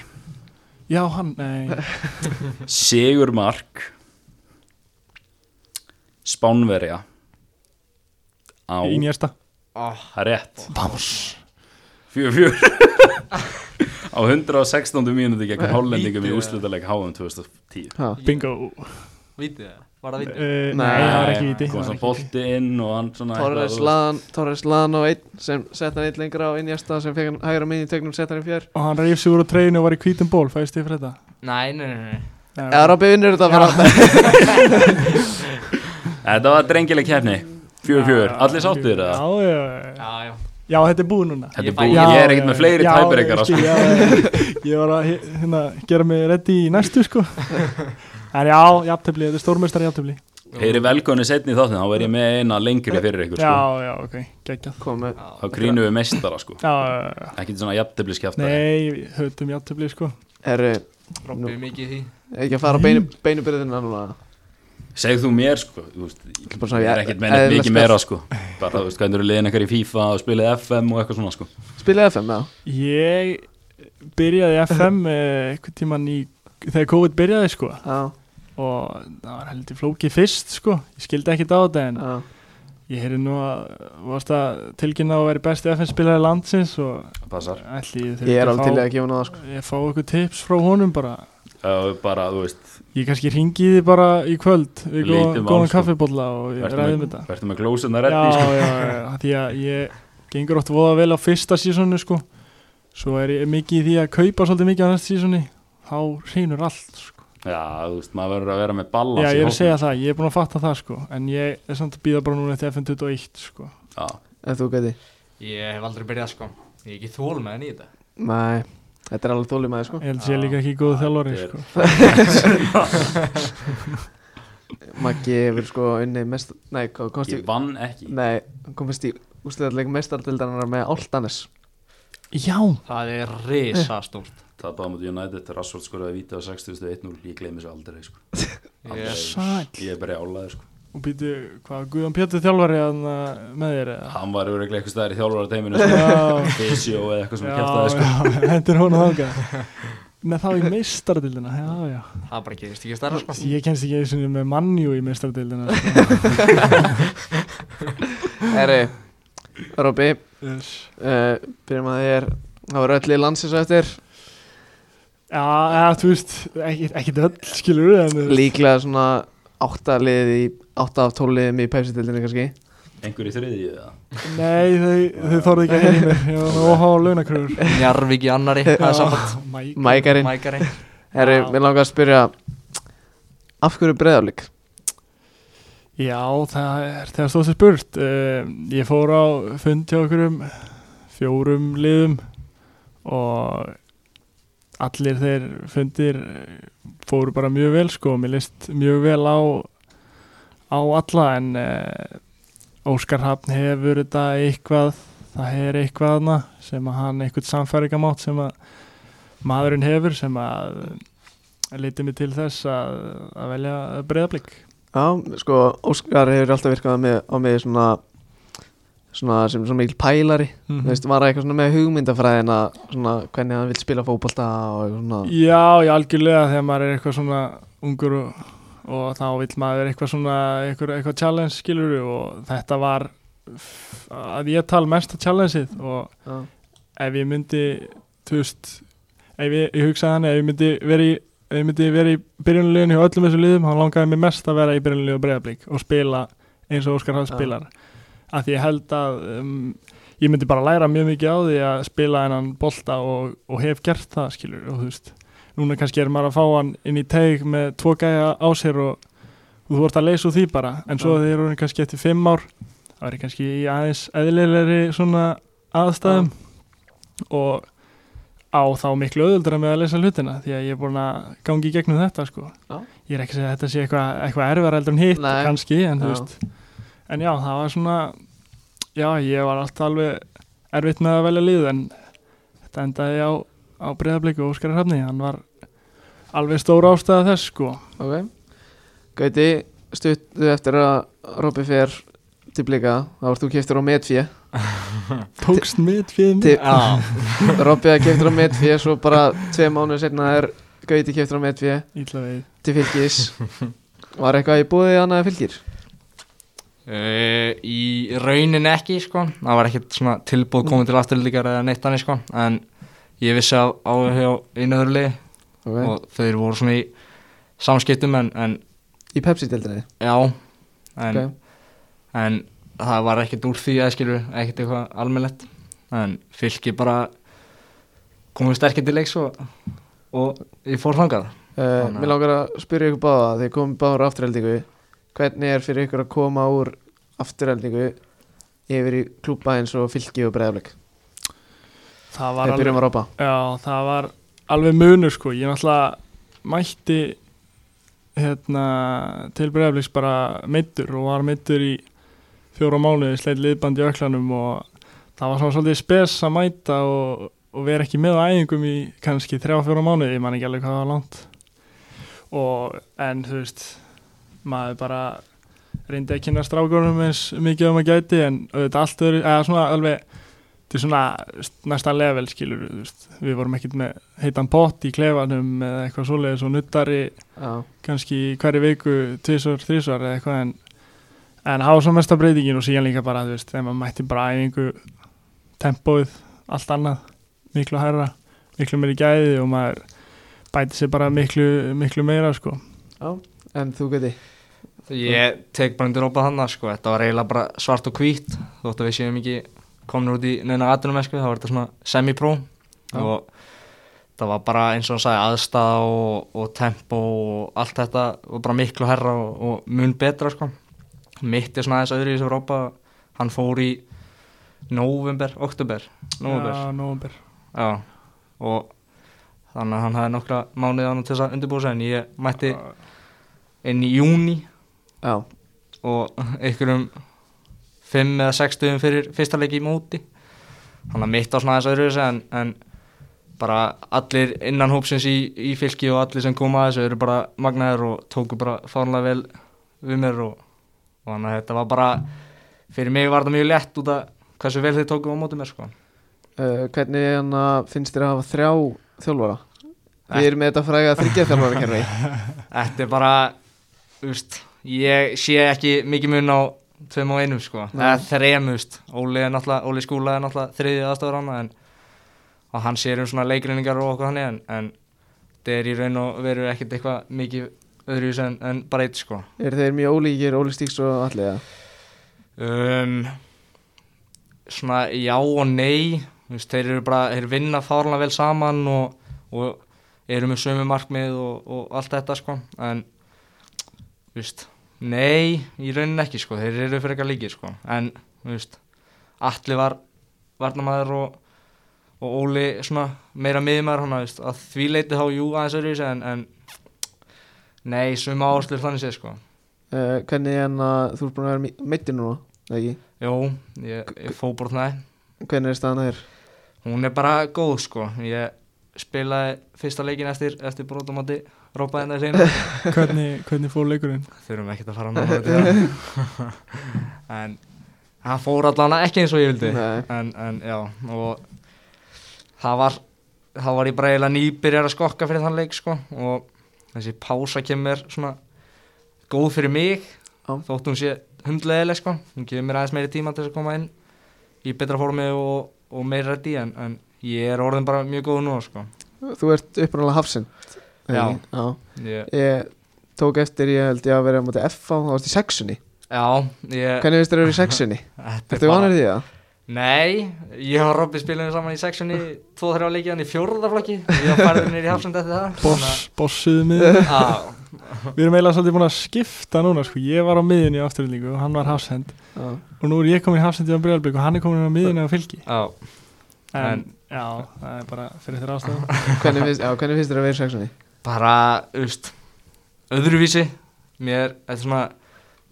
[SPEAKER 3] Já, hann, nei
[SPEAKER 2] Sigurmark Spánverja Á
[SPEAKER 3] Í nýjasta
[SPEAKER 4] oh,
[SPEAKER 2] Það er rétt Báms Fjör fjör Á 116. mínúti gegn Hállendingum í
[SPEAKER 4] Lítið.
[SPEAKER 2] úrslutaleg HM 2010
[SPEAKER 1] Ha,
[SPEAKER 3] Bingo
[SPEAKER 4] Vítið það Var það vítið
[SPEAKER 3] Eh, Nei,
[SPEAKER 1] Nei,
[SPEAKER 3] það var ekki viti
[SPEAKER 2] Kom
[SPEAKER 3] það var
[SPEAKER 2] svona
[SPEAKER 3] ekki víti.
[SPEAKER 2] bolti inn og hann svona
[SPEAKER 1] Torres
[SPEAKER 2] eitthvað-
[SPEAKER 1] Lan Torres Lan og einn sem sett hann einn lengra á innjasta sem fekk hann hægra minni í tegnum sett hann í fjör
[SPEAKER 3] Og hann reyf sig úr á treyinu og var í hvítum ból Fæðist þið fyrir þetta?
[SPEAKER 4] Nei, nei, nei, nei
[SPEAKER 3] Nei,
[SPEAKER 1] Eða Robby vinnur þetta bara
[SPEAKER 2] Þetta var drengileg kefni Fjör fjör Allir sáttir það
[SPEAKER 3] Já, já, já
[SPEAKER 4] Já, já
[SPEAKER 3] Já, þetta er búið núna
[SPEAKER 2] Þetta er
[SPEAKER 4] Ég fæ-
[SPEAKER 2] búið
[SPEAKER 3] Já,
[SPEAKER 2] Ég er ekkert með fleiri
[SPEAKER 3] já,
[SPEAKER 2] tæbreykar sko.
[SPEAKER 3] ég skil, já, já. Ég var að hérna, gera mig reddi í næstu sko En já, jafntöfli, þetta er stórmestari jafntöfli
[SPEAKER 2] Heyri velkonni setni í þáttin Þá er ég með eina lengri fyrir ykkur sko.
[SPEAKER 3] Já, já, ok, geggjað
[SPEAKER 1] Komu
[SPEAKER 2] Þá krýnum við meistara sko
[SPEAKER 3] Já, já, já.
[SPEAKER 2] Ekkert svona jafntöfliskefta
[SPEAKER 3] nei, höldum jafntöfli sko
[SPEAKER 1] Herri,
[SPEAKER 4] Robby mikið í því
[SPEAKER 1] ekki að fara á beinu, beinu byrðina núna
[SPEAKER 2] Segð þú mér sko þú veist,
[SPEAKER 1] ætla bara að segja,
[SPEAKER 2] Ég er
[SPEAKER 1] ég-
[SPEAKER 2] ekkert með neitt
[SPEAKER 1] eðlilega
[SPEAKER 2] mikið
[SPEAKER 1] spjall.
[SPEAKER 2] meira sko Bara þú veist hvernig eru liðin eitthvað í FIFA og spilið FM og eitthvað svona sko
[SPEAKER 1] Spilið FM, já
[SPEAKER 3] Ég byrjaði í FM eh, einhvern tíman í þegar COVID byrjaði sko
[SPEAKER 1] Já,
[SPEAKER 3] og það var heldur flókið fyrst sko ég skildi ekkert á þetta en
[SPEAKER 1] já
[SPEAKER 3] ég heyrði nú að varst að tilkynna að vera besti FN spilari landsins og
[SPEAKER 2] Passar
[SPEAKER 3] ætli ég
[SPEAKER 1] Ég
[SPEAKER 3] þurfti
[SPEAKER 1] er alveg til í
[SPEAKER 3] fá-
[SPEAKER 1] að gefa hann það sko
[SPEAKER 3] ég fá eitthvað tips frá honum bara
[SPEAKER 2] Bara þú veist
[SPEAKER 3] ég kannski ringi þið bara í kvöld við
[SPEAKER 2] Lítum
[SPEAKER 3] góðan,
[SPEAKER 2] á,
[SPEAKER 3] góðan
[SPEAKER 2] sko.
[SPEAKER 3] kaffibólla og ég
[SPEAKER 2] Vertu
[SPEAKER 3] ræðum
[SPEAKER 2] með,
[SPEAKER 3] þetta
[SPEAKER 2] vertu með glósuna
[SPEAKER 3] já,
[SPEAKER 2] reddi sko
[SPEAKER 3] já, já, já, því að ég gengur oft voða vel á fyrsta sísónu sko svo er ég mikið í því að kaupa svolítið mikið á næsta sísónu þá hreinur allt sko.
[SPEAKER 2] Já þú veist maður verður að vera með ballans
[SPEAKER 3] já,
[SPEAKER 2] í
[SPEAKER 3] ég er að
[SPEAKER 2] hópnum.
[SPEAKER 3] segja það, ég er búin að fatta það sko en ég er samt að býða bara núna eftir FN21 sko
[SPEAKER 2] Já,
[SPEAKER 1] En þú gæti
[SPEAKER 4] Ég hef aldrei byrjað sko Ég er ekki þól með henni í þetta
[SPEAKER 1] Nei, þetta er alveg þólið maður sko
[SPEAKER 3] ég held að ég er líka ekki góð þjálfari
[SPEAKER 2] þetta Ah, er-
[SPEAKER 3] sko.
[SPEAKER 1] Maggi hefur sko unni mest Nei, hvað komst
[SPEAKER 2] Ég
[SPEAKER 1] í
[SPEAKER 2] vann ekki
[SPEAKER 1] Nei, hann komist í úsliðarleik mestartildarinnar með Áltanes
[SPEAKER 3] já,
[SPEAKER 4] Það er risastórt
[SPEAKER 2] Tapaði á móti United, Rashford skoraði víti á 60.1-0 Ég gleymi þessu aldrei sko
[SPEAKER 1] Eh.
[SPEAKER 4] Ég
[SPEAKER 2] Aldrei.
[SPEAKER 3] sæl
[SPEAKER 2] Ég er bara álaði sko
[SPEAKER 3] og býtu, hvað, Guðan Pétur þjálfari hann, uh, með þér eða?
[SPEAKER 2] Hann var örugglega eitthvað staðar í þjálfarateiminu sko
[SPEAKER 3] já,
[SPEAKER 2] Fysio eða eitthvað sem
[SPEAKER 3] Já,
[SPEAKER 2] kæftaði sko
[SPEAKER 3] já, hendur hún þáka með þá í meistardildina já, já.
[SPEAKER 4] Það bara gerist ekki stærra sko
[SPEAKER 3] ég kennst ekki einu sinni með mannjú í meistardildina sko.
[SPEAKER 1] Herri, Robby
[SPEAKER 3] já,
[SPEAKER 1] uh, Byrjum að þér Það voru öll í landsins á eftir
[SPEAKER 3] ja, þú veist ekkit, ekkit öll skilur við en, þú veist,
[SPEAKER 1] Líklega svona átta liðið í Átta af tóliðum í pepsitildinni kannski
[SPEAKER 2] Einhver í þriðju eða
[SPEAKER 3] nei, þau, þau þorðu ekki að heyra í mér ég var með óhá launakröfur Oh
[SPEAKER 4] Njarvík í annari Það er saman
[SPEAKER 3] mæk
[SPEAKER 1] Mækarinn
[SPEAKER 4] Mækari
[SPEAKER 1] Herri,
[SPEAKER 3] Já.
[SPEAKER 1] mér langar að spyrja Af hverju breyðaflik?
[SPEAKER 3] Já, það er þegar stóð sér spurt uh, Ég fór á fund hjá okkur um fjórum liðum og allir þeir fundir eh, fóru bara mjög vel sko, mér list mjög vel á á á alla en uh, Óskar Hafn hefur þetta eitthvað það hefur eitthvað aðna sem að hann eitthvað samfæringamátt sem að maðurinn hefur sem að lítið mig til þess að, að velja breyðablík
[SPEAKER 1] Já, sko, Óskar hefur alltaf virkað með, á mig svona, svona sem svona mikil pælari
[SPEAKER 4] Mhm.
[SPEAKER 3] mm
[SPEAKER 1] Þú veist, var það eitthvað svona með hugmyndafræðina svona hvernig hann vil spila fótbolta og eitthvað svona
[SPEAKER 3] Já, já, algjörlega þegar maður er eitthvað svona ungur og, og þá vill maður eitthvað svona eitthvað, eitthvað challenge skilur og þetta var f- að ég tala mesta challengeið og
[SPEAKER 1] Já,
[SPEAKER 3] ef ég myndi þú veist, ef ég, ég hugsaði hann ef ég myndi vera í ef ég myndi vera í byrjunleginu hjá öllum þessum liðum hann langaði mér mest að vera í byrjunleginu og breyðablík og spila eins og Óskar Hall
[SPEAKER 1] Já.
[SPEAKER 3] spilar af því ég held að um, ég myndi bara læra mjög mikið á því að spila hennan bolta og, og hef gert það skilur og þú veist, núna kannski er maður að fá hann inn í teig með tvo gæja á sér og, og þú vart að leysa úr því bara en svo
[SPEAKER 1] Já.
[SPEAKER 3] þegar þú eru kannski eftir fimm ár það verður kannski í aðeins eðlilegri svona aðstæðum og á þá miklu auðvöldra með að lesa hlutina því að ég er búin að gangi í gegnum þetta sko.
[SPEAKER 1] Já.
[SPEAKER 3] ég er ekki að segja að þetta sé eitthvað eitthva erfara eldur en hitt
[SPEAKER 1] Nei.
[SPEAKER 3] kannski en, þú
[SPEAKER 1] Já.
[SPEAKER 3] veist, en já, það var svona já, ég var alltaf alveg erfitt með að velja lið en þetta endaði á, á breyðabliku og Óskar Hrafni, hann var alveg stóra ástæða þess sko.
[SPEAKER 1] ok Gauti, stuttu eftir að Robby fer til blika þá varst þú keftur á metfjö
[SPEAKER 3] tókst mitt fyrir mig
[SPEAKER 1] Til-
[SPEAKER 4] Já,
[SPEAKER 1] Robby er keftur á metfjö svo bara tvei mánuð setna er Gauti keftur á metfjö
[SPEAKER 3] ítla veið
[SPEAKER 1] til fylgis Var eitthvað í búið annað en fylgir?
[SPEAKER 4] Uh, í raunin ekki sko, það var ekkert svona tilbúð komið til afturlíkar eða neitt annir sko en ég vissi af áhuga á innöðurli
[SPEAKER 1] Okay.
[SPEAKER 4] og þeir voru svona í samskiptum en, en
[SPEAKER 1] Í Pepsi-deldinni?
[SPEAKER 4] já en,
[SPEAKER 1] Ok.
[SPEAKER 4] en það var ekkert úr því að skilur ekkert eitthvað almennlegt en fylki bara komið sterkir til leiks og, og ég fór þangað
[SPEAKER 1] Uh,
[SPEAKER 4] Þannig að-
[SPEAKER 1] mér langar að spyrja ykkur báða þegar komum báður afturheldingu hvernig er fyrir ykkur að koma úr afturheldingu yfir í klúpa eins og fylki og breðaflik
[SPEAKER 3] það var
[SPEAKER 1] við byrjum að ropa
[SPEAKER 3] Já, það var alveg munur sko, ég náttúrulega mætti hérna, til breyðafleiks bara meittur og var meittur í fjóra mánuði, sleitt liðband í öklanum og það var svona svolítið spes að mæta og, og vera ekki með á æfingum í kannski þrjá, fjóra mánuði, ég man ekki alveg hvað það var langt og en þú veist, maður bara reyndi að kynna strákunum eins mikið um að gæti en auðvitað allt öðru, eða svona alveg til svona næsta level skilur þú veist, við vorum ekkert með heitan pott í klefanum eða eitthvað svoleiðis og nuttari
[SPEAKER 1] já,
[SPEAKER 3] kannski í hverju viku tvisar, þrísar eða eitthvað en, en hafa svo mesta breytingin og síðan líka bara þú veist, þegar maður mætti bara æfingu tempóið, allt annað miklu hærra, miklu meiri gæði og maður bæti sér bara miklu, miklu meira sko
[SPEAKER 1] en þú geti
[SPEAKER 4] Ég tek bara undir opað hann sko. þetta var eiginlega bara svart og hvít þótt að við séum ekki komin út í neina aðdunum þá var þetta svona semi-pro
[SPEAKER 1] Já.
[SPEAKER 4] og það var bara eins og hann sagði aðstæða og, og tempo og allt þetta og bara miklu herra og, og mun betra sko. mitt er svona aðeins öðru í þessu Europa hann fór í november, oktober november.
[SPEAKER 3] Já, nóvember
[SPEAKER 4] Já. og þannig að hann hafði nokkra mánuði ánum til þess að undirbúið sig en ég mætti inn í júni
[SPEAKER 1] já,
[SPEAKER 4] og einhverjum 5 eða 6 stuðum fyrir fyrsta leiki í móti þannig að mitt á svona aðeins öðru en, en bara allir innan hópsins í, í fylki og allir sem koma að þessu eru bara magnaðir og tóku bara fárlega vel við mér og, og þannig að þetta var bara fyrir mig var þetta mjög lett út af hversu vel þeir tóku á móti mér sko.
[SPEAKER 1] uh, hvernig hana, finnst þér að hafa þrjá þjálfara?
[SPEAKER 4] Ek-
[SPEAKER 1] við erum með þetta fræga þryggja þjálfara kerfi
[SPEAKER 4] Þetta er bara úst, ég sé ekki mikið mun á tveim og einum sko
[SPEAKER 1] Nei.
[SPEAKER 4] eða þrem, úst. Óli, er náttúrulega- Óli skúla er náttúrulega þriðið aðstofur hana en, og hann sér um svona leikreiningar og okkur hann en, en þetta er í raun og veru ekkert eitthvað mikið öðru en, en bara eitt sko
[SPEAKER 1] er þeir mjög ólíkir, Óli Stíks og allir það
[SPEAKER 4] um, svona já og nei Þú veist, þeir eru bara, þeir vinna fárlega vel saman og, og eru með sömu markmið og, og allt þetta sko en þú veist, nei, í rauninni ekki sko þeir eru fyrir eitthvað líkir sko en þú veist, Atli var varnamaður og, og Óli svona meira miðmaður hana veist, að því leiti þá jú aðeins öðru en, en nei, sömu áslur þannig séð sko
[SPEAKER 1] uh, hvernig en að þú ert búin að vera meittir núna, eða ekki?
[SPEAKER 4] Jó, ég, ég fóbortnaði
[SPEAKER 1] Hvernig er staðan að þér?
[SPEAKER 4] Hún er bara góð sko Ég spilaði fyrsta leikin eftir, eftir brotamati Rópaði hennar hreinu
[SPEAKER 3] hvernig, hvernig fór leikurinn?
[SPEAKER 4] Þurfum ekki að fara náttúrulega til það En hann fór allan ekki eins og ég vildi
[SPEAKER 1] Nei.
[SPEAKER 4] en, en já Og það var Það var ég bara eiginlega nýbyrjar að skokka fyrir þann leik sko Og þessi pása kemur svona Góð fyrir mig
[SPEAKER 1] Já.
[SPEAKER 4] Þótt hún sé hundlegileg sko Hún gefur mér aðeins meiri tíma til þess að koma inn Í betra formi og, og meira reddi en, en ég er orðin bara mjög góð nú sko
[SPEAKER 1] Þú ert upprunalega hafsind
[SPEAKER 4] Já.
[SPEAKER 1] Já
[SPEAKER 4] ég,
[SPEAKER 1] Ég tók eftir, ég held ég að vera á móti FH, þá varst í sexunni
[SPEAKER 4] Já, ég
[SPEAKER 1] Hvernig veist þér að vera í sexunni?
[SPEAKER 4] Þetta
[SPEAKER 1] Ertu vanur því það?
[SPEAKER 4] Nei, ég og Robby spilum saman í sexunni 2-3 leikið hann í fjórðarflokki Ég var færður nýri hafsend eftir það
[SPEAKER 3] Boss, bossuðu miðin
[SPEAKER 4] Þannig að- Já,
[SPEAKER 3] Við erum eiginlega svolítið búin að skipta núna sko. Ég var á miðinni í afturlíku og hann var hafsend
[SPEAKER 1] Já.
[SPEAKER 3] og nú er ég komin í hafsend í Breiðalbík og hann er komin á miðinni á fylki
[SPEAKER 4] já
[SPEAKER 3] en,
[SPEAKER 4] En-
[SPEAKER 3] já, það er bara fyrir þér ástæðum
[SPEAKER 1] Hvernig finnst- já, hvernig finnst þér að vera í sexunni?
[SPEAKER 4] bara, auðvist, öðruvísi mér, þetta er svona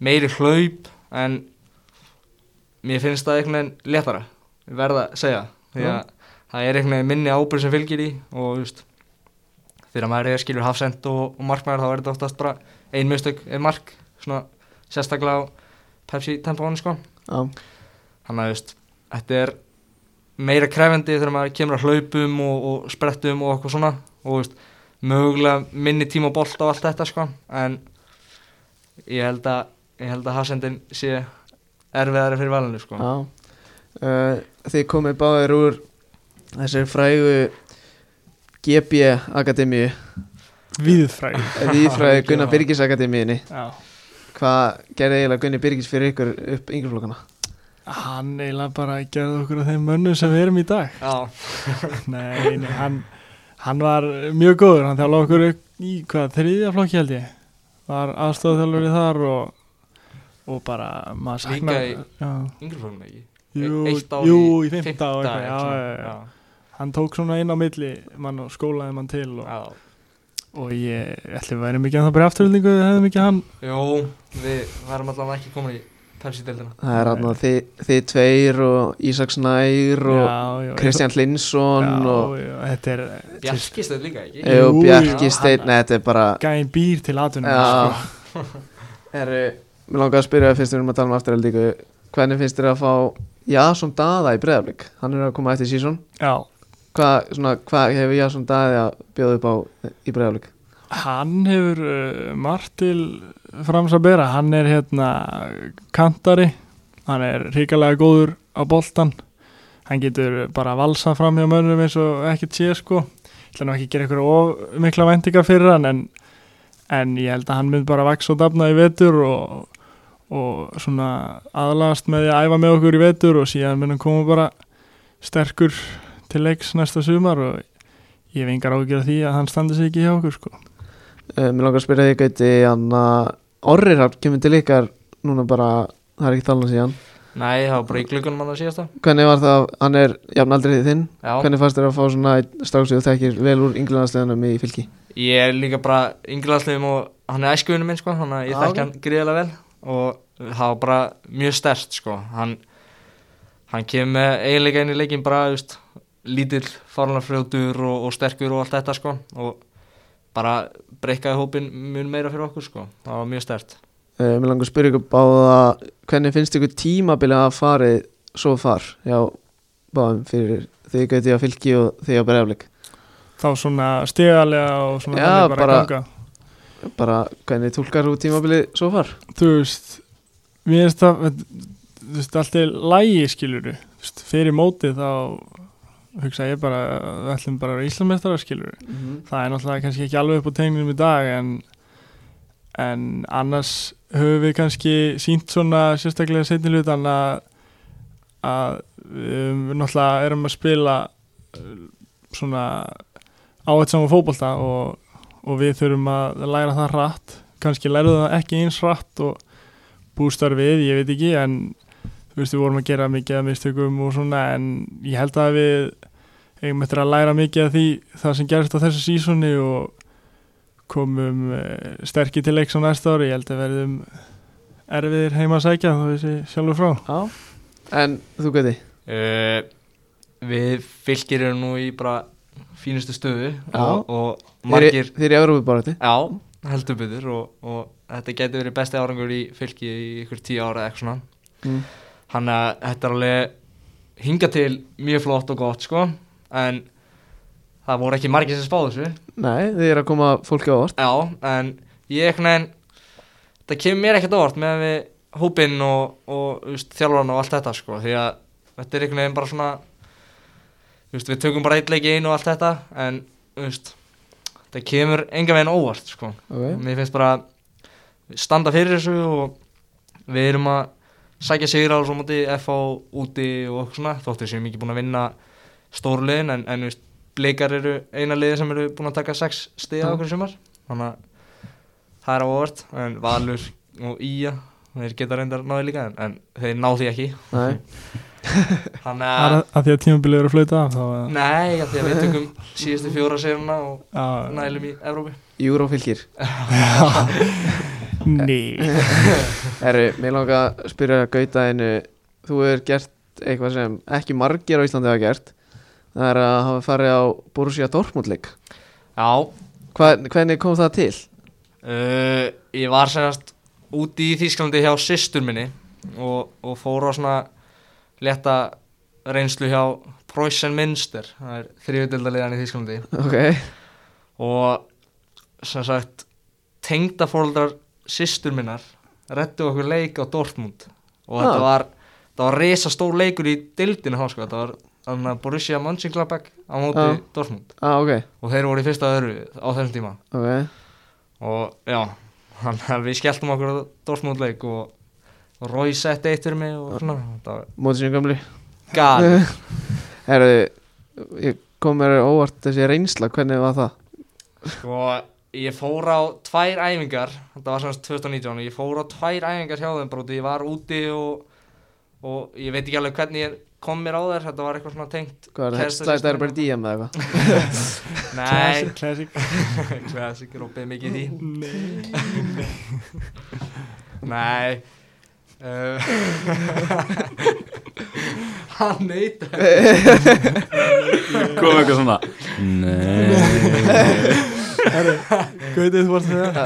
[SPEAKER 4] meiri hlaup en mér finnst það einhvern veginn léttara, ég verða að segja því að það er einhvern veginn minni ábyrg sem fylgir í og auðvist þegar maður er skilur hafsend og, og markmaður þá er þetta oftast bara ein mistök er mark, svona sérstaklega á Pepsi tempónu sko
[SPEAKER 1] Já,
[SPEAKER 4] þannig að veist, þetta er meira krefendi þegar maður kemur að hlaupum og, og sprettum og eitthvað svona og veist, mögulega minni tíma bolt á allt þetta sko en ég held að, ég held að hafsendin sé erfiðari fyrir valinu sko
[SPEAKER 1] já. Uh, Þið komið báðir úr þessari frægu GB Akademíu
[SPEAKER 3] Víðfræði
[SPEAKER 1] Víðfræði Gunnar Byrgis Akademíunni
[SPEAKER 3] Já
[SPEAKER 1] Hvað gerði eiginlega Gunni Byrgis fyrir ykkur upp yngjurflokkana?
[SPEAKER 3] Hann eiginlega bara gerði okkur að þeim mönnum sem við erum í dag
[SPEAKER 4] já,
[SPEAKER 3] Nei, nei hann, hann var mjög góður Hann þjálfa okkur upp í hvað, þriðja flokki held ég Var aðstofþjálfur í þar og, og bara maður
[SPEAKER 4] Líka
[SPEAKER 3] saknar
[SPEAKER 4] í-
[SPEAKER 3] já,
[SPEAKER 4] yngri fólum ekki E-
[SPEAKER 3] jú,
[SPEAKER 4] Eitt ár
[SPEAKER 3] jú, e- í fimmta,
[SPEAKER 4] fimmta
[SPEAKER 3] og eitthvað,
[SPEAKER 4] eitthvað
[SPEAKER 3] já,
[SPEAKER 4] svona,
[SPEAKER 3] já, já. Hann tók svona inn á milli mann og skólaði mann til og,
[SPEAKER 4] já.
[SPEAKER 3] og ég ætli við værum ekki að það bara í afturhildingu við hefðum ekki hann
[SPEAKER 4] Jó, við varum allavega ekki komin í Pepsi-deldina
[SPEAKER 1] Það er hann að þið, þið tveir og Ísaks Nær og
[SPEAKER 3] Já, já,
[SPEAKER 1] Kristján Linsson
[SPEAKER 3] já,
[SPEAKER 1] og
[SPEAKER 3] já, þetta er
[SPEAKER 4] Bjarkistöð líka ekki
[SPEAKER 3] Jú,
[SPEAKER 1] Jú, Bjarki
[SPEAKER 4] já,
[SPEAKER 1] Steinn,
[SPEAKER 4] hann-
[SPEAKER 1] nei þetta er bara
[SPEAKER 3] gæðin býr til sko. aðtunum
[SPEAKER 1] Já Herru, mér langar að spyrja fyrst við erum að tala um afturhaldíku Hvernig finnst þér að fá Jasson Daða í breyðaflik? Hann er að koma eftir sísón
[SPEAKER 3] já,
[SPEAKER 1] Hvað hva hefur Jasson Daði að bjóða upp á í breyðaflik?
[SPEAKER 3] Hann hefur uh, margt til frams að bera, hann er hérna kantari, hann er ríkalega góður á boltan, hann getur bara valsað fram hjá mönnum eins og ekkert sé sko, ég ætla nú ekki að gera ykkur of mikla vendingar fyrir hann en, en ég held að hann mynd bara vaks og dafna í vetur og, og svona aðlast með því að æfa með okkur í vetur og síðan mun hann koma bara sterkur til leiks næsta sumar og ég hef engar ágjör því að hann standi sig ekki hjá okkur sko.
[SPEAKER 1] Uh, mér langar að spyrja því gauti hann að Orri Rapp kemur til ykkar núna bara það er ekki talað um síðan
[SPEAKER 4] Nei, það var bara í gluggunum hann að síðasta
[SPEAKER 1] Hvernig var það, hann er jafnaldrið þinn
[SPEAKER 4] Já
[SPEAKER 1] Hvernig fannst þér að fá svona stráksið og þekkir vel úr ynglandarsleðanum í fylki?
[SPEAKER 4] Ég er líka bara yngri landsliðum og hann er æskuvinni minn sko, þannig að ég
[SPEAKER 1] Já, ok.
[SPEAKER 4] þekk hann gríðilega vel og það var bara mjög stert sko, hann, hann kemur með eiginleika inn í leikin bara, þú veist, lítill farlanfrjótur og, og sterkur og allt þetta sko og bara breykaði hópin mjög meira fyrir okkur sko, það var mjög stert.
[SPEAKER 1] Uh, mér langar að spyrja ykkur báða hvernig finnst ykkur tímabilið að farið svo far já, báðum fyrir því gauti á fylki og því á breyflik
[SPEAKER 3] þá svona stigalega og svona
[SPEAKER 1] Já,
[SPEAKER 3] þannig bara,
[SPEAKER 1] bara-
[SPEAKER 3] ganga
[SPEAKER 1] bara hvernig túlkar þú tímabilið svo far
[SPEAKER 3] þú veist mér finnst það þú veist allt er lægi skiluru veist, fyrir mótið þá hugsa ég bara að við ætlum bara að vera íslamestara skiluru það er náttúrulega kannski ekki alveg upp á tegninum í dag en, en annars höfum við kannski sínt svona sérstaklega setni hlutan að að við höfum- náttúrulega erum að spila uh, svona áhættsam á fótbolta og, og við þurfum að læra það hratt kannski læra það ekki eins hratt og bústar við, ég veit ekki en þú veist við vorum að gera mikið að mistökum og svona en ég held að við eigum eftir að læra mikið af því það sem gerist á þessu sísoni og komum uh, sterkir til leiks á næsta ári, ég held að verðum erfiðir heima að sækja þá þessi sjálfur frá
[SPEAKER 1] Já En þú gæti
[SPEAKER 4] Uh, við fylgir erum nú í bara fínustu stöðu
[SPEAKER 1] Já.
[SPEAKER 4] og, og margir
[SPEAKER 1] Þeir eru í Európa bara
[SPEAKER 4] Já, heldur byrður og, og þetta getur verið besti árangur í fylki í ykkur tíu ára eða eitthvað svona
[SPEAKER 1] Mm.
[SPEAKER 4] Þannig að þetta er alveg hinga til mjög flott og gott sko en það voru ekki margir sem spáðu þessu
[SPEAKER 1] Nei, þeir eru að koma fólki á orð
[SPEAKER 4] Já, en ég ekki neginn það kemur mér ekkert á óvart með við hópinn og, og þú veist, þjálfarna og allt þetta sko því að þetta er einhvern veginn bara svona þú veist, við tökum bara eitt leik í einu og allt þetta en þú veist, það kemur enga veginn á óvart sko
[SPEAKER 1] okay.
[SPEAKER 4] Mér finnst bara að standa fyrir þessu og við erum að sækja sigra á svo móti FH úti og okkur svona þóttu sem ekki búin að vinna stórliðin en, en viðst, bleikar eru eina liði sem eru búin að taka 6 stiga
[SPEAKER 1] Já.
[SPEAKER 4] okkur í sumar þannig að það er ávart en Valur og Ía þeir geta reyndar náði líka en, en þeir ná því ekki
[SPEAKER 1] Nei,
[SPEAKER 4] þannig
[SPEAKER 3] Það er
[SPEAKER 4] að
[SPEAKER 3] að- að því að tímabilið eru að flauta af þá að,
[SPEAKER 4] nei, af því að við tökum síðustu fjóra sigurna og
[SPEAKER 3] að,
[SPEAKER 4] nælum í Evrópi
[SPEAKER 1] Júrófylgir
[SPEAKER 3] Nei
[SPEAKER 1] Herru, mér langar að spyrja Gauta einu Þú hefur gert eitthvað sem ekki margir á Íslandi hafa gert Það er að hafa farið á Borussia Dortmund-leik
[SPEAKER 4] Já,
[SPEAKER 1] Hva- Hvernig kom það til?
[SPEAKER 4] Uh, ég var senast úti í Þýsklandi hjá systur minni og, og fór á svona leta reynslu hjá Preussen Münster, það er þriðutildaliðan í Þýsklandi
[SPEAKER 1] Ok,
[SPEAKER 4] og sem sagt tengdafóldrar systur minnar rettu okkur leik á Dortmund og
[SPEAKER 1] Ah.
[SPEAKER 4] þetta var, þetta var resa stór leikur í dildinu þá sko, þetta var þarna Borussia Mönchengladbach á móti
[SPEAKER 1] Já.
[SPEAKER 4] Dortmund
[SPEAKER 1] ah, ok,
[SPEAKER 4] og þeir voru í fyrsta öðru á þessum tíma
[SPEAKER 1] ok
[SPEAKER 4] og já, þannig að við skelltum okkur á Dortmund leik og og Rói sett eitt fyrir mig og svona, þetta var
[SPEAKER 1] Móti sinni gamli
[SPEAKER 4] gali
[SPEAKER 1] Herru, ég kom mér óvart þessi reynsla Hvernig var það?
[SPEAKER 4] sko, ég fór á tvær æfingar, þetta var semst 2019 ég fór á tvær æfingar hjá þeim bara út í- ég var úti og og ég veit ekki alveg hvernig ég kom mér á þær þetta var eitthvað svona tengt
[SPEAKER 1] Hvað er
[SPEAKER 4] kærasta
[SPEAKER 1] það? Slæta er
[SPEAKER 4] systur
[SPEAKER 1] bara
[SPEAKER 4] minnar.
[SPEAKER 1] DM eða eitthvað
[SPEAKER 4] Nei,
[SPEAKER 3] Classic
[SPEAKER 4] classic, rópið mikið í því
[SPEAKER 3] Nei
[SPEAKER 4] Nei uh, Hann neyta
[SPEAKER 2] Komum eitthvað svona Nei
[SPEAKER 3] Gautið þú varst þegar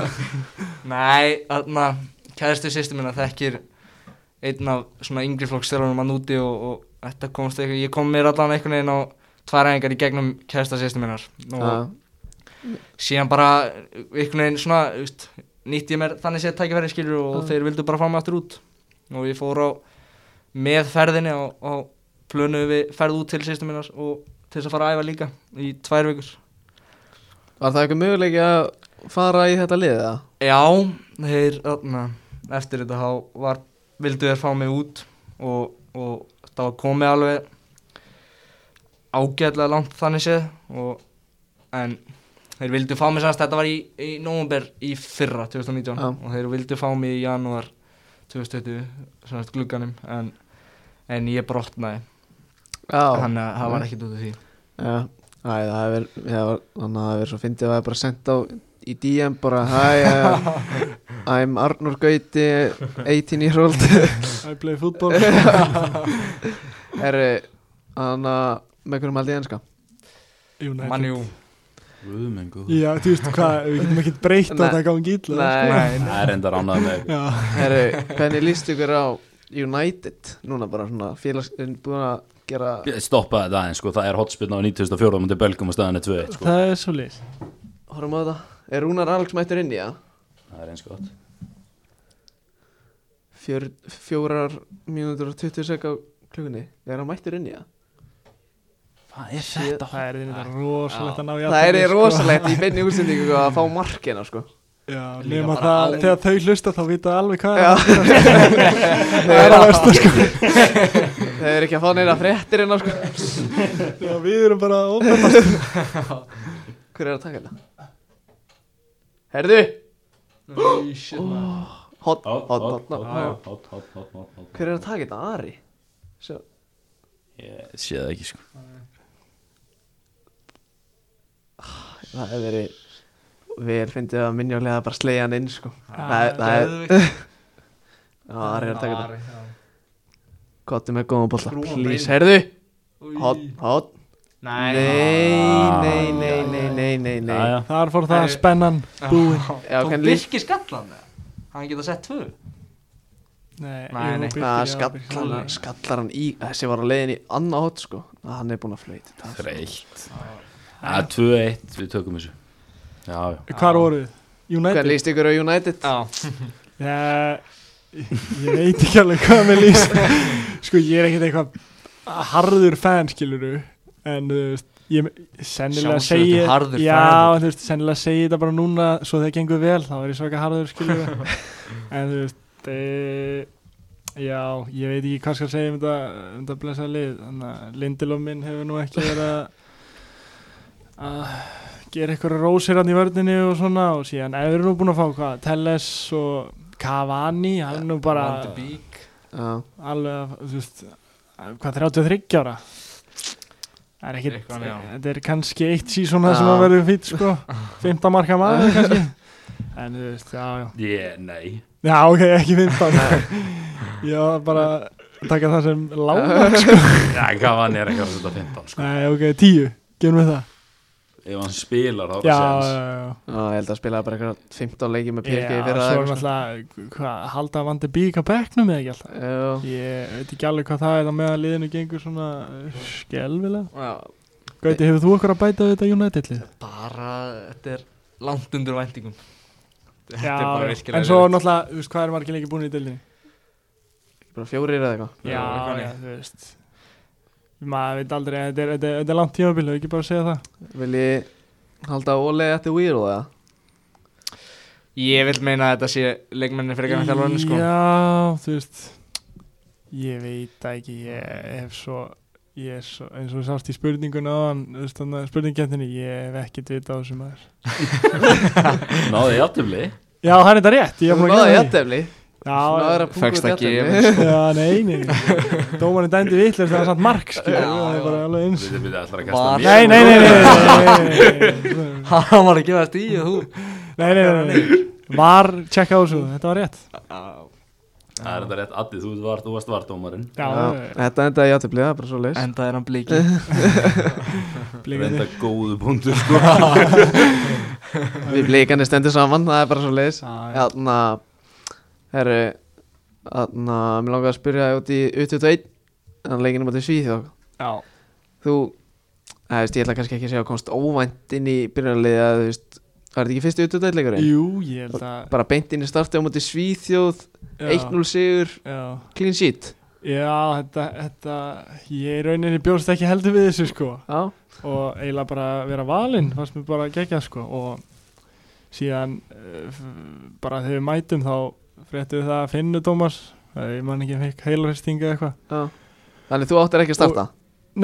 [SPEAKER 4] Nei, þarna kæðistu sýstir minna þekkir einn af svona yngri flokkstelunum að núti og, og þetta komst eitthvað, ég kom mér allan einhvern veginn á tværæðingar í gegnum kæðista sýstir minnar og
[SPEAKER 1] Já,
[SPEAKER 4] síðan bara einhvern veginn svona, veist, nýtti ég mér þannig séð tækifæri skilur og
[SPEAKER 1] Já.
[SPEAKER 4] þeir vildu bara fá mig aftur út og ég fór á með ferðinni og, og plönuðu við ferð út til sýstir minnar og til þess að fara að æfa líka í tvær vikur
[SPEAKER 1] Var það eitthvað möguleiki að fara í þetta lið eða?
[SPEAKER 4] Já, þeir, öfna, eftir þetta þá var, vildu þeir fá mig út og, og það var komið alveg ágætlega langt þannig séð og, en þeir vildu fá mig sannst, þetta var í, í nómumber í fyrra 2019
[SPEAKER 1] Já.
[SPEAKER 4] og þeir vildu fá mig í janúar 2020, sannst glugganum en, en ég brotnaði,
[SPEAKER 1] Já,
[SPEAKER 4] þannig að það
[SPEAKER 1] Mm.
[SPEAKER 4] var ekkert út af því.
[SPEAKER 1] já Æ, það hefur það var- þannig að það hefur svo fyndið að það er bara sendt á í DM bara Hæ, uh, I'm Arnur Gauti 18 year old
[SPEAKER 3] I play football
[SPEAKER 1] Herru, þannig að með hvernig haldið enska
[SPEAKER 3] United
[SPEAKER 4] Manjú,
[SPEAKER 2] Guðmenn góð
[SPEAKER 3] Já, þú veist hvað, við getum ekkert breytt að
[SPEAKER 1] Nei.
[SPEAKER 3] það gangi illa sko.
[SPEAKER 1] Nei,
[SPEAKER 2] Það er enda ránað með
[SPEAKER 3] Já,
[SPEAKER 1] herru, hvernig líst ykkur á United núna bara svona félags, búin að gera
[SPEAKER 2] Stoppa þetta aðeins sko, það er hotspilna á 94 mútið belgum og staðan er 2 sko.
[SPEAKER 3] það er svo list
[SPEAKER 1] horfum á þetta, er Rúnar Alex mættur inn í það?
[SPEAKER 2] Það er eins gott
[SPEAKER 1] Fjör, fjórar mínútur og 20 sek á klukkunni er hann mættur inn í það?
[SPEAKER 2] Hvað er
[SPEAKER 1] Sjö-
[SPEAKER 2] þetta?
[SPEAKER 3] Það er þetta rosalegt að ná í
[SPEAKER 1] það er
[SPEAKER 3] athygli, sko.
[SPEAKER 1] rosalegt í beinni útsendingu að fá markina sko
[SPEAKER 3] Já,
[SPEAKER 4] Líka
[SPEAKER 3] nema
[SPEAKER 4] bara
[SPEAKER 3] það,
[SPEAKER 4] án-
[SPEAKER 3] þegar þau hlusta þá vita þau alveg hvað er
[SPEAKER 1] Já.
[SPEAKER 3] að gerast. Það er að versta sko
[SPEAKER 1] það er ekki að fá neina fréttir en sko
[SPEAKER 3] Já, við erum bara óbæðast
[SPEAKER 1] hver er að taka þetta? herðu,
[SPEAKER 4] Nei, shit, maður.
[SPEAKER 1] hot,
[SPEAKER 2] Hot,
[SPEAKER 1] hot, hot, hot,
[SPEAKER 2] hot, hot, hot, hot, hot, hot.
[SPEAKER 1] hver er að taka þetta? Ari? Sjá,
[SPEAKER 2] Ég sé það ekki sko
[SPEAKER 1] það hefur verið vel fyndið að minnjálega bara slegja hann inn sko.
[SPEAKER 4] Það
[SPEAKER 1] það er-
[SPEAKER 4] geðveikt.
[SPEAKER 1] Já, Ari er að taka þetta
[SPEAKER 4] Ari, já.
[SPEAKER 1] Kottu með góðan bolla,
[SPEAKER 4] Skrúfa hann
[SPEAKER 1] please,
[SPEAKER 4] bein.
[SPEAKER 1] heyrðu
[SPEAKER 4] Új.
[SPEAKER 1] Hot, hot Nei,
[SPEAKER 4] Nei
[SPEAKER 1] nei, nei, nei, nei, nei, nei
[SPEAKER 2] Jæja.
[SPEAKER 3] Þar fór það
[SPEAKER 4] Herri.
[SPEAKER 3] spennan búin
[SPEAKER 1] Já,
[SPEAKER 4] Tók
[SPEAKER 1] kann lí-
[SPEAKER 4] Ah. Birkir skallan eða? Hann geta sett tvö
[SPEAKER 3] Nei,
[SPEAKER 4] Nei,
[SPEAKER 3] jú,
[SPEAKER 4] nei.
[SPEAKER 3] Birkir,
[SPEAKER 1] Það
[SPEAKER 3] já, Birkir.
[SPEAKER 1] skallar, hann- skallar hann í Þessi var á leiðin í annað hot sko Að Hann er búinn að flöyti
[SPEAKER 2] Þreitt Það er 2-1, við tökum þessu Já, já
[SPEAKER 3] Hvar voruð? þið?
[SPEAKER 1] Hvernig
[SPEAKER 3] United?
[SPEAKER 1] líst ykkur á United?
[SPEAKER 4] Já
[SPEAKER 3] Já, ég veit ekki alveg hvað mér líst Sko, ég er ekkert eitthvað harður fan, skiluru En þú veist, ég sennilega
[SPEAKER 4] Sjálfsögðu
[SPEAKER 3] segi
[SPEAKER 4] ertu harður
[SPEAKER 3] Já,
[SPEAKER 4] fan.
[SPEAKER 3] en þú veist, sennilega segi þetta bara núna Svo þegar gengur vel, þá er ég svaka harður, skiluru En þú veist, e, já, ég veit ekki hvað skal segja um þetta Um þetta blessa lið Þannig að Lindelöf minn hefur nú ekki verið að að gera eitthvað rósir hann í vördinni og svona og síðan er nú búin að fá hvað Telles og Cavani hann er nú bara
[SPEAKER 4] Van de Beek.
[SPEAKER 1] Já,
[SPEAKER 3] alveg að, þú veist hvað 33 ára það er ekkit
[SPEAKER 4] Eitthvað, já.
[SPEAKER 3] þetta er kannski eitt sísón það sem
[SPEAKER 1] Já.
[SPEAKER 3] að verður fýtt sko 15 marka maður kannski en þú veist já já
[SPEAKER 2] Ég, nei
[SPEAKER 3] já ok ekki 15 já bara taka það sem lág
[SPEAKER 2] Já, hvað hann er ekki að setja 15 sko.
[SPEAKER 3] nei ok 10 gefum við það
[SPEAKER 2] Ef hann spilar þá er
[SPEAKER 3] já
[SPEAKER 2] það
[SPEAKER 3] já
[SPEAKER 2] séns.
[SPEAKER 3] já
[SPEAKER 1] Já, ég held að spila bara eitthvað 15 leiki með
[SPEAKER 3] Já,
[SPEAKER 1] PSG fyrir
[SPEAKER 3] svo er náttúrulega, hvað, halda að vandi bík á bekknum eða ekki alltaf?
[SPEAKER 1] Já,
[SPEAKER 3] Ég veit ekki alveg hvað það er það með að liðinu gengur svona uh, skelvilega.
[SPEAKER 4] Já
[SPEAKER 3] Gauti, hefur þú okkur að bæta við þetta United-lið?
[SPEAKER 4] Bara Þetta er langt undir væntingum Þetta er bara virkilega
[SPEAKER 3] en svo
[SPEAKER 4] erfitt.
[SPEAKER 3] náttúrulega, þú veist, hvað er margir leikir búin í dildinni?
[SPEAKER 1] bara fjórir eða eitthvað
[SPEAKER 4] Já, eitthvað þannig.
[SPEAKER 3] þú veist. Maður veit aldrei, þetta er, þetta er, þetta er langt tímabil, hefur ekki bara að segja það?
[SPEAKER 1] Vilji halda Ole at the wheel eða?
[SPEAKER 4] Ég vil meina að þetta sé leikmennin frekar en þjálfarinn sko
[SPEAKER 3] Já, þú veist, ég veit það ekki, ég hef svo, ég er svo, eins og þú sást í spurningun áðan, þú veist, þannig að spurningkjöndinni, ég hef ekkert vita á þessu maður.
[SPEAKER 2] Náði játtumli
[SPEAKER 3] Já, það er þetta rétt, ég hef búin að
[SPEAKER 1] Náðu
[SPEAKER 3] gera það.
[SPEAKER 1] jættefli
[SPEAKER 3] Já,
[SPEAKER 4] Fékkst ekki yfir.
[SPEAKER 3] já, nei, nei, nei. Dómarinn dæmdi vitlega það var samt mark, skilur,
[SPEAKER 4] Já,
[SPEAKER 3] það
[SPEAKER 4] já.
[SPEAKER 3] er bara alveg eins.
[SPEAKER 2] Þetta byrja allra að
[SPEAKER 4] Var-
[SPEAKER 2] kasta mér
[SPEAKER 3] Nei, nei, nei, nei, nei, nei, nei,
[SPEAKER 4] Hann var að gefa þetta í og þú
[SPEAKER 3] nei, nei, nei, nei, var, tjekka á þessu, þetta var rétt.
[SPEAKER 2] Það er þetta rétt, Addi, þú var, þú varst vardómarinn
[SPEAKER 3] Já,
[SPEAKER 1] Þetta endaði jættefli, það er bara svo leis
[SPEAKER 4] Enda er hann blíki
[SPEAKER 2] Reynda
[SPEAKER 3] blíkandi.
[SPEAKER 2] góðu punktur sko
[SPEAKER 1] Við blíkanir stendur saman, það er bara svo leis
[SPEAKER 3] Já, já.
[SPEAKER 1] Þarna, herru Þarna, mér langar að spyrja þig út í U21 Þannig leikinu mútið Svíþjóð
[SPEAKER 3] Já,
[SPEAKER 1] Þú, það veist, ég ætla kannski ekki að segja komst óvænt inn í byrjunarliði að þú veist, var þetta ekki fyrstu U21 leikurinn?
[SPEAKER 3] jú, ég held að,
[SPEAKER 1] Bara beint inn í starti á mútið Svíþjóð
[SPEAKER 3] já,
[SPEAKER 1] 1-0 sigur,
[SPEAKER 3] já,
[SPEAKER 1] clean sheet
[SPEAKER 3] já, þetta, þetta, ég í rauninni bjóst ekki heldur við þessu, sko.
[SPEAKER 1] Já,
[SPEAKER 3] og eiginlega bara vera valinn fannst mér bara gegja sko og síðan eh, f- bara þegar við mætum þá fréttum við það að finna Tómas Eh, ég man ekki að fekk heilarhestinga eitthvað
[SPEAKER 1] já Þannig þú áttir ekki að starta?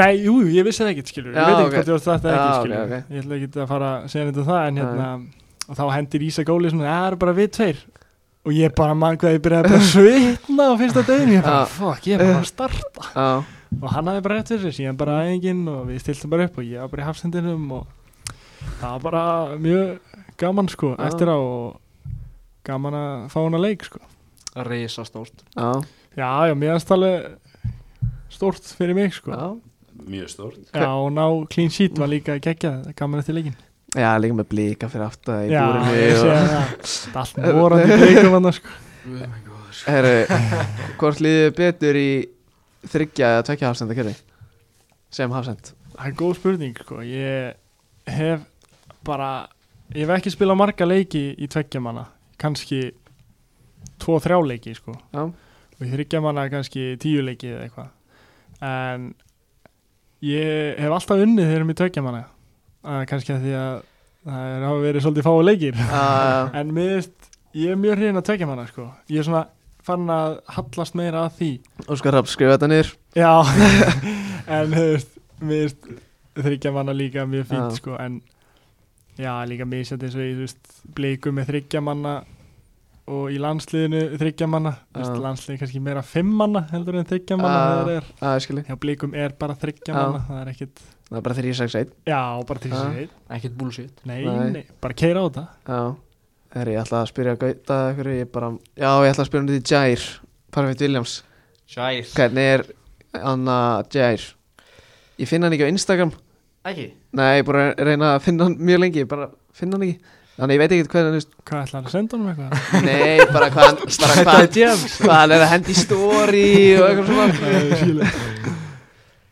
[SPEAKER 3] Nei, jú, jú, ég vissi það ekkert skilur
[SPEAKER 1] Já,
[SPEAKER 3] ég veit ekki
[SPEAKER 1] ok.
[SPEAKER 3] hvort ég var þetta
[SPEAKER 1] Já,
[SPEAKER 3] ekki
[SPEAKER 1] ok,
[SPEAKER 3] skilur
[SPEAKER 1] ok.
[SPEAKER 3] ég ætla ekki að fara að segja þetta það en hérna, og þá hendir Ísa Góli svona, "Ja, það eru bara við tveir og ég bara mann hvað ég byrjaði bara að svitna á fyrsta deginu, ég bara,
[SPEAKER 1] Já.
[SPEAKER 3] fuck, ég er bara að starta
[SPEAKER 1] Já,
[SPEAKER 3] og hann hafði bara rétt fyrir sér, síðan bara aðeingin og við stiltum bara upp og ég var bara í hafsendinum og það var bara mjög gaman sko,
[SPEAKER 1] Já.
[SPEAKER 3] eftir á og gaman að fá hann að leik sko.
[SPEAKER 4] Risa stórt
[SPEAKER 1] já,
[SPEAKER 3] Já, já, mér finnst alveg stórt fyrir mig sko.
[SPEAKER 1] já
[SPEAKER 2] Mjög stórt
[SPEAKER 3] Já, og ná clean sheet var líka geggjað, gaman eftir leikin.
[SPEAKER 1] Já, líka með blíka fyrir aftan í
[SPEAKER 3] Já, ég
[SPEAKER 1] búrinu
[SPEAKER 3] sé
[SPEAKER 1] og...
[SPEAKER 3] það, það er allt morandi í leikum hann sko.
[SPEAKER 1] Herru, hvort líður betur í þryggja eða tvekja hafsenda kjöri? Sem hafsend
[SPEAKER 3] Það er góð spurning sko, ég hef bara, ég hef ekki spilað marga leiki í tveggja manna, kannski tvo þrjá leiki sko
[SPEAKER 1] Já.
[SPEAKER 3] og í þryggja manna kannski tíu leiki eða eitthvað en ég hef alltaf unnið þegar um í tveggja manna að kannski að því að það er hafa verið svolítið fáið leikir
[SPEAKER 1] Já,
[SPEAKER 3] en miðist, ég er mjög hrifin að tveggja manna sko, ég er svona fann að hallast meira að því
[SPEAKER 1] Óskar Rapp, skrifa þetta niður
[SPEAKER 3] Já, en þú veist, mér veist þryggja manna líka mjög fínt
[SPEAKER 1] Já.
[SPEAKER 3] sko, en já, líka misjandi eins og ég, þú veist, blíkum með þryggja manna og í landsliðinu þryggja manna
[SPEAKER 1] Já.
[SPEAKER 3] uh. landsliðinu kannski meira fimm manna heldur en þryggja manna
[SPEAKER 1] Já.
[SPEAKER 3] þegar er
[SPEAKER 1] að Uh, ég skilji
[SPEAKER 3] hjá blíkum er bara þryggja
[SPEAKER 1] Já.
[SPEAKER 3] manna það er ekkit,
[SPEAKER 1] það er bara 361
[SPEAKER 3] já, bara til
[SPEAKER 1] Já.
[SPEAKER 3] þessi uh.
[SPEAKER 4] ekkert bullshit
[SPEAKER 3] nei,
[SPEAKER 1] Nei.
[SPEAKER 3] nei, bara keira á þetta
[SPEAKER 1] já er ég ætla að spyrja Gauta ykkur ég bara já ég ætla að spyrja um þetta í Jair Parfait Williams
[SPEAKER 4] Sjæl
[SPEAKER 1] hvernig er hann að Jair ég finna hann ekki á Instagram
[SPEAKER 4] Ekki
[SPEAKER 1] nei ég er búin að reyna að finna hann mjög lengi ég bara finna hann ekki þannig ég veit ekki hvernig hann
[SPEAKER 3] hvað ætlar að senda honum eitthvað?
[SPEAKER 1] Nei, bara hvað hann bara hvað hann- hvað hann er að hendi stóri og eitthvað svona
[SPEAKER 3] Nei, skilur.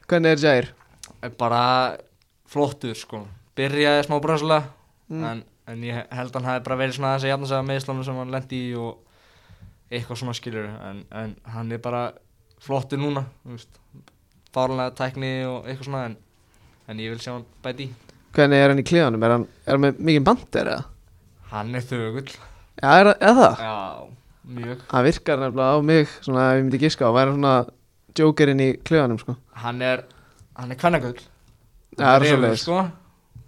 [SPEAKER 1] Hvernig er Jair?
[SPEAKER 4] Bara flottur sko Byrjaði smá brösla
[SPEAKER 1] Mm.
[SPEAKER 4] en, en ég held hann hafi bara verið svona þessi jafnarsæða meðslunum sem hann lendi í og eitthvað svona skilur en, en hann er bara flottur núna þú veist. fárlega tækni og eitthvað svona en, en ég vil sjá hann bæti í
[SPEAKER 1] Hvernig er hann í klíðanum? Er hann, er hann með mikið bandir eða?
[SPEAKER 4] hann er þögull
[SPEAKER 1] Já, er, er það?
[SPEAKER 4] já, mjög
[SPEAKER 1] Hann virkar nefnilega á mig svona ef ég myndi giska og væri svona jokerinn í klíðanum sko
[SPEAKER 4] hann er hann er kvennagull
[SPEAKER 1] Já, það er svoleiðis.
[SPEAKER 4] sko.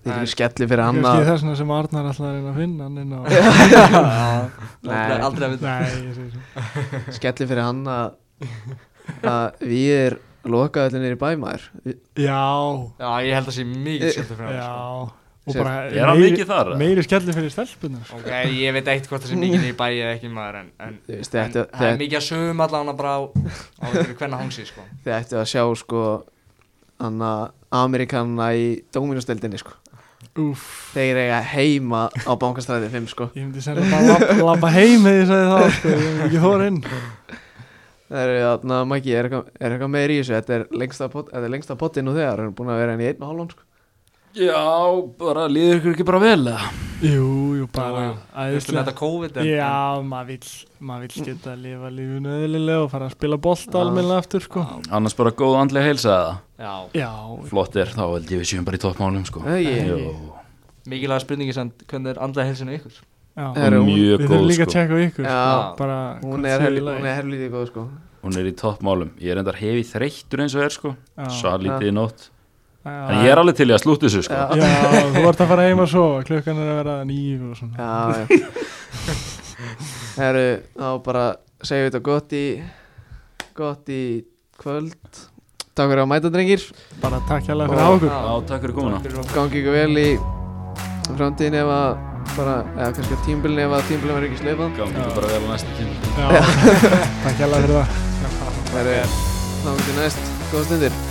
[SPEAKER 1] Það er ekki skelli fyrir hann
[SPEAKER 3] kannski
[SPEAKER 1] að
[SPEAKER 3] þess vegna sem Arnar ætlar að reyna að finna hann inn á
[SPEAKER 4] aldrei,
[SPEAKER 1] Nei.
[SPEAKER 4] aldrei að vita
[SPEAKER 3] nei, ég segi svo
[SPEAKER 1] skelli fyrir hann að að við er lokað allir niður í bæmaður
[SPEAKER 3] já,
[SPEAKER 4] já, ég held að sé mikið skemmt fyrir hann sko.
[SPEAKER 3] Já og
[SPEAKER 1] Sér-
[SPEAKER 3] bara
[SPEAKER 2] Er hann
[SPEAKER 3] meiri,
[SPEAKER 2] mikið þar, eða?
[SPEAKER 3] meiri skellir fyrir stelpunar
[SPEAKER 4] ok, ég veit eitt hvort það sé mikið niður í bæ eða ekki maður en, en,
[SPEAKER 1] Þú veist,
[SPEAKER 4] en
[SPEAKER 1] þetta-
[SPEAKER 4] það
[SPEAKER 1] þetta-
[SPEAKER 4] er mikið að sögum allan að bara á, á ykkur hvernig hangsi sko.
[SPEAKER 1] Þið ættu að sjá sko hann að Amerikanna í Dóminustöldinni sko
[SPEAKER 3] Úff,
[SPEAKER 1] Þeir eiga heima á bankastræði 5 sko
[SPEAKER 3] ég myndi sennilega bara labba, labba heim eða ég segi það sko, ég myndi ekki þóra inn
[SPEAKER 1] Það eru þarna, Maggi, er eitthvað, er eitthvað meir í þessu? Þetta er lengsta, pot, þetta er lengsta potin og þegar, við erum búin að vera henni í einn og hálfan, sko.
[SPEAKER 2] Já, bara líður ykkur ekki bara vel eða?
[SPEAKER 3] Jú, jú, bara
[SPEAKER 4] Jú, jú. Viltu með
[SPEAKER 3] æðislega
[SPEAKER 4] þetta COVID en,
[SPEAKER 3] Já, maður vill, maður vill geta að lifa lífinu öðlilega og fara að spila bolta almennilega aftur sko
[SPEAKER 2] Annars bara góð andlega heilsa eða?
[SPEAKER 4] en, já,
[SPEAKER 3] Já,
[SPEAKER 2] Flott er, þá held ég við séum bara í toppmálum sko
[SPEAKER 1] Nei, ég-
[SPEAKER 2] Jú.
[SPEAKER 4] mikilvæga spurningi sem hvernig er andlega helsinu ykkur
[SPEAKER 3] já
[SPEAKER 1] Er- Herru, hún-
[SPEAKER 2] Mjög
[SPEAKER 3] Við
[SPEAKER 2] góð
[SPEAKER 3] þurfum líka að
[SPEAKER 2] sko
[SPEAKER 3] tjekka á ykkur
[SPEAKER 1] Já.
[SPEAKER 3] sko, bara
[SPEAKER 1] Hún
[SPEAKER 3] hvað
[SPEAKER 1] er,
[SPEAKER 3] séu í
[SPEAKER 1] helvi,
[SPEAKER 3] lagi.
[SPEAKER 1] hún er helvítið góð, sko.
[SPEAKER 2] Hún er í toppmálum Ég er endar hefi þreyttur eins og er sko
[SPEAKER 3] Já.
[SPEAKER 2] Svalítið í nótt En
[SPEAKER 3] Já,
[SPEAKER 2] ég er alveg til í að slúta þessu sko
[SPEAKER 1] Já.
[SPEAKER 3] já, þú vart að fara heim að sofa klukkan er að vera nýju og svona
[SPEAKER 1] Já, já. Það eru, þá bara segjum við þetta gott í, gott í kvöld. Takk fyrir að mæta, drengir.
[SPEAKER 3] Bara takk hérlega fyrir áhugur
[SPEAKER 2] Já, takk fyrir komuna
[SPEAKER 1] Gangi ykkur vel í framtíðin ef að, bara, eða kannski á tímbilin ef að tímbilin verður ekki sleipað.
[SPEAKER 2] Gangi ykkur bara vel á næsta tíma
[SPEAKER 3] Já. Takk hérlega fyrir það
[SPEAKER 1] Það eru, þá erum við næst, góða stundir.